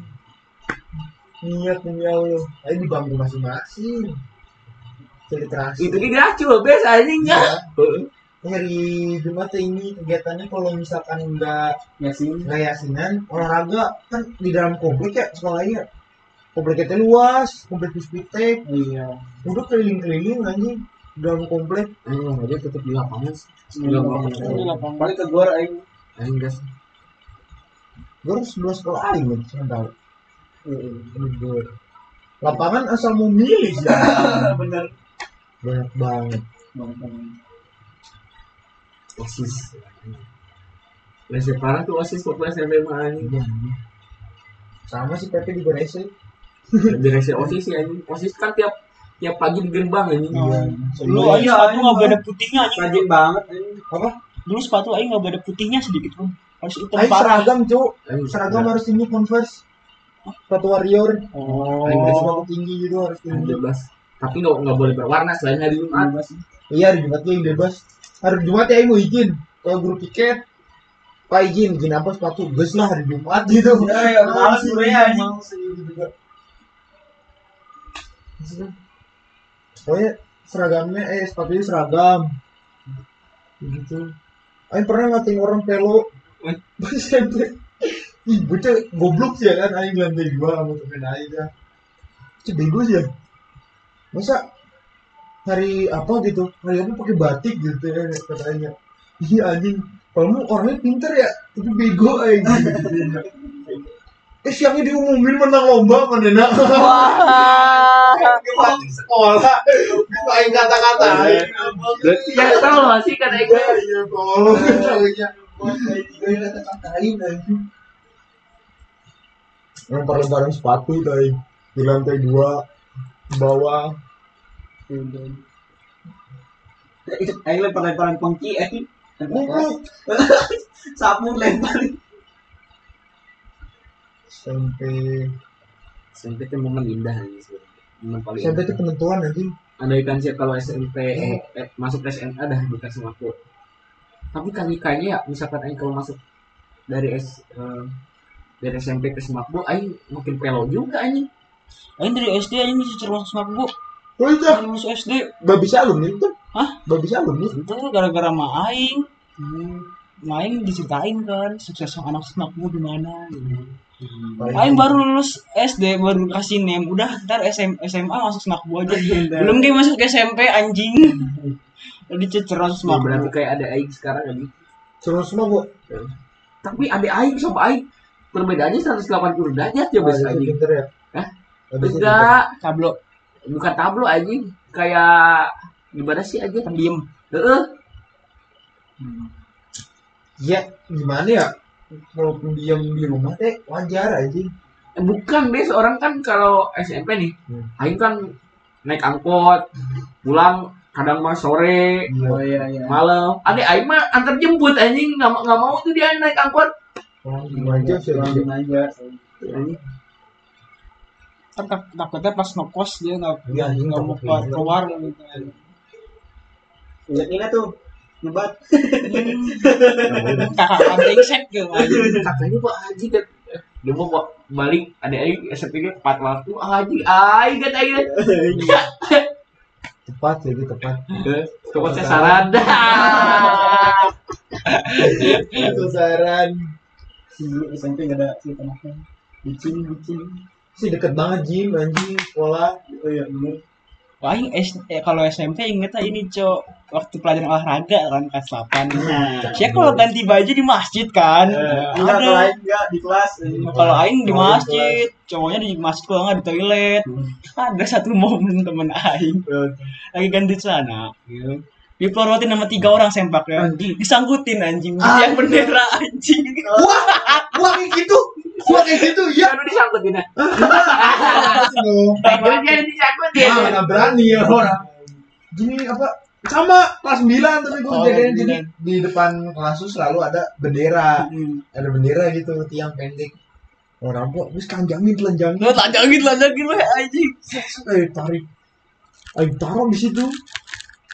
Speaker 4: Niat demi Allah Ayo di bangku masing-masing Filtrasi
Speaker 11: itu dia diracul bes
Speaker 4: Iya.
Speaker 11: anjingnya
Speaker 4: hari Jumat tuh ini kegiatannya kalau misalkan nggak
Speaker 3: Yasin.
Speaker 4: nggak yasinan olahraga kan di dalam komplek ya sekolahnya kompleknya tuh luas komplek puspitek
Speaker 3: Iya.
Speaker 4: udah keliling-keliling anjing dalam komplek
Speaker 11: anjing aja tetep di lapangan
Speaker 3: Iya, Balik ke gor aing.
Speaker 11: anjing gas
Speaker 4: gue harus sebelah sekolah lain lagi saya tahu Ini gue. lapangan asal mau milih ya
Speaker 3: Bener.
Speaker 4: banyak banget
Speaker 11: osis Lesnya parah tuh osis waktu SMP mah anjing
Speaker 4: Iya, anjing. sama sih tapi di Gresik
Speaker 11: direksi osis ya anjing osis kan tiap tiap pagi di gerbang anjing
Speaker 4: Sebelum-
Speaker 3: Iya,
Speaker 1: sepatu
Speaker 3: iya.
Speaker 1: nggak ada putihnya. anjing.
Speaker 3: Rajin banget aing.
Speaker 1: Dulu sepatu aing nggak ada putihnya sedikit pun. Harus hitam
Speaker 4: Ayo
Speaker 1: parah.
Speaker 4: seragam cu
Speaker 11: Anjing,
Speaker 4: seragam harus ini converse sepatu warrior
Speaker 1: Oh.
Speaker 11: Aing
Speaker 4: harus
Speaker 11: Gresik.
Speaker 4: sepatu tinggi gitu harus
Speaker 11: Yang
Speaker 4: tinggi
Speaker 11: bebas tapi nggak nggak boleh berwarna selain hari Jumat
Speaker 3: Bebas.
Speaker 4: iya hari Jumat yang bebas hari Jumat ya mau izin kalau guru piket pak izin izin apa sepatu gas lah hari Jumat gitu
Speaker 3: Iya, iya, males gue ya, anjing.
Speaker 4: Males gitu juga. Maksudnya, pokoknya seragamnya eh sepatunya seragam gitu Aing pernah ngatain orang pelo
Speaker 11: Eh?
Speaker 4: SMP Ih, bocah goblok sih ya kan Aing di lantai dua sama temen Aing ya Itu bego sih ya Masa hari apa gitu Hari apa pakai batik gitu ya kata Aing ya Iya anjing Kamu orangnya pinter ya Tapi bego Aing Eh siangnya diumumin menang lomba mana Di batik sekolah Aing kata-kata Aing
Speaker 11: ya tau sih kan Aing
Speaker 4: Iya, iya, tolong. Soalnya buat kayak gitu, ya, kata-katain, anjing. Lempar-lemparan sepatu dari di lantai dua ke bawah
Speaker 3: Aing lempar-lemparan pengki aing.
Speaker 4: Goblok.
Speaker 3: eh. Sapu lempar.
Speaker 4: SMP
Speaker 11: SMP itu momen indah anjing sebenarnya. momen paling
Speaker 4: SMP itu
Speaker 11: indah.
Speaker 4: penentuan nanti
Speaker 11: andaikan sih kalau SMP eh, eh, masuk SMA dah bukan aku tapi kali kayaknya ya misalkan Aing kalau masuk oh, dari S eh, dari SMP ke Semapbo Aing makin pelo juga anjing
Speaker 1: Aing dari SD aja nih termasuk semak bu.
Speaker 4: Oh itu
Speaker 1: Aing masuk SD.
Speaker 4: babi salum nih tuh.
Speaker 1: Hah?
Speaker 4: Babi salum nih.
Speaker 1: Itu gara-gara Ma Aing. Hmm. Ma Aing diceritain kan sukses anak semak bu gimana. Gitu. Aing baru lulus SD baru kasih name udah ntar SM, SMA masuk semak bu aja. Belum kayak masuk ke SMP anjing. Jadi ceceran
Speaker 11: Wah,
Speaker 1: semak bu.
Speaker 11: berarti kayak ada aing sekarang lagi.
Speaker 4: Terus semua gua.
Speaker 11: Tapi ada aing sama aing perbedaannya 180 derajat
Speaker 1: Oh,
Speaker 11: ya
Speaker 1: iya,
Speaker 11: bos
Speaker 4: Ah, itu
Speaker 11: anjing.
Speaker 4: pinter ya.
Speaker 11: Hah?
Speaker 4: Babi itu pinter.
Speaker 11: Enggak,
Speaker 1: Tablo
Speaker 11: bukan tablo anjing, kayak gimana sih aja?
Speaker 1: pendiam.
Speaker 11: Heeh.
Speaker 4: Iya, gimana ya? Kalau diam di rumah teh wajar aja.
Speaker 11: Eh, bukan deh seorang kan kalau SMP nih
Speaker 4: Hmm.
Speaker 11: Aing kan naik angkot pulang kadang mah sore
Speaker 4: Iya.
Speaker 3: iya iya.
Speaker 11: malam ada Aing mah antar jemput anjing nggak mau- nggak mau tuh dia naik angkot
Speaker 4: Orang
Speaker 3: Iya,
Speaker 4: aja sih.
Speaker 3: Kurangin aja.
Speaker 1: Kan tak- takutnya pas ngekos dia nggak
Speaker 4: Iya, anjing
Speaker 1: nggak mau
Speaker 4: takut
Speaker 1: keluar-
Speaker 4: juga.
Speaker 1: keluar gitu.
Speaker 3: Ingat ingat Iya, tuh. Nyebat.
Speaker 1: Kakak kambing set gitu. anjing.
Speaker 11: katanya pak Haji kan dia mau ba- balik ada Aing SMP nya empat waktu Haji Aing kan Aing
Speaker 4: Tepat jadi tepat.
Speaker 11: coba saya <laughs> saran
Speaker 4: Itu saran.
Speaker 3: Si dulu SMP gak ada si temannya. Bucin bucin.
Speaker 4: Si deket banget gym anjing sekolah.
Speaker 3: Oh iya bener.
Speaker 1: Paling S- eh, kalau SMP ingetnya ini cok waktu pelajaran olahraga kan kelas 8
Speaker 4: Iya.
Speaker 1: Saya kalau ganti baju di masjid kan.
Speaker 3: Enggak kalau
Speaker 1: Ada.
Speaker 3: lain enggak di kelas. eh.
Speaker 1: Kalau aing di
Speaker 4: Kalau aing
Speaker 1: masjid, cowoknya di masjid kalau nggak di toilet. <laughs> Ada satu momen temen aing lagi ganti celana. gitu. Dipelorotin sama tiga orang sempak ya. Disangkutin anjing. Yang bendera anjing.
Speaker 4: Wah kayak gitu. Wah kayak gitu ya.
Speaker 3: iya.
Speaker 11: Aduh disangkutin ya
Speaker 4: Aduh.
Speaker 11: Aduh disangkutin
Speaker 4: Mana berani ya orang. Gini apa? Sama kelas 9 tapi gue
Speaker 1: Oh,
Speaker 4: jagain jadi
Speaker 1: kelas sembilan.
Speaker 4: kan. di depan kelas tuh selalu ada bendera. Ada bendera gitu tiang pendek. Orang kok wis kanjangin telanjangin.
Speaker 1: Lu lanjangin, lanjangin lu anjing.
Speaker 4: Eh tarik. Ayo taruh di situ.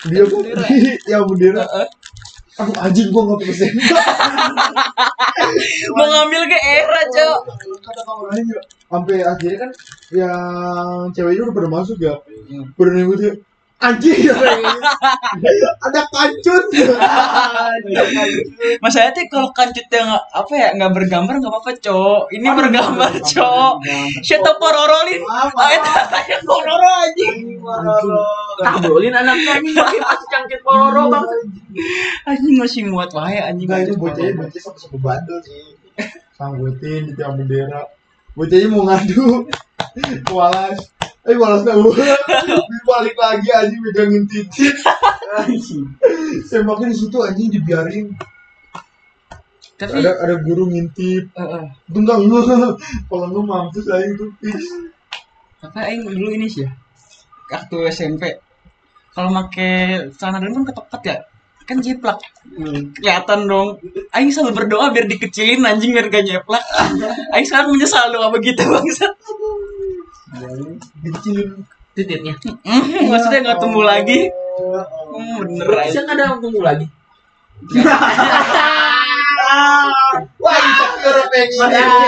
Speaker 4: Dia pun <laughs> ya bendera. Aku anjing gua nggak persen. <laughs>
Speaker 1: Mau ngambil ke era, cok.
Speaker 4: Kata kawan lain juga. Sampai akhirnya kan yang ceweknya udah pada masuk ya. Udah ngikutin anjing ya." ada kancut
Speaker 1: Masalahnya tuh ya, kalau kancutnya nggak apa ya nggak bergambar nggak apa-apa cok. Ini bergambar cok. Shit pororolin. <laughs> Ah itu yang pororo aja.
Speaker 11: Tabolin anaknya anjing pakai pas cangkir poloro bang
Speaker 1: Anjing masih muat wae anjing.
Speaker 4: Enggak itu bocahnya bocahnya sama sama bandel sih. Sanggutin di tiang bendera. Bocahnya mau ngadu. Walas. Eh walas tahu. Balik lagi anjing megangin titik. Sembaknya di situ anjing dibiarin.
Speaker 1: Tapi
Speaker 4: Ada ada guru ngintip.
Speaker 1: Heeh.
Speaker 4: Itu enggak enggak. <laughs> Kalau enggak mampus aja itu. Ih,
Speaker 1: apa aing dulu ini sih ya. Waktu SMP kalau make celana dalam kan ketepet ya kan jiplak Hmm. kelihatan dong Aing selalu berdoa biar dikecilin anjing biar gak <laughs> nyeplak Aing sekarang menyesal doa begitu <laughs> bangsat
Speaker 4: Dikecilin.
Speaker 11: titiknya
Speaker 1: Hmm, maksudnya nggak tumbuh lagi Hmm, bener
Speaker 11: Berarti
Speaker 1: aja
Speaker 11: siang ada yang tunggu lagi
Speaker 4: Wah, itu orang pengen.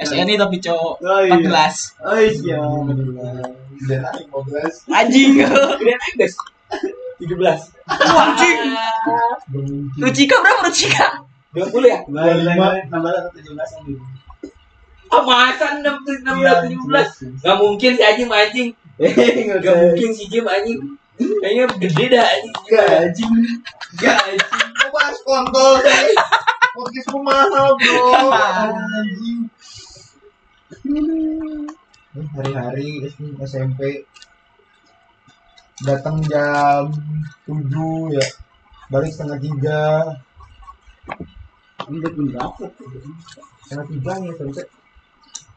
Speaker 1: SNI tapi cowok
Speaker 3: Iya. Oh iya.
Speaker 1: 14
Speaker 3: Oh iya.
Speaker 4: Dan aing 15.
Speaker 1: anjing
Speaker 11: Kemudian aing guys 17
Speaker 1: Wah, anjing Rucika berapa Rucika
Speaker 11: 20 ya?
Speaker 3: Nah, lima nambah satu tujuh belas anjing.
Speaker 11: Ah masa 6,
Speaker 3: Iya,
Speaker 11: 16, 17 Gak mungkin si anjing <laughs> mancing Gak mungkin si Jim anjing Kayaknya gede dah anjing
Speaker 4: Gajing.
Speaker 11: Gak anjing
Speaker 4: Kok bahas kontol sih? Podcast ku mahal bro. Anjing. Eh, Hari-hari SD, SMP datang jam 7 ya balik setengah tiga setengah tiga ya sampai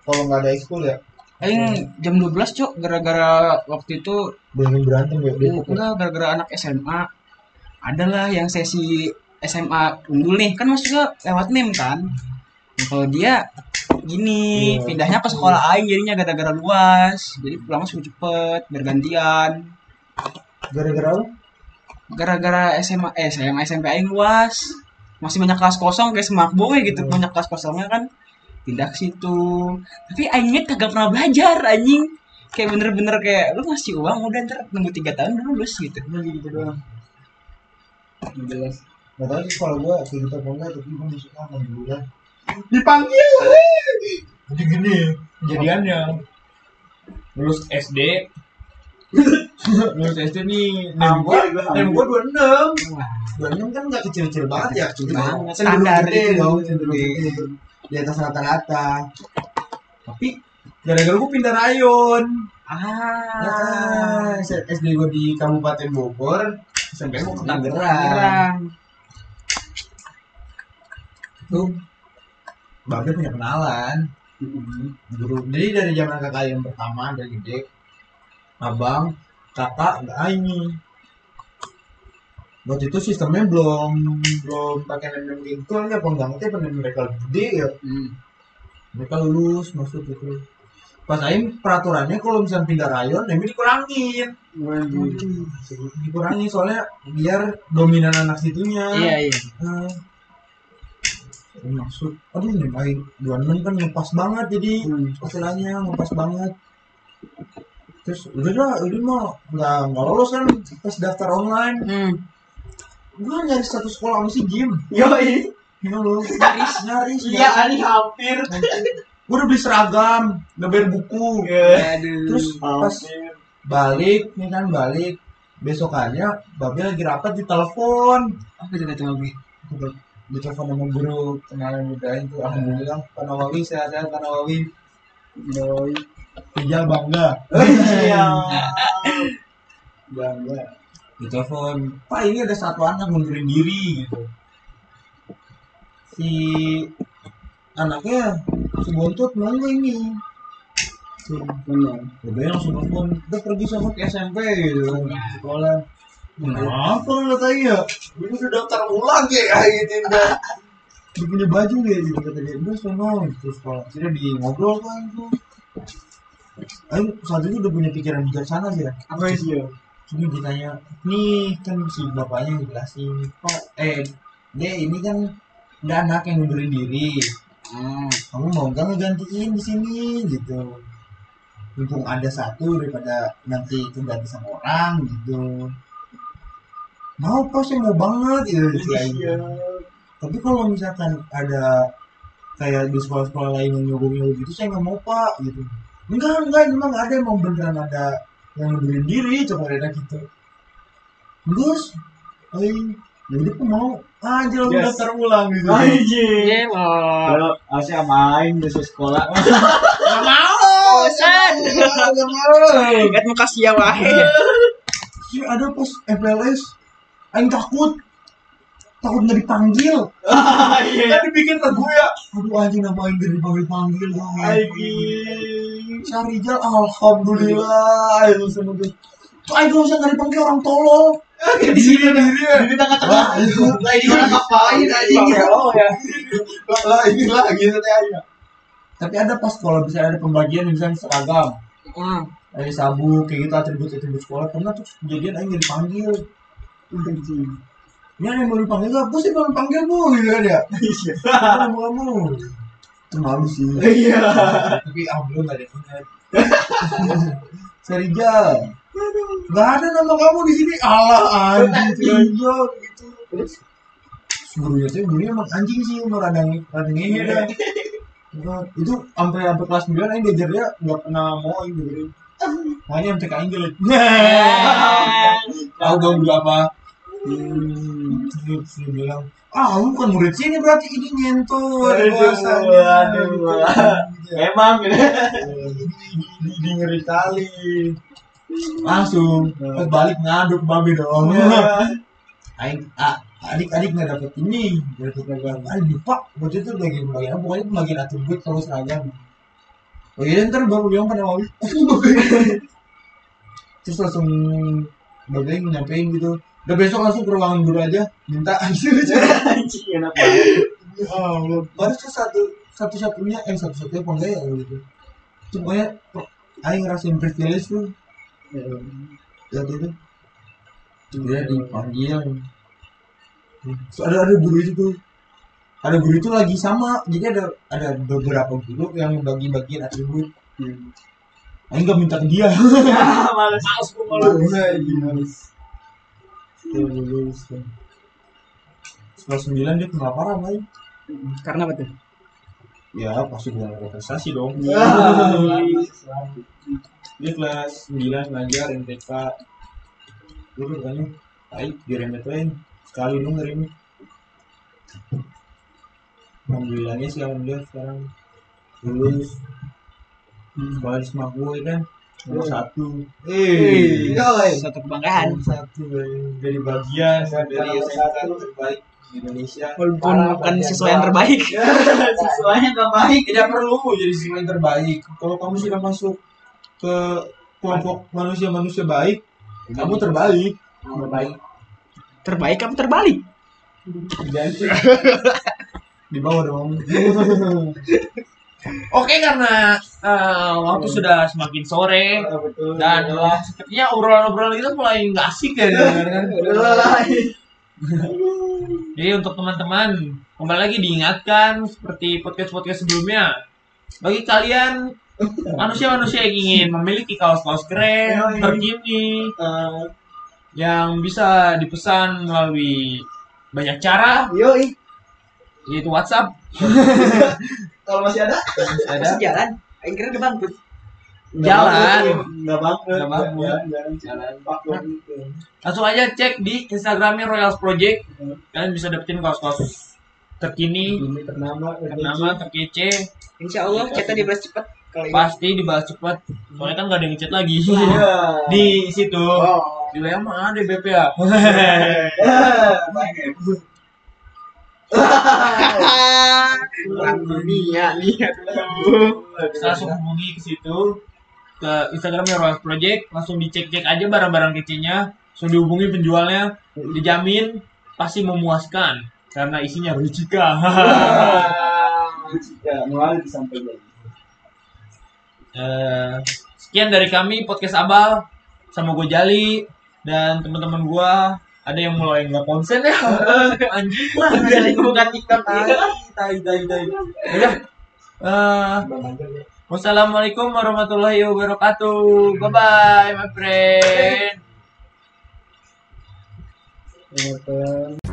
Speaker 4: kalau nggak ada ekskul ya
Speaker 1: Aing jam 12 cok gara-gara waktu itu
Speaker 4: belum berantem ya dia pukul.
Speaker 1: enggak gara-gara anak SMA adalah yang sesi SMA unggul nih kan maksudnya lewat meme kan Nah, kalau dia
Speaker 4: Iya.
Speaker 1: gini pindahnya ke sekolah aing jadinya gara-gara luas jadi pulang suruh cepet bergantian
Speaker 4: gara-gara apa?
Speaker 1: gara-gara SMA eh SMA SMP aing luas masih banyak kelas kosong kayak smart boy gitu banyak kelas kosongnya kan pindah ke situ tapi aingnya kagak pernah belajar anjing kayak bener-bener kayak lu ngasih uang udah ntar nunggu tiga tahun lu lulus gitu
Speaker 13: gitu doang
Speaker 1: jelas
Speaker 3: Gak tau sih sekolah gue kayak gitu apa enggak, tapi gue masuk kangen dulu ya.
Speaker 2: dipanggil jadi gini kejadiannya lulus SD lulus SD nih nem
Speaker 3: Apa?
Speaker 2: gua nem gua dua enam
Speaker 3: Bandung kan gak kecil-kecil banget ya, kecil banget.
Speaker 1: Nah, Standar
Speaker 3: gede
Speaker 1: itu.
Speaker 3: dong, cenderung gede. Di atas rata-rata.
Speaker 2: tapi gara-gara gua pindah rayon
Speaker 3: Ah, SD gue di Kabupaten Bogor, SMP mau ke Tangerang. Tuh, Babe punya kenalan. Guru, jadi dari zaman kakak yang pertama dari gede, abang, kakak, nggak ini. Waktu itu sistemnya belum belum pakai nem gitu, hanya pengganti penem mereka gede ya. Mereka lulus masuk itu. Pas Aing peraturannya kalau misalnya pindah rayon, nemnya dikurangin. Dikurangi soalnya biar dominan anak situnya.
Speaker 1: iya iya
Speaker 3: Eh, maksud aduh nih main dua enam kan ngepas banget jadi
Speaker 1: Hmm.
Speaker 3: istilahnya ngepas banget terus udah lah udah mau nggak nggak lolos kan pas daftar online
Speaker 1: hmm.
Speaker 3: gue nyari satu sekolah mesti gym
Speaker 1: Iya.
Speaker 4: Yoi.
Speaker 3: ya lo nyaris nyaris
Speaker 4: Iya, ini hampir.
Speaker 3: gue udah beli seragam udah bayar buku
Speaker 1: Iya. aduh
Speaker 3: terus pas balik nih kan balik besokannya babe lagi rapat di telepon
Speaker 1: apa coba coba gue
Speaker 3: di telepon sama guru kenalan muda itu alhamdulillah Pak Nawawi sehat-sehat Pak Nawawi Nawawi Ijal bangga
Speaker 4: Iya.
Speaker 3: <laughs> bangga di telepon Pak ini ada satu anak mundurin diri gitu si anaknya si buntut mau nggak ini Iya, Udah langsung telepon, udah pergi sama ke SMP gitu kan, sekolah. Kenapa lu tadi ya? Ini udah daftar ulang ya, gitu udah. Dia punya baju ya, gitu kata dia. Udah sono, terus sekolah. Akhirnya di ngobrol kan tuh. Ayo, saat itu udah punya pikiran bijaksana sih ya. Apa sih ya? Cuma ditanya, nih kan si bapaknya ngejelasin, Pak, eh, deh ini kan ada anak yang ngundurin diri. Kamu mau nggak ngegantiin di sini gitu mumpung ada satu daripada nanti itu ganti sama orang gitu mau pas ya, mau banget gitu istilahnya. tapi kalau misalkan ada kayak di sekolah-sekolah lain yang nyogok nyogok gitu saya nggak mau pak gitu enggak enggak ini mah nggak ada emang beneran ada yang ngundurin diri coba ada gitu terus eh ya udah aku mau ah aja langsung
Speaker 4: Yes.
Speaker 3: daftar ulang gitu
Speaker 4: Anjing.
Speaker 1: iya loh
Speaker 4: Kalau Asia main di sekolah.
Speaker 1: bosan lihat muka sia wae
Speaker 3: Terus ada pas FLS Aing takut Takut nggak dipanggil
Speaker 2: kan dibikin lagu ya
Speaker 3: Aduh anjing nama Aing gak dipanggil-panggil
Speaker 2: Aigin
Speaker 3: Sarijal Alhamdulillah Itu semua tuh Tuh Aing gak usah nggak dipanggil orang tolol
Speaker 2: di sini di sini
Speaker 4: Di tengah-tengah. Lah ini orang ngapain anjing ya?
Speaker 2: lagi lagi
Speaker 3: Tapi ada pas kalau misalnya ada pembagian misalnya seragam Dari sabu kayak gitu atribut-atribut sekolah Pernah tuh kejadian Aing nggak dipanggil Ini ada yang mau dipanggil gak? Bos sih mau dipanggil bu gitu kan ya Iya Mau kamu Terlalu sih
Speaker 2: iya
Speaker 3: tapi alhamdulillah gak ada yang <laughs> ingat Serijal nggak ada nama kamu di sini Allah anjing Serijal gitu terus gurunya tuh gurunya emang anjing sih emang radang radang ini dah Nah, itu sampai sampai kelas 9 aja diajar dia nggak pernah mau aja gitu makanya sampai kain jelek tahu dong gue apa terus dia bilang ah lu bukan murid sini berarti ini nyentuh ada kuasanya
Speaker 4: oh ya.
Speaker 3: Gitu.
Speaker 4: Emang gitu.
Speaker 3: Di- di- di ngeri kali langsung pas balik ngaduk babi dong aing a- ah, adik-adik nggak dapet ini nggak dapet seragam aing lupa waktu itu bagian bagian apa pokoknya bagian atribut sama seragam oh iya ntar baru bilang pada mau <laughs> terus langsung bagian nyampein gitu udah besok langsung ke ruangan guru aja minta <laughs> anjir
Speaker 4: Anjing enak banget.
Speaker 3: Oh, baru tuh satu satu satunya eh satu satunya apa enggak ya gitu Itu pokoknya aing ngerasain privilege tuh ya itu dia dipanggil Terus ada ada guru itu tuh
Speaker 14: ada guru itu lagi sama jadi ada ada beberapa guru yang bagi-bagiin atribut
Speaker 1: Hmm.
Speaker 14: Aing gak minta ke
Speaker 1: <laughs>
Speaker 14: dia
Speaker 2: males males gue males
Speaker 14: Nah, gimana?
Speaker 1: Iya,
Speaker 14: Ya, lulus. Setelah sembilan dia kenal parah Aing
Speaker 1: Karena apa tuh? Iya.
Speaker 14: ya pasti bukan prestasi dong dia kelas 9 ngajar MTK dulu katanya baik diremetin sekali dong hari ini alhamdulillahnya sih alhamdulillah sekarang lulus sekolah di Semakboy kan nomor satu eh
Speaker 1: Satu kebanggaan.
Speaker 14: nomor satu eh. dari bagian dari SMK terbaik di Indonesia
Speaker 1: Walaupun
Speaker 14: Parah,
Speaker 1: bukan
Speaker 14: bagian
Speaker 1: siswa yang
Speaker 14: doang.
Speaker 1: terbaik.
Speaker 14: siswanya terbaik tidak perlu jadi siswa yang terbaik kalau kamu sudah masuk ke kelompok manusia-manusia baik kamu terbaik terbaik
Speaker 1: Terbaik kamu terbalik.
Speaker 14: Jadi, di bawah dong
Speaker 2: Oke karena eh, waktu sudah semakin sore dan sepertinya obrolan-obrolan kita mulai nggak asik ya. Jadi untuk teman-teman kembali lagi diingatkan seperti podcast-podcast sebelumnya bagi kalian manusia-manusia yang ingin memiliki kaos-kaos keren terkini eh, yang bisa dipesan melalui banyak cara
Speaker 4: Yoi,
Speaker 2: yaitu WhatsApp
Speaker 4: kalau masih ada,
Speaker 2: ada
Speaker 1: Jalan. Aing kira dia bangkrut.
Speaker 2: jalan
Speaker 4: nggak bangkrut.
Speaker 2: Nggak bangkrut.
Speaker 4: Jalan, jalan, jalan.
Speaker 2: langsung aja cek di Instagramnya Royals Project kalian bisa dapetin kaos-kaos terkini
Speaker 4: Ini ternama,
Speaker 2: ternama terkece
Speaker 1: Insya Allah chatnya dibalas cepat. Kalau ini.
Speaker 2: pasti dibahas cepat soalnya kan gak ada yang ngechat lagi <laughs> di situ di WA mah ada BP <laughs> ya
Speaker 4: Iya, iya.
Speaker 2: Bisa langsung hubungi ke situ ke Instagramnya Royals Project langsung dicek-cek aja barang-barang kecilnya langsung dihubungi penjualnya dijamin pasti memuaskan karena isinya rucika <laughs>
Speaker 4: Ya, mulai sampai jadi.
Speaker 2: Eh, sekian dari kami podcast Abal sama gue Jali dan teman-teman gue ada yang mulai nggak konsen ya anjing lah Jali bukan tiktok udah Eh, wassalamualaikum warahmatullahi wabarakatuh bye bye my friend